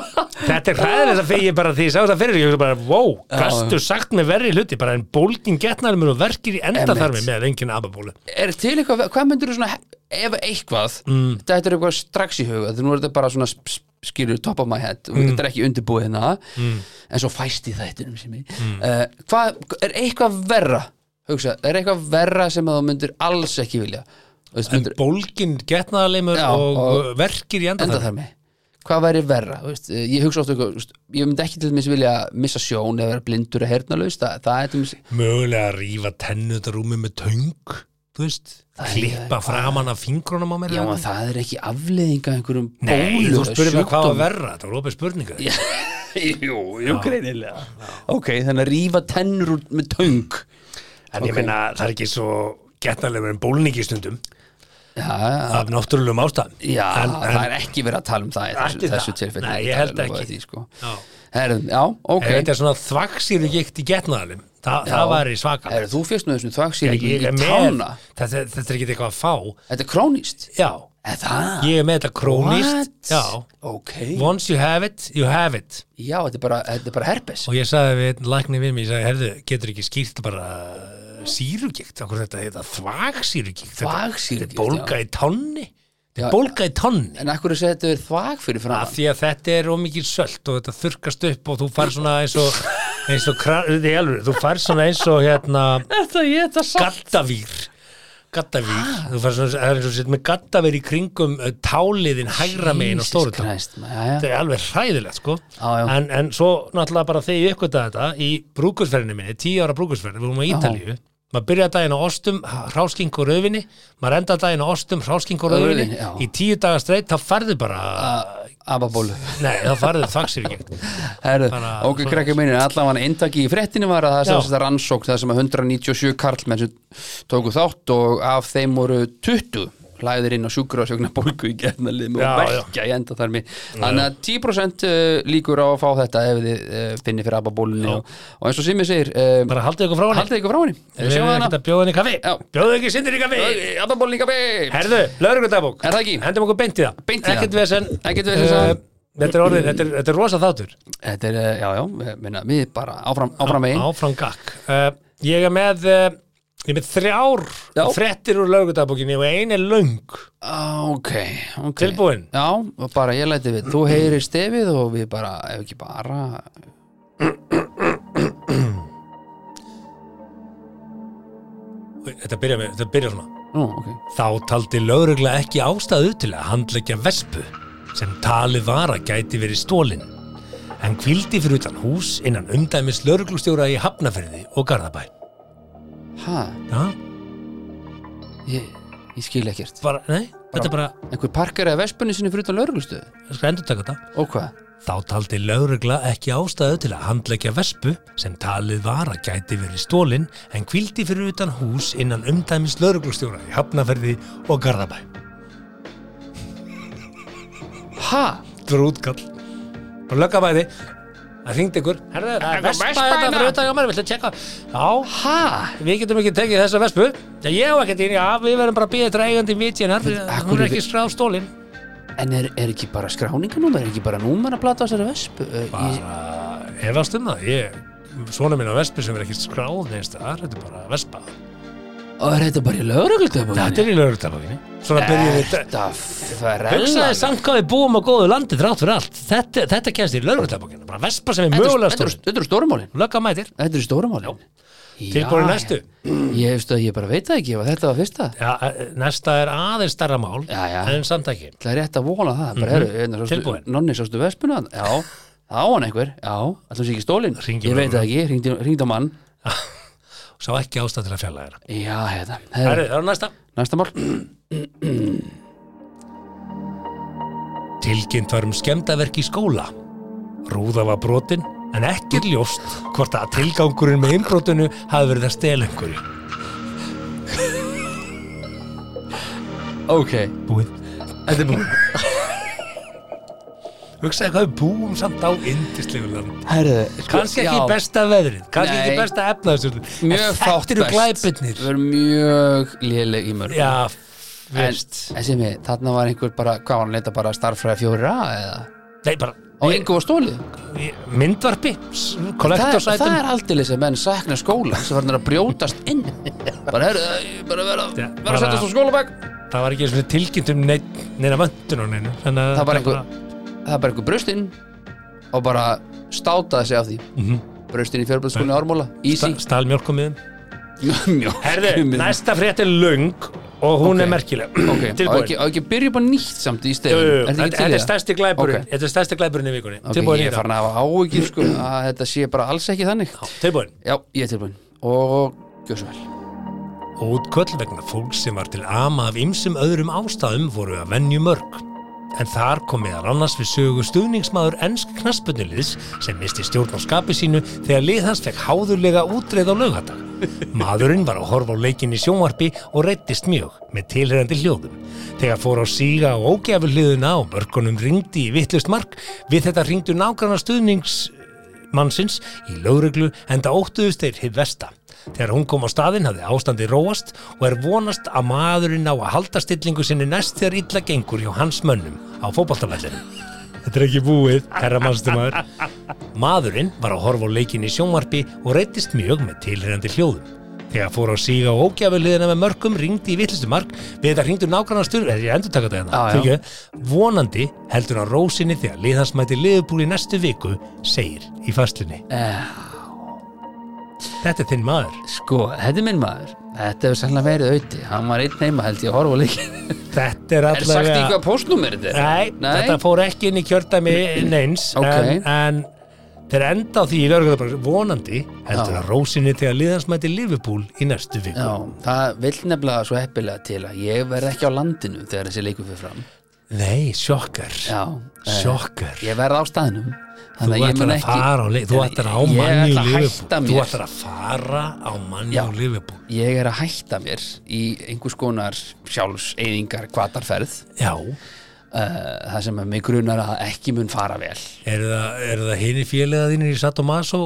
Speaker 3: þetta er hræðið þess að fyrir ég bara því, ég sá það fyrir, ég hugsa bara, wow, gastu sagt með verri hluti, bara en bólgin getnaður mér og verkir í endaþarmi með enginn ababólu.
Speaker 4: Er til eitthvað, hvað myndir þú svona ef eitthvað, mm. þetta er eitthvað strax í huga, þegar nú er þetta bara svona sp- sp- skilur top of my head,
Speaker 3: Mm.
Speaker 4: þetta er ekki undirbúið hérna en svo fæst í þættinum sem ég
Speaker 3: Mm.
Speaker 4: uh, hvað, er eitthvað verra hugsa, er eitthvað verra sem að þú myndir alls ekki vilja Þú veist,
Speaker 3: en
Speaker 4: myndir-
Speaker 3: bólgin getnaðarleimur
Speaker 4: Já,
Speaker 3: og,
Speaker 4: og-
Speaker 3: og verkir í
Speaker 4: enda
Speaker 3: endaþarmi
Speaker 4: þar með hvað væri verra, þú veist, eh, ég hugsa ofta ég myndi ekki til þess vilja missa sjón eða vera blindur eða heyrnalaus það, það er til dæmis-
Speaker 3: Mm. mögulega að rífa tennut rúmi með töng þú veist,
Speaker 4: Það er-
Speaker 3: klippa framan af fingrunum á mér
Speaker 4: já,
Speaker 3: eða
Speaker 4: en það er ekki afleiðinga einhverjum
Speaker 3: Nei,
Speaker 4: bólu
Speaker 3: þú
Speaker 4: eða
Speaker 3: spurði mig hvað var
Speaker 4: sjúkdómi.
Speaker 3: verra, það var opið spurninga
Speaker 4: [LAUGHS] jú, jú, greinilega ok, þannig að rífa tennur úr með töng
Speaker 3: En
Speaker 4: Ok.
Speaker 3: ég meina, það er ekki svo getnarlega en bólningi stundum
Speaker 4: já,
Speaker 3: af náttúrulegum ástæðum
Speaker 4: já
Speaker 3: en, en,
Speaker 4: það er ekki verið að tala um það í
Speaker 3: Ekki
Speaker 4: þessu,
Speaker 3: það.
Speaker 4: þessu tilfelli
Speaker 3: Nei, ég held ekki.
Speaker 4: því, sko.
Speaker 3: Já.
Speaker 4: Herðum, já, ok
Speaker 3: ef þetta er svona þvaksýru gikt í getnaðalum Þa, það væri svaka
Speaker 4: Herðu, þú fyrst nú þessum þvagsýringum
Speaker 3: Ég
Speaker 4: í
Speaker 3: er með-
Speaker 4: tána
Speaker 3: þetta, þetta er ekki eitthvað að fá
Speaker 4: Þetta er krónist
Speaker 3: Já,
Speaker 4: Eða það?
Speaker 3: ég er með þetta krónist
Speaker 4: What?
Speaker 3: Já,
Speaker 4: Ok
Speaker 3: once you have it, you have it
Speaker 4: Já, þetta er bara, þetta er bara herpes
Speaker 3: og ég sagði við einn lækni við mig, ég sagði, herðu, getur ekki skýrt bara eh, sírugikt, okkur þetta heita þvagsýrugikt, þetta
Speaker 4: Þvagsýrugikt,
Speaker 3: þetta er bólga í tánni þetta
Speaker 4: Já.
Speaker 3: er bólga í tánni
Speaker 4: En akkur er segja þetta er þvag fyrir
Speaker 3: að
Speaker 4: fram
Speaker 3: því að þetta er ómikið sölt og þetta þurkast upp og þú fær svona eins og eins og, kra- þetta er alveg, þú fær svona eins og hérna,
Speaker 4: Þetta ég, þetta
Speaker 3: gattavír gattavír, þú fær svona það er eins og sitt með gattavír í kringum uh, táliðin hægra megin og stóru tán
Speaker 4: Kræst, já, já.
Speaker 3: þetta er alveg hræðilegt sko
Speaker 4: Já, já.
Speaker 3: En, en svo náttúrulega bara þegar ég ykkur þetta í brúkusferðinni minni, tíu ára brúkusferðinni við vorum á Ítalíu, maður byrja daginn á ostum hrásking og rauðvinni, maður enda daginn á ostum hrásking og
Speaker 4: Rauðvíni,
Speaker 3: rauðvinni
Speaker 4: já.
Speaker 3: í tíu daga streitt, þá færðu bara
Speaker 4: Ababólu
Speaker 3: Nei, það farið þvaksir ekki
Speaker 4: Herðu,
Speaker 3: Bara-
Speaker 4: ok, krakki mínir, allavega inntaki í fréttinu var að það
Speaker 3: Já.
Speaker 4: sem þetta rannsókn það sem að 197 karlmenn sem tóku þátt og af þeim voru 20 hlæðir inn á sjúkur og sjögna bólgu í gerðnaliðum og
Speaker 3: Já, já.
Speaker 4: verkja í enda þar mér þannig að 10% eh, líkur á að fá þetta ef þið eh, finnir fyrir ababólunni og, og eins og Simi segir eh,
Speaker 3: Bara haldið ykkur frá henni
Speaker 4: haldið ykkur frá henni
Speaker 3: Við
Speaker 4: sjáum
Speaker 3: erum
Speaker 4: hana
Speaker 3: ekki að bjóða henni í kaffi
Speaker 4: Já.
Speaker 3: Bjóðu ekki sindir í kaffi
Speaker 4: ababólun líka beint
Speaker 3: Herðu, laurugundabók
Speaker 4: Er það ekki?
Speaker 3: Hendum okkur beint í það
Speaker 4: Beint í það.
Speaker 3: Ekkert vesen
Speaker 4: Ekkert vesen, sagði hann.
Speaker 3: Eh, Þetta er orðin, þetta er, þetta er rosa þáttur
Speaker 4: þetta er, eh, já, já, eh, minna, við bara áfram, áfram megin
Speaker 3: Áfram gakk uh, Ég er með uh, Ég er með þrjár
Speaker 4: Já.
Speaker 3: fréttir úr laurugundabókinni og ein er löng
Speaker 4: ok, ok
Speaker 3: Tilbúin
Speaker 4: Já, og bara ég læti við, þú heyrir stefið og við bara, ef ekki bara
Speaker 3: Þetta byrjar, með, þetta byrjar svona
Speaker 4: Nú, ok
Speaker 3: Þá taldi lögregla ekki ástæðu til að handleggja vespu sem talið var að gæti verið stólin. En kvildi fyrir utan hús innan umdæmis lögreglustjóra í Hafnafyrði og Garðabæ.
Speaker 4: Hæ,
Speaker 3: Já,
Speaker 4: ég, ég skil ekkert
Speaker 3: bara, nei, þetta er bara,
Speaker 4: Einhver parkar eða vespunni sinni fyrir utan lauruglustöðu
Speaker 3: ég skal endur taka þetta.
Speaker 4: Og hvað?
Speaker 3: Þá taldi lögregla ekki ástæðu til að handleggja vespu sem talið var að gæti verið stólin en kvildi fyrir utan hús innan umdæmis lögreglustjóra í Hafnafyrði og Garðabæ.
Speaker 4: Hæ,
Speaker 3: Þetta var útkall Bara löggabæði Það hringdi ykkur Herðu, það er vespa hérna. þetta fyrir utan hjá mér Viltu tjekka? Já,
Speaker 4: hæ
Speaker 3: við getum ekki tekið þessa vespu Já, ég hef ekki tíni Já, við verðum bara að býða þetta eigandi vitjinar
Speaker 4: af
Speaker 3: Hún er
Speaker 4: hverju
Speaker 3: ekki
Speaker 4: við-
Speaker 3: stráð stólin
Speaker 4: En er, er ekki bara skráninganúmer, er ekki bara númer að plata á þessari vespu? Eh, Ég,
Speaker 3: Ef að stunda um Ég Svona mín á vespu sem er ekki skráð neins þar Þetta er bara vespa
Speaker 4: og er þetta bara í lauruglustöðu?
Speaker 3: Þetta er í lögurtabokinni Svona byrjum við þetta
Speaker 4: Þetta ferrella
Speaker 3: Hugsaði Eh, samt hvað við búum á góðu landi þrátt fyrir allt Þetta, þetta kemst í lögurtabokinni Bara vespa sem er mögulega sko. stólin
Speaker 4: Þetta eru stórumálin
Speaker 3: Löggamætir
Speaker 4: Þetta eru stórumálin
Speaker 3: Tilbúin í næstu?
Speaker 4: Ég, veist að ég bara veit það ekki ef að þetta var fyrsta
Speaker 3: Já, eh, næsta er aðeins starra mál
Speaker 4: Já, já.
Speaker 3: en samt ekki
Speaker 4: Það er rétt að vona það, bara herru, hérna, sástu,
Speaker 3: Mhm. Tilbúin.
Speaker 4: nonni, sástu vespuna, þarna? já, þá hann einhver, já, allir sé ekki stólinn,
Speaker 3: Hringi
Speaker 4: ég
Speaker 3: bara
Speaker 4: veit það ekki, hringdi, hringdi á mann,
Speaker 3: sá ekki ástæð til að fjalla þér
Speaker 4: já, hérna,
Speaker 3: Það
Speaker 4: herru,
Speaker 3: er næsta
Speaker 4: næsta mál,
Speaker 3: Tilkynnt var um skemmdaverk í skóla Rúða var brotin en ekki er ljóst hvort að tilgangurinn með innbrotinu hafi verið að stela einhverju
Speaker 4: ok,
Speaker 3: Búið
Speaker 4: þetta er búin,
Speaker 3: Hugsaði hvað við búum samt á indislegu land
Speaker 4: herru,
Speaker 3: Kanski ekki
Speaker 4: sko,
Speaker 3: besta veðrið Kanski
Speaker 4: Nei.
Speaker 3: ekki besta efnaðsölu
Speaker 4: mjög fátt
Speaker 3: Þetta eru glæpirnir
Speaker 4: við erum mjög léleg í mörg,
Speaker 3: Já,
Speaker 4: en,
Speaker 3: veist
Speaker 4: en sem ég, þarna var einhver bara, hvað var hann leita bara starffræða fjóra eða,
Speaker 3: Nei, bara
Speaker 4: og einhver var stólið,
Speaker 3: Myndvarpi
Speaker 4: það, er- það
Speaker 3: Kollektorsætum
Speaker 4: er aldrei þess að menn sakna skóla, sem var hann að brjótast
Speaker 3: [LAUGHS]
Speaker 4: inn, bara herru, ég bara vera,
Speaker 3: Já,
Speaker 4: vera
Speaker 3: bara-
Speaker 4: að setjast á skólabæk,
Speaker 3: Það var ekki einu sinni tilkynnt um neitt, neina möntun og neina Þannig að
Speaker 4: Það var
Speaker 3: þetta
Speaker 4: einhver- það er bara einhver braustinn og bara státaði sig af því mm -hmm. braustinn í fjörblöðskólinu ármóla easy
Speaker 3: bara stál mjölkumiðum
Speaker 4: Mjó-
Speaker 3: um Herðu,
Speaker 4: mjó-
Speaker 3: næsta frétt er lung og hún
Speaker 4: um Ok.
Speaker 3: er merkileg
Speaker 4: ok, á
Speaker 3: [CLEARS THROAT] tilbúin
Speaker 4: ekki, á ekki að byrja upp á nýtt samt
Speaker 3: Jú,
Speaker 4: í
Speaker 3: jú,
Speaker 4: stegin,
Speaker 3: jú.
Speaker 4: er þetta
Speaker 3: þetta
Speaker 4: ekki til
Speaker 3: þetta er
Speaker 4: í það?
Speaker 3: stærsti glæpurinn
Speaker 4: Ok.
Speaker 3: þetta er stærsti glæpurinn í vikunni
Speaker 4: Ok,
Speaker 3: tilbúin hérna. í
Speaker 4: ég er
Speaker 3: það
Speaker 4: farin að hafa áhugir sko að þetta sé bara alls ekki þannig
Speaker 3: tilbúin
Speaker 4: Já, ég er tilbúin og gjör svo vel
Speaker 3: Útköll vegna fólks sem var til ama af ymsum öðrum ástæðum voru að venju mörg. En þar kom meðal annars við sögu stuðningsmaður ennsk knaspunuliðs sem misti stjórn á skapi sínu þegar lið hans fekk háðurlega útreið á lögadag. Maðurinn var að horfa á leikin í sjónvarpi og reyttist mjög með tilherrandi hljóðum. Þegar fór á síga og ógjafu hliðuna og mörkunum ringdi í vittlust mark, við þetta ringdu nágranna stuðnings mannsins í lögreglu enda óttuðust þeir hið vesta. Þegar hún kom á staðinn hafði ástandi róast og er vonast að maðurinn á að halda stillingu sinni næst þegar illa gengur hjá hans mönnum á fótballtafellinu. Þetta er ekki búið, herra mannstumar. Maðurinn var að horfa á leikin í sjónvarpi og reytist mjög með tilhyrjandi hljóðum. Þegar fór á síga og ógjafuliðina með mörgum ringdi í vitlistu mark við þetta ringdu nákvæmna stjórn, er ég endur taka þetta hérna,
Speaker 4: Já, já.
Speaker 3: fyrirgefðu? vonandi heldur hann rósinni þegar liðhansmæti liðbúl í næstu viku segir í fastlunni
Speaker 4: Eh,
Speaker 3: Þetta er þinn maður
Speaker 4: Sko, þetta er minn maður Þetta hefur sannlega verið auði, hann var einn heima held ég að horfa líka
Speaker 3: Þetta er
Speaker 4: Er sagt í
Speaker 3: allavega
Speaker 4: hvað postnúmer þetta er?
Speaker 3: Nei, þetta fór ekki inn í kjördæmi neins
Speaker 4: Ok.
Speaker 3: en, en þeir enda á því í lörgöðu vonandi heldur
Speaker 4: Já.
Speaker 3: hann rósinni þegar liðhansmæti liðbúl í næstu viku
Speaker 4: Já, það vill nefnilega svo heppilega til að ég verð ekki á landinu þegar þessi leikur fyrir fram
Speaker 3: Nei, sjokkar
Speaker 4: Já, eh,
Speaker 3: Sjokkar
Speaker 4: ég verð á staðnum
Speaker 3: Þú
Speaker 4: Þannig að ég
Speaker 3: ætlar
Speaker 4: mun
Speaker 3: að
Speaker 4: ekki
Speaker 3: fara á lið, þú
Speaker 4: Ég-
Speaker 3: ætlar á
Speaker 4: ég
Speaker 3: manni
Speaker 4: ætla
Speaker 3: og
Speaker 4: að
Speaker 3: liðbúl
Speaker 4: hætta
Speaker 3: Þú
Speaker 4: mér.
Speaker 3: ætlar að fara á manni
Speaker 4: Já.
Speaker 3: og liðbúl
Speaker 4: Ég er að hætta mér í einhvers konar sjálfseyðingar kvatarferð
Speaker 3: Já
Speaker 4: uh, það sem að mig grunar að ekki mun fara vel
Speaker 3: Er það, er það hinn í félaga þínir í Satomaso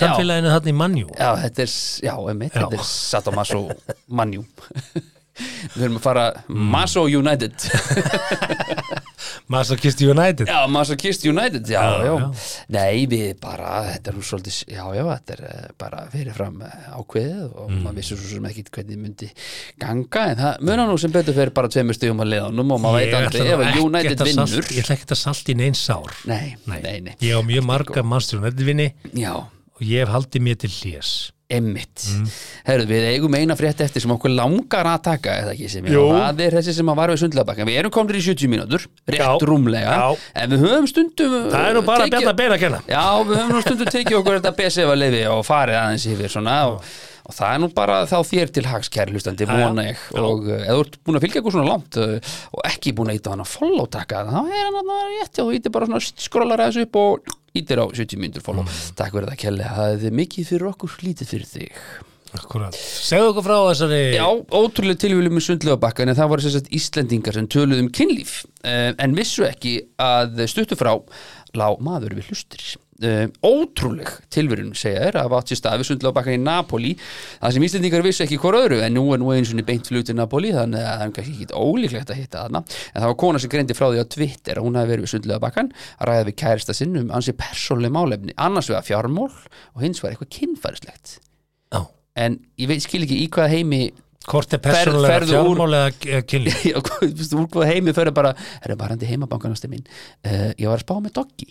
Speaker 3: samfélaginu þarna í Manjú?
Speaker 4: Já, þetta er, já, emitt,
Speaker 3: Já.
Speaker 4: þetta er Sadomaso Manjú [LAUGHS] Við höfum að fara
Speaker 3: Mm.
Speaker 4: Maso United
Speaker 3: Masokist United?
Speaker 4: Já, Masokist United, já,
Speaker 3: Já,
Speaker 4: já,
Speaker 3: já.
Speaker 4: Nei, við bara, þetta er nú svolítið já, já, þetta er eh, bara fyrirfram eh, ákveðið og
Speaker 3: Mm.
Speaker 4: maður vissi svo sem ekki hvernig myndi ganga, en það munar nú sem betur fyrir bara tveimur stigum að leiðanum og maður veit aldrei ef að United vinnur
Speaker 3: Ég ætla ekki að salta í neins sár.
Speaker 4: Nei, nei, nei,
Speaker 3: Ég á mjög marga Master United vinni
Speaker 4: já
Speaker 3: og ég hef haldið mér til hlés.
Speaker 4: Emmitt.
Speaker 3: Mm.
Speaker 4: Herru, við eigum eina frétt eftir sem okkur langar að taka, eða ekki sem ég,
Speaker 3: Jú.
Speaker 4: og það er þessi sem að var við sundlabakkan. Við erum komnir í 70 mínútur, rétt
Speaker 3: Já.
Speaker 4: rúmlega,
Speaker 3: Já.
Speaker 4: en við höfum stundum...
Speaker 3: Það er nú bara að
Speaker 4: tekið-
Speaker 3: bjalla beina að kenna.
Speaker 4: Já, við höfum nú stundum tekið okkur þetta BSF að lifi og farið aðeins yfir svona og, og það er nú bara þá þér til hags kæri hlustandi, vona ég og uh, eða þú ert búin að fylgja eitthvað svona langt uh, og ekki búin að íta á hana follow takka þá er hann að rétt já, þú ítir bara svona skrólar aðeins upp og ítir á 70 mínútur follow Takk fyrir það Kelly, það er mikið fyrir okkur, lítið fyrir þig
Speaker 3: Akkurat. Segðu okkur frá þessari...
Speaker 4: Já, ótrúlega tilvílum með sundlega en það voru sérstætt Íslendingar sem töluðu um kynlíf eh, en vissu ekki að stuttu frá lá maður við hlustir eh, ótrúleg tilvílum segja þér að átt sér stað við sundlega í Napoli það sem Íslendingar vissu ekki hvort öðru en nú er nú eins og beint flugt í Napoli þannig að það er kannski ekki ólíklegt að hitta þarna en það var kona sem greindi frá því á Twitter að hún hafi verið við sundlega að ræða við kærista sinn um ansi persónlega málefni annars vegar fjármól og hins var eitthvað kynfærislegt
Speaker 3: Já.
Speaker 4: en ég veit, skil ekki í hvaða heimi
Speaker 3: Hvort er persónulega
Speaker 4: ferðu úr-
Speaker 3: fjármálega kynlíf?
Speaker 4: [LAUGHS] Já, hvað- þú veist, úr hvað heimi fyrir bara er það varandi heimabankanasti minn uh, ég var að spá með doggi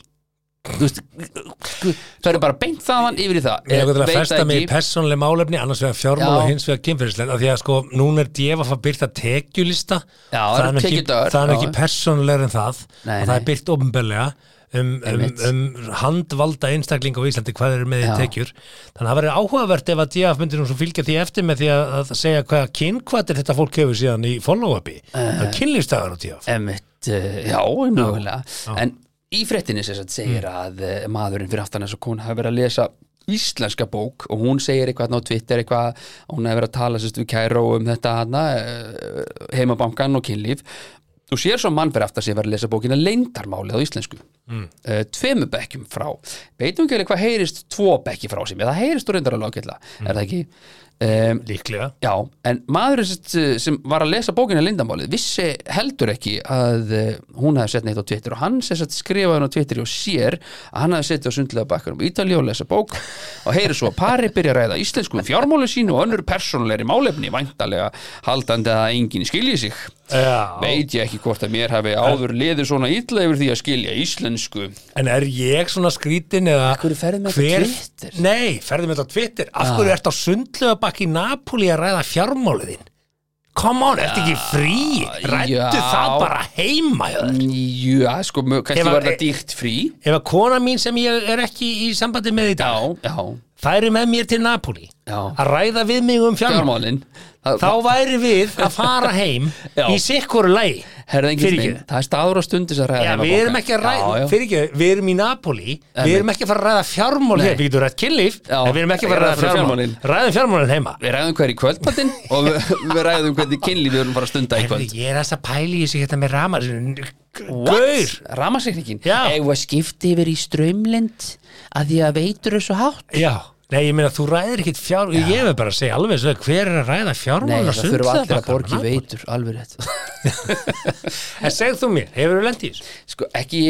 Speaker 4: þú veist eh, það er bara beint þaðan yfir í það Eh,
Speaker 3: Ég er eitthvað til
Speaker 4: Veit
Speaker 3: að festa
Speaker 4: það
Speaker 3: mig í
Speaker 4: ekki.
Speaker 3: persónuleg málefni, annars vegar fjármála
Speaker 4: Já.
Speaker 3: og hins vegar kynferðislega, af því að sko, núna er djöfa að byrta tekjulista,
Speaker 4: Já, það
Speaker 3: það er
Speaker 4: eru
Speaker 3: nú ekki,
Speaker 4: tekjudagar,
Speaker 3: það er nú
Speaker 4: já.
Speaker 3: ekki persónulegur en það, og
Speaker 4: Nei,
Speaker 3: það er
Speaker 4: nei.
Speaker 3: byrt ofnbörlega um, um,
Speaker 4: Einmitt.
Speaker 3: um handvalda einstakling á Íslandi, hvað eru með í
Speaker 4: Já.
Speaker 3: tekjur, þannig að það verður áhugavert ef að djöfa myndir nú svo fylgja því eftir með því að, að segja hvaða kynkvættir þetta fólk hefur síðan í follow-upi,
Speaker 4: Eh.
Speaker 3: það er kynlýfstafar á djöfa.
Speaker 4: Einmitt, uh, já, nákvæmlega En í fréttinni sem sagt segir að uh, maðurinn fyrir aftan þess að hún hafi verið að lesa íslenska bók og hún segir eitthvað þarna á Twitter eitthvað að hún hafi verið að tala sérst við kæró um þetta hana, uh, heimabankan og kynlíf og sér svo mann fyrir aftan sem verið að lesa bókina leyndarmálið á íslensku mm. uh, tveimu bekkjum frá veitum ekki alveg hvað heyrist tvo bekki frá sem ég, það heyrist úr reyndar alveg ágætlega er það ekki? Um,
Speaker 3: Líklega.
Speaker 4: Já, en maðurinn sem, eh, sem var að lesa bókina Lindamálið vissi heldur ekki að eh, hún hefði sett neitt á Twitter og hann sem sagt skrifaði hann á Twitter og sér að hann hefði setið á sundlega bakkanum í Ítalíu og lesa bók og heyri svo að pari byrja að ræða íslensku um fjármáli sínu og önnur persónulegri málefni væntalega haldandi að enginn skilji sig
Speaker 3: Já.
Speaker 4: veit ég ekki hvort að mér hefði áður liðið svona illa yfir því að skilja íslensku
Speaker 3: En er ég svona skrítin eða
Speaker 4: Af hverju ferðu með þetta á Twitter? Ah.
Speaker 3: Nei, ferðu með þetta á Twitter Af hverju ertu á sundlega bakki í Napoli að ræða fjármálið þín? come on, ertu ekki frí rættu
Speaker 4: Ah, já. Mm.
Speaker 3: það bara heima hjá þér
Speaker 4: Já, sko, mjög-
Speaker 3: Ef
Speaker 4: kannski
Speaker 3: að- e-
Speaker 4: var það dýrt frí
Speaker 3: ef að kona mín sem ég er ekki í sambandi með í dag,
Speaker 4: Já, já,
Speaker 3: færi með mér til Napoli
Speaker 4: Já.
Speaker 3: að ræða við mig um fjármál
Speaker 4: fjármálin
Speaker 3: þá væri við að fara heim
Speaker 4: [LAUGHS] Já.
Speaker 3: í sikkur lagi
Speaker 4: Herða engin minn,
Speaker 3: Fyrirgefðu.
Speaker 4: það er staður á stundis að ræða
Speaker 3: Já,
Speaker 4: þennan
Speaker 3: við
Speaker 4: bóka.
Speaker 3: erum ekki að ræða,
Speaker 4: Já, já.
Speaker 3: fyrir ekki, við erum í Napoli við erum ekki að fara að ræða fjármál
Speaker 4: Nei.
Speaker 3: hér, við getum rætt kynlíf,
Speaker 4: Já,
Speaker 3: en við erum ekki að fara að
Speaker 4: ég ræða
Speaker 3: ræða fjármál
Speaker 4: fjármálin.
Speaker 3: ræðum fjármálin heima
Speaker 4: Við ræðum hverju kvöldmattinn og
Speaker 3: [LAUGHS]
Speaker 4: við, við ræðum hvernig kynlíf við erum að fara að stunda í
Speaker 3: Herri,
Speaker 4: kvöld
Speaker 3: ég er aðeins að pæla í þessu hérna með ramar Gaur,
Speaker 4: Ramasreikningin
Speaker 3: Já.
Speaker 4: Eigum við að skipta yfir í ströymlind að því að veitur er svo hátt
Speaker 3: já Nei, ég meina, þú ræðir ekkit fjár Ég verð bara að segja alveg svo Hver er að ræða
Speaker 4: Nei,
Speaker 3: fjármálin
Speaker 4: það þurfa allir að borgi veitur, alveg rétt
Speaker 3: En segð þú mér, hefur þú lendið þessu?
Speaker 4: Sko, ekki,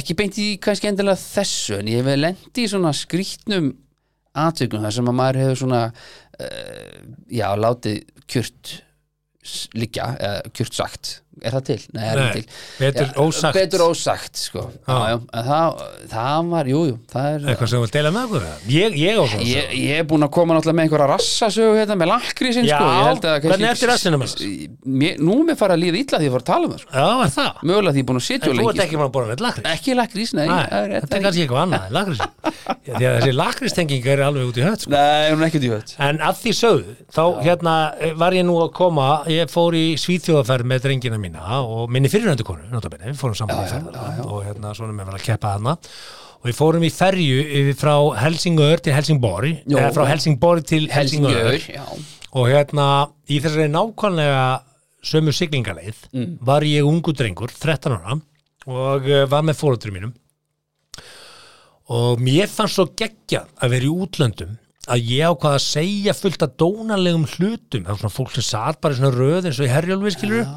Speaker 4: ekki beint í kannski endilega þessu en ég hef lendi í svona skrýtnum aðtökum þar sem að maður hefur svona uh, já, látið kjört s- liggja, eða kjört sagt er það til? Nei, er
Speaker 3: Nei,
Speaker 4: það til
Speaker 3: betur ósagt.
Speaker 4: Betur ósagt, sko já, já, en það, það var, jú, jú, það er
Speaker 3: Eitthvað sem þú vilt deila með okkur? eða? Ég, ég á svona
Speaker 4: Ég, ég er búinn að koma náttúrulega með einhverja rassasögu hérna með lakkrísinn
Speaker 3: Já,
Speaker 4: sko Ég held að
Speaker 3: hvernig
Speaker 4: kannski-
Speaker 3: ertu í rassinum annars?
Speaker 4: Mér- Nú er mér farið að líða illa því að ég fór að tala um það sko.
Speaker 3: Já, var það
Speaker 4: Mögulega því ég er búinn að sitja
Speaker 3: En
Speaker 4: of
Speaker 3: þú
Speaker 4: lengi
Speaker 3: ert ekki maður að bora með lakrís
Speaker 4: ekki lakrís, nei,
Speaker 3: Nei,
Speaker 4: það er rétt
Speaker 3: þetta er kannski eitthvað annað, lakrís
Speaker 4: [LAUGHS]
Speaker 3: Því að þessi lakristenging er alveg út í hött sko.
Speaker 4: nei, hún er ekki djúvöld
Speaker 3: En að því sögðu, þá hérna eh, var ég nú að koma, ég fór í svíþjóðaferð með drengina mína og minni fyrirröndu konu, notabene, við fórum saman í ferð og hérna svona með vel að keppa hana og við fórum í ferju yfir frá Helsingör til Helsingborg,
Speaker 4: Jó.
Speaker 3: eða frá Helsingborg til Helsingör
Speaker 4: Helsingör, já,
Speaker 3: og hérna í þessari nákvæmlega sömu siglingaleið
Speaker 4: Mm.
Speaker 3: var ég ungu drengur, 13 ára og eh, var með fóröldur mínum og mér fannst svo geggjað að vera í útlöndum að ég ákvað að segja fullt að dónalegum hlutum það var svona fólk sem satt bara í svona röð eins og í herjálfi skilur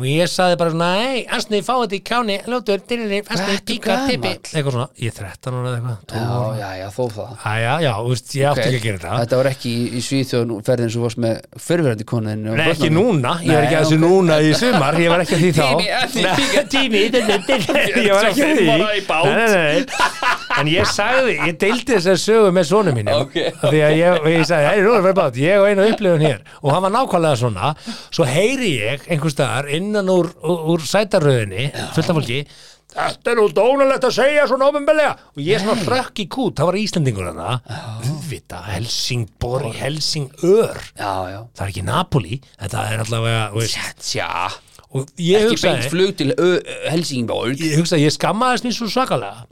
Speaker 3: og ég saði bara svona ei, asni, fá þetta í kjáni, lótur, dyrri, asni,
Speaker 4: ertu
Speaker 3: píka, tippi
Speaker 4: gamall?
Speaker 3: eitthvað svona, ég er 13 ára eða eitthvað 12
Speaker 4: já,
Speaker 3: ára.
Speaker 4: já, já, þó það
Speaker 3: Æja, já, þú veist, ég átti
Speaker 4: Ok.
Speaker 3: ekki að gera þetta
Speaker 4: Þetta var ekki í, í Svíþjóðun ferðin sem þú varst með fyrirverandi konuðin
Speaker 3: Nei, ekki núna, ég var ekki að þessu núna í sumar, ég var ekki að því þá
Speaker 4: Tími, að því líka
Speaker 3: tími, [LAUGHS] ég var ekki að því
Speaker 4: Fimm ára í bát.
Speaker 3: Nei, nei, nei. En ég sagði, ég deildi þessar sögu með sonu mínum
Speaker 4: Ok.
Speaker 3: Af Því að ég, ég sagði, hei, nú erum við bát, ég og einu upplifun hér Og hann var nákvæmlega svona, svo heyri ég einhvers staðar innan úr, úr, úr sætaröðinni, fullt af fólki Þetta er nú dónalegt að segja svona ofinbelega og ég svona frökk í kút, það var Íslendingur hana Vita, Helsingborg, Helsingör
Speaker 4: Já, já,
Speaker 3: það er ekki Napoli en það er allavega þú veist,
Speaker 4: tja
Speaker 3: og ég
Speaker 4: Ekki beint
Speaker 3: hugsaði,
Speaker 4: flug til Ö- Ö- Helsingborg
Speaker 3: ég hugsaði ég skammaðist mér svo svakalega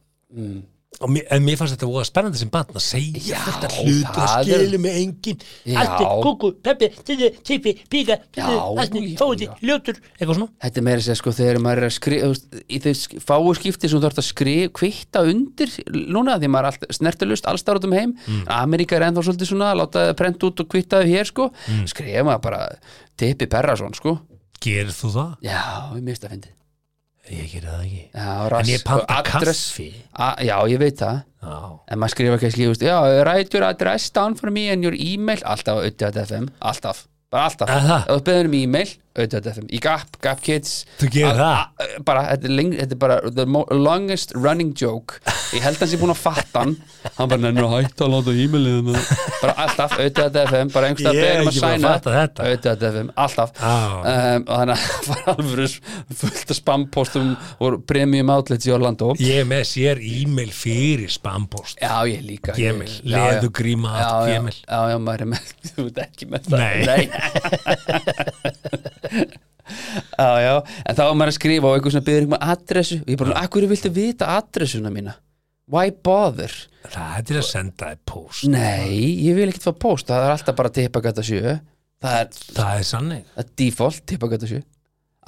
Speaker 3: og mér, en mér fannst þetta voða spennandi sem batn að segja
Speaker 4: Mm. Já,
Speaker 3: þetta hlut og
Speaker 4: það er-
Speaker 3: skilu með engin
Speaker 4: Já.
Speaker 3: allt er kúku, peppi, tíði, típi, píka
Speaker 4: Já,
Speaker 3: allir,
Speaker 4: já,
Speaker 3: fóti,
Speaker 4: já.
Speaker 3: ljótur eitthvað svona
Speaker 4: Þetta er meira að segja sko þegar maður er að skrifa í þau sk- fáu skipti sem þú þarfst að skrifa kvitta undir núna því maður er allt snertilust allstar út um heim
Speaker 3: Mm.
Speaker 4: Ameríka er ennþá svolítið svona láta það prent út og kvitta þau hér sko
Speaker 3: Mm.
Speaker 4: skrifa maður bara Tippi Perrason sko
Speaker 3: gerir þú það?
Speaker 4: Já, ég mista að fyndi
Speaker 3: ég gerir það ekki
Speaker 4: Já,
Speaker 3: en
Speaker 4: rass
Speaker 3: ég panta
Speaker 4: og address-
Speaker 3: kaffi
Speaker 4: A- Já, ég veit það
Speaker 3: já,
Speaker 4: En maður skrifa kannski, þú veist, já, write your address down for me and your email Alltaf á auðvitað.fm, alltaf Bara alltaf,
Speaker 3: Er það?
Speaker 4: ef þú beður um e-mail auðvitað.fm, í Gap, Gap Kids
Speaker 3: þú gerir það?
Speaker 4: Ö, bara, þetta er, leng, þetta er bara the mo- longest running joke ég held hans ég búin að fatta hann hann bara nefnir að hætta að láta e-mailið hérna." bara alltaf, auðvitað FM bara einhverstað
Speaker 3: Ég er
Speaker 4: beðum að
Speaker 3: ekki búinn að
Speaker 4: sæna
Speaker 3: fatta þetta.
Speaker 4: auðvitað FM, alltaf
Speaker 3: Já.
Speaker 4: um, og þannig að það var alveg fullt af spampostum og premium outlets í Orlando
Speaker 3: ég er með sér e-mail fyrir spampost
Speaker 4: já, ég líka ég-
Speaker 3: Gmail,
Speaker 4: já, já.
Speaker 3: leðugríma,
Speaker 4: já,
Speaker 3: allt
Speaker 4: já,
Speaker 3: Gmail.
Speaker 4: já, já, maður er með, [LAUGHS] þú veit ekki með það
Speaker 3: Nei.
Speaker 4: já, já, en þá var maður að skrifa á eitthvað svona byrðir eitthvað adressu og ég bara, akkur viltu vita adressuna mína why bother?
Speaker 3: það er til að senda þér post
Speaker 4: Mm. Nei, ég vil ekkert fá post það er alltaf bara tippagata 7 það er
Speaker 3: það er sannig,
Speaker 4: það er default tippagata 7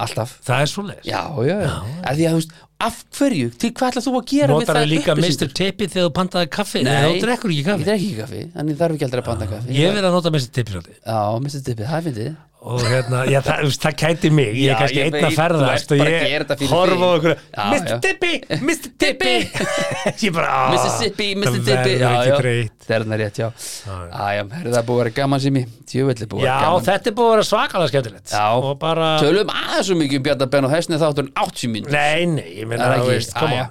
Speaker 4: alltaf,
Speaker 3: það er svoleiðis
Speaker 4: já, já, já. er því að þú veist, af hverju, til hvað ætlar þú að gera við
Speaker 3: Notar
Speaker 4: það
Speaker 3: það líka Mr.
Speaker 4: upplýsingar?
Speaker 3: Tippi þegar þú pantaði kaffi Nei,
Speaker 4: Nei,
Speaker 3: þú drekkur ekki
Speaker 4: Ég
Speaker 3: kaffi
Speaker 4: drekk ekki kaffi, þannig þarf ekki aldrei að banda kaffi
Speaker 3: Ég verð að nota Mr. Tippi svolítið
Speaker 4: Já, Mr. Dippi, það finnst þið
Speaker 3: Og hérna, já, það, þú veist, það kæti mig Ég
Speaker 4: Já,
Speaker 3: er kannski
Speaker 4: ég
Speaker 3: einn að
Speaker 4: veit,
Speaker 3: ferðast
Speaker 4: þú ert
Speaker 3: Og
Speaker 4: bara að gera þetta
Speaker 3: ég
Speaker 4: fyrir
Speaker 3: horfa á
Speaker 4: þig.
Speaker 3: okkur
Speaker 4: Já,
Speaker 3: Mr.
Speaker 4: já.
Speaker 3: Tippi, Mr.
Speaker 4: [LAUGHS]
Speaker 3: Tippi Ég bara, á
Speaker 4: Mississippi, Mississippi
Speaker 3: Ah, Það verður ekki breytt
Speaker 4: Það er hann rétt, já Æja, er það búið að vera gaman sem ég Tjöfell er búið
Speaker 3: Já,
Speaker 4: að vera gaman
Speaker 3: þetta er búið að vera svakalega skemmtilegt
Speaker 4: Já.
Speaker 3: Og bara,
Speaker 4: Tölum aðeins svo mikið um Bjarnar Ben og Hesni þáttur en 80 minn
Speaker 3: nei, nei, ég
Speaker 4: Það
Speaker 3: meina, þú
Speaker 4: er ekki,
Speaker 3: veist, Ah. koma
Speaker 4: æja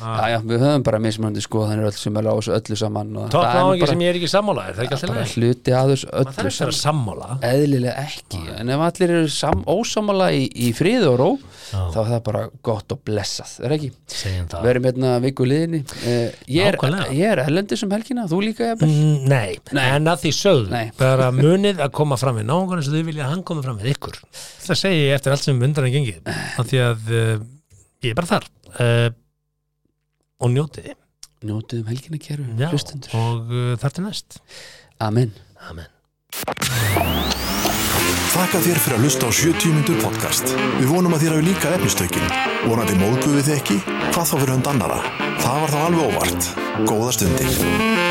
Speaker 4: já, já, við höfum bara mismunandi skoðanir öll sem er á þessu öllu saman og
Speaker 3: Topp
Speaker 4: það er nú
Speaker 3: náðingi
Speaker 4: bara-
Speaker 3: sem ég er ekki sammála er það ekki alltaf
Speaker 4: bara
Speaker 3: leið?
Speaker 4: hluti að þessu
Speaker 3: Það þarf ekki
Speaker 4: öllu
Speaker 3: að vera
Speaker 4: saman.
Speaker 3: sammála
Speaker 4: eðlilega ekki, en ef allir eru sam, ósamála í, í fríð og ró þá er það bara gott og blessað er ekki,
Speaker 3: segjum það
Speaker 4: verum hérna viku liðinni eh, ég, er,
Speaker 3: Nákvæmlega.
Speaker 4: ég er erlendis um helgina, þú líka jafnvel
Speaker 3: Mm, Nei, en að því sögðu
Speaker 4: Nei.
Speaker 3: bara munið að koma fram við náungan eins og þau vilja að hann koma fram við ykkur það segi ég eftir allt sem undan er gengið af því að uh, ég er bara þar uh, og njótiði
Speaker 4: njótið um helgina kæru,
Speaker 3: Já,
Speaker 4: hlustendur
Speaker 3: og uh, þar til næst
Speaker 4: Amen
Speaker 3: Amen
Speaker 2: Þakka þér fyrir að hlusta á 70 mínútur podcast. Við vonum að þér hafi líka efnistökin. Vonandi móðguðu þið ekki? Hvað þá fyrir hund annara? Það var þá alveg óvart. Góða stundir.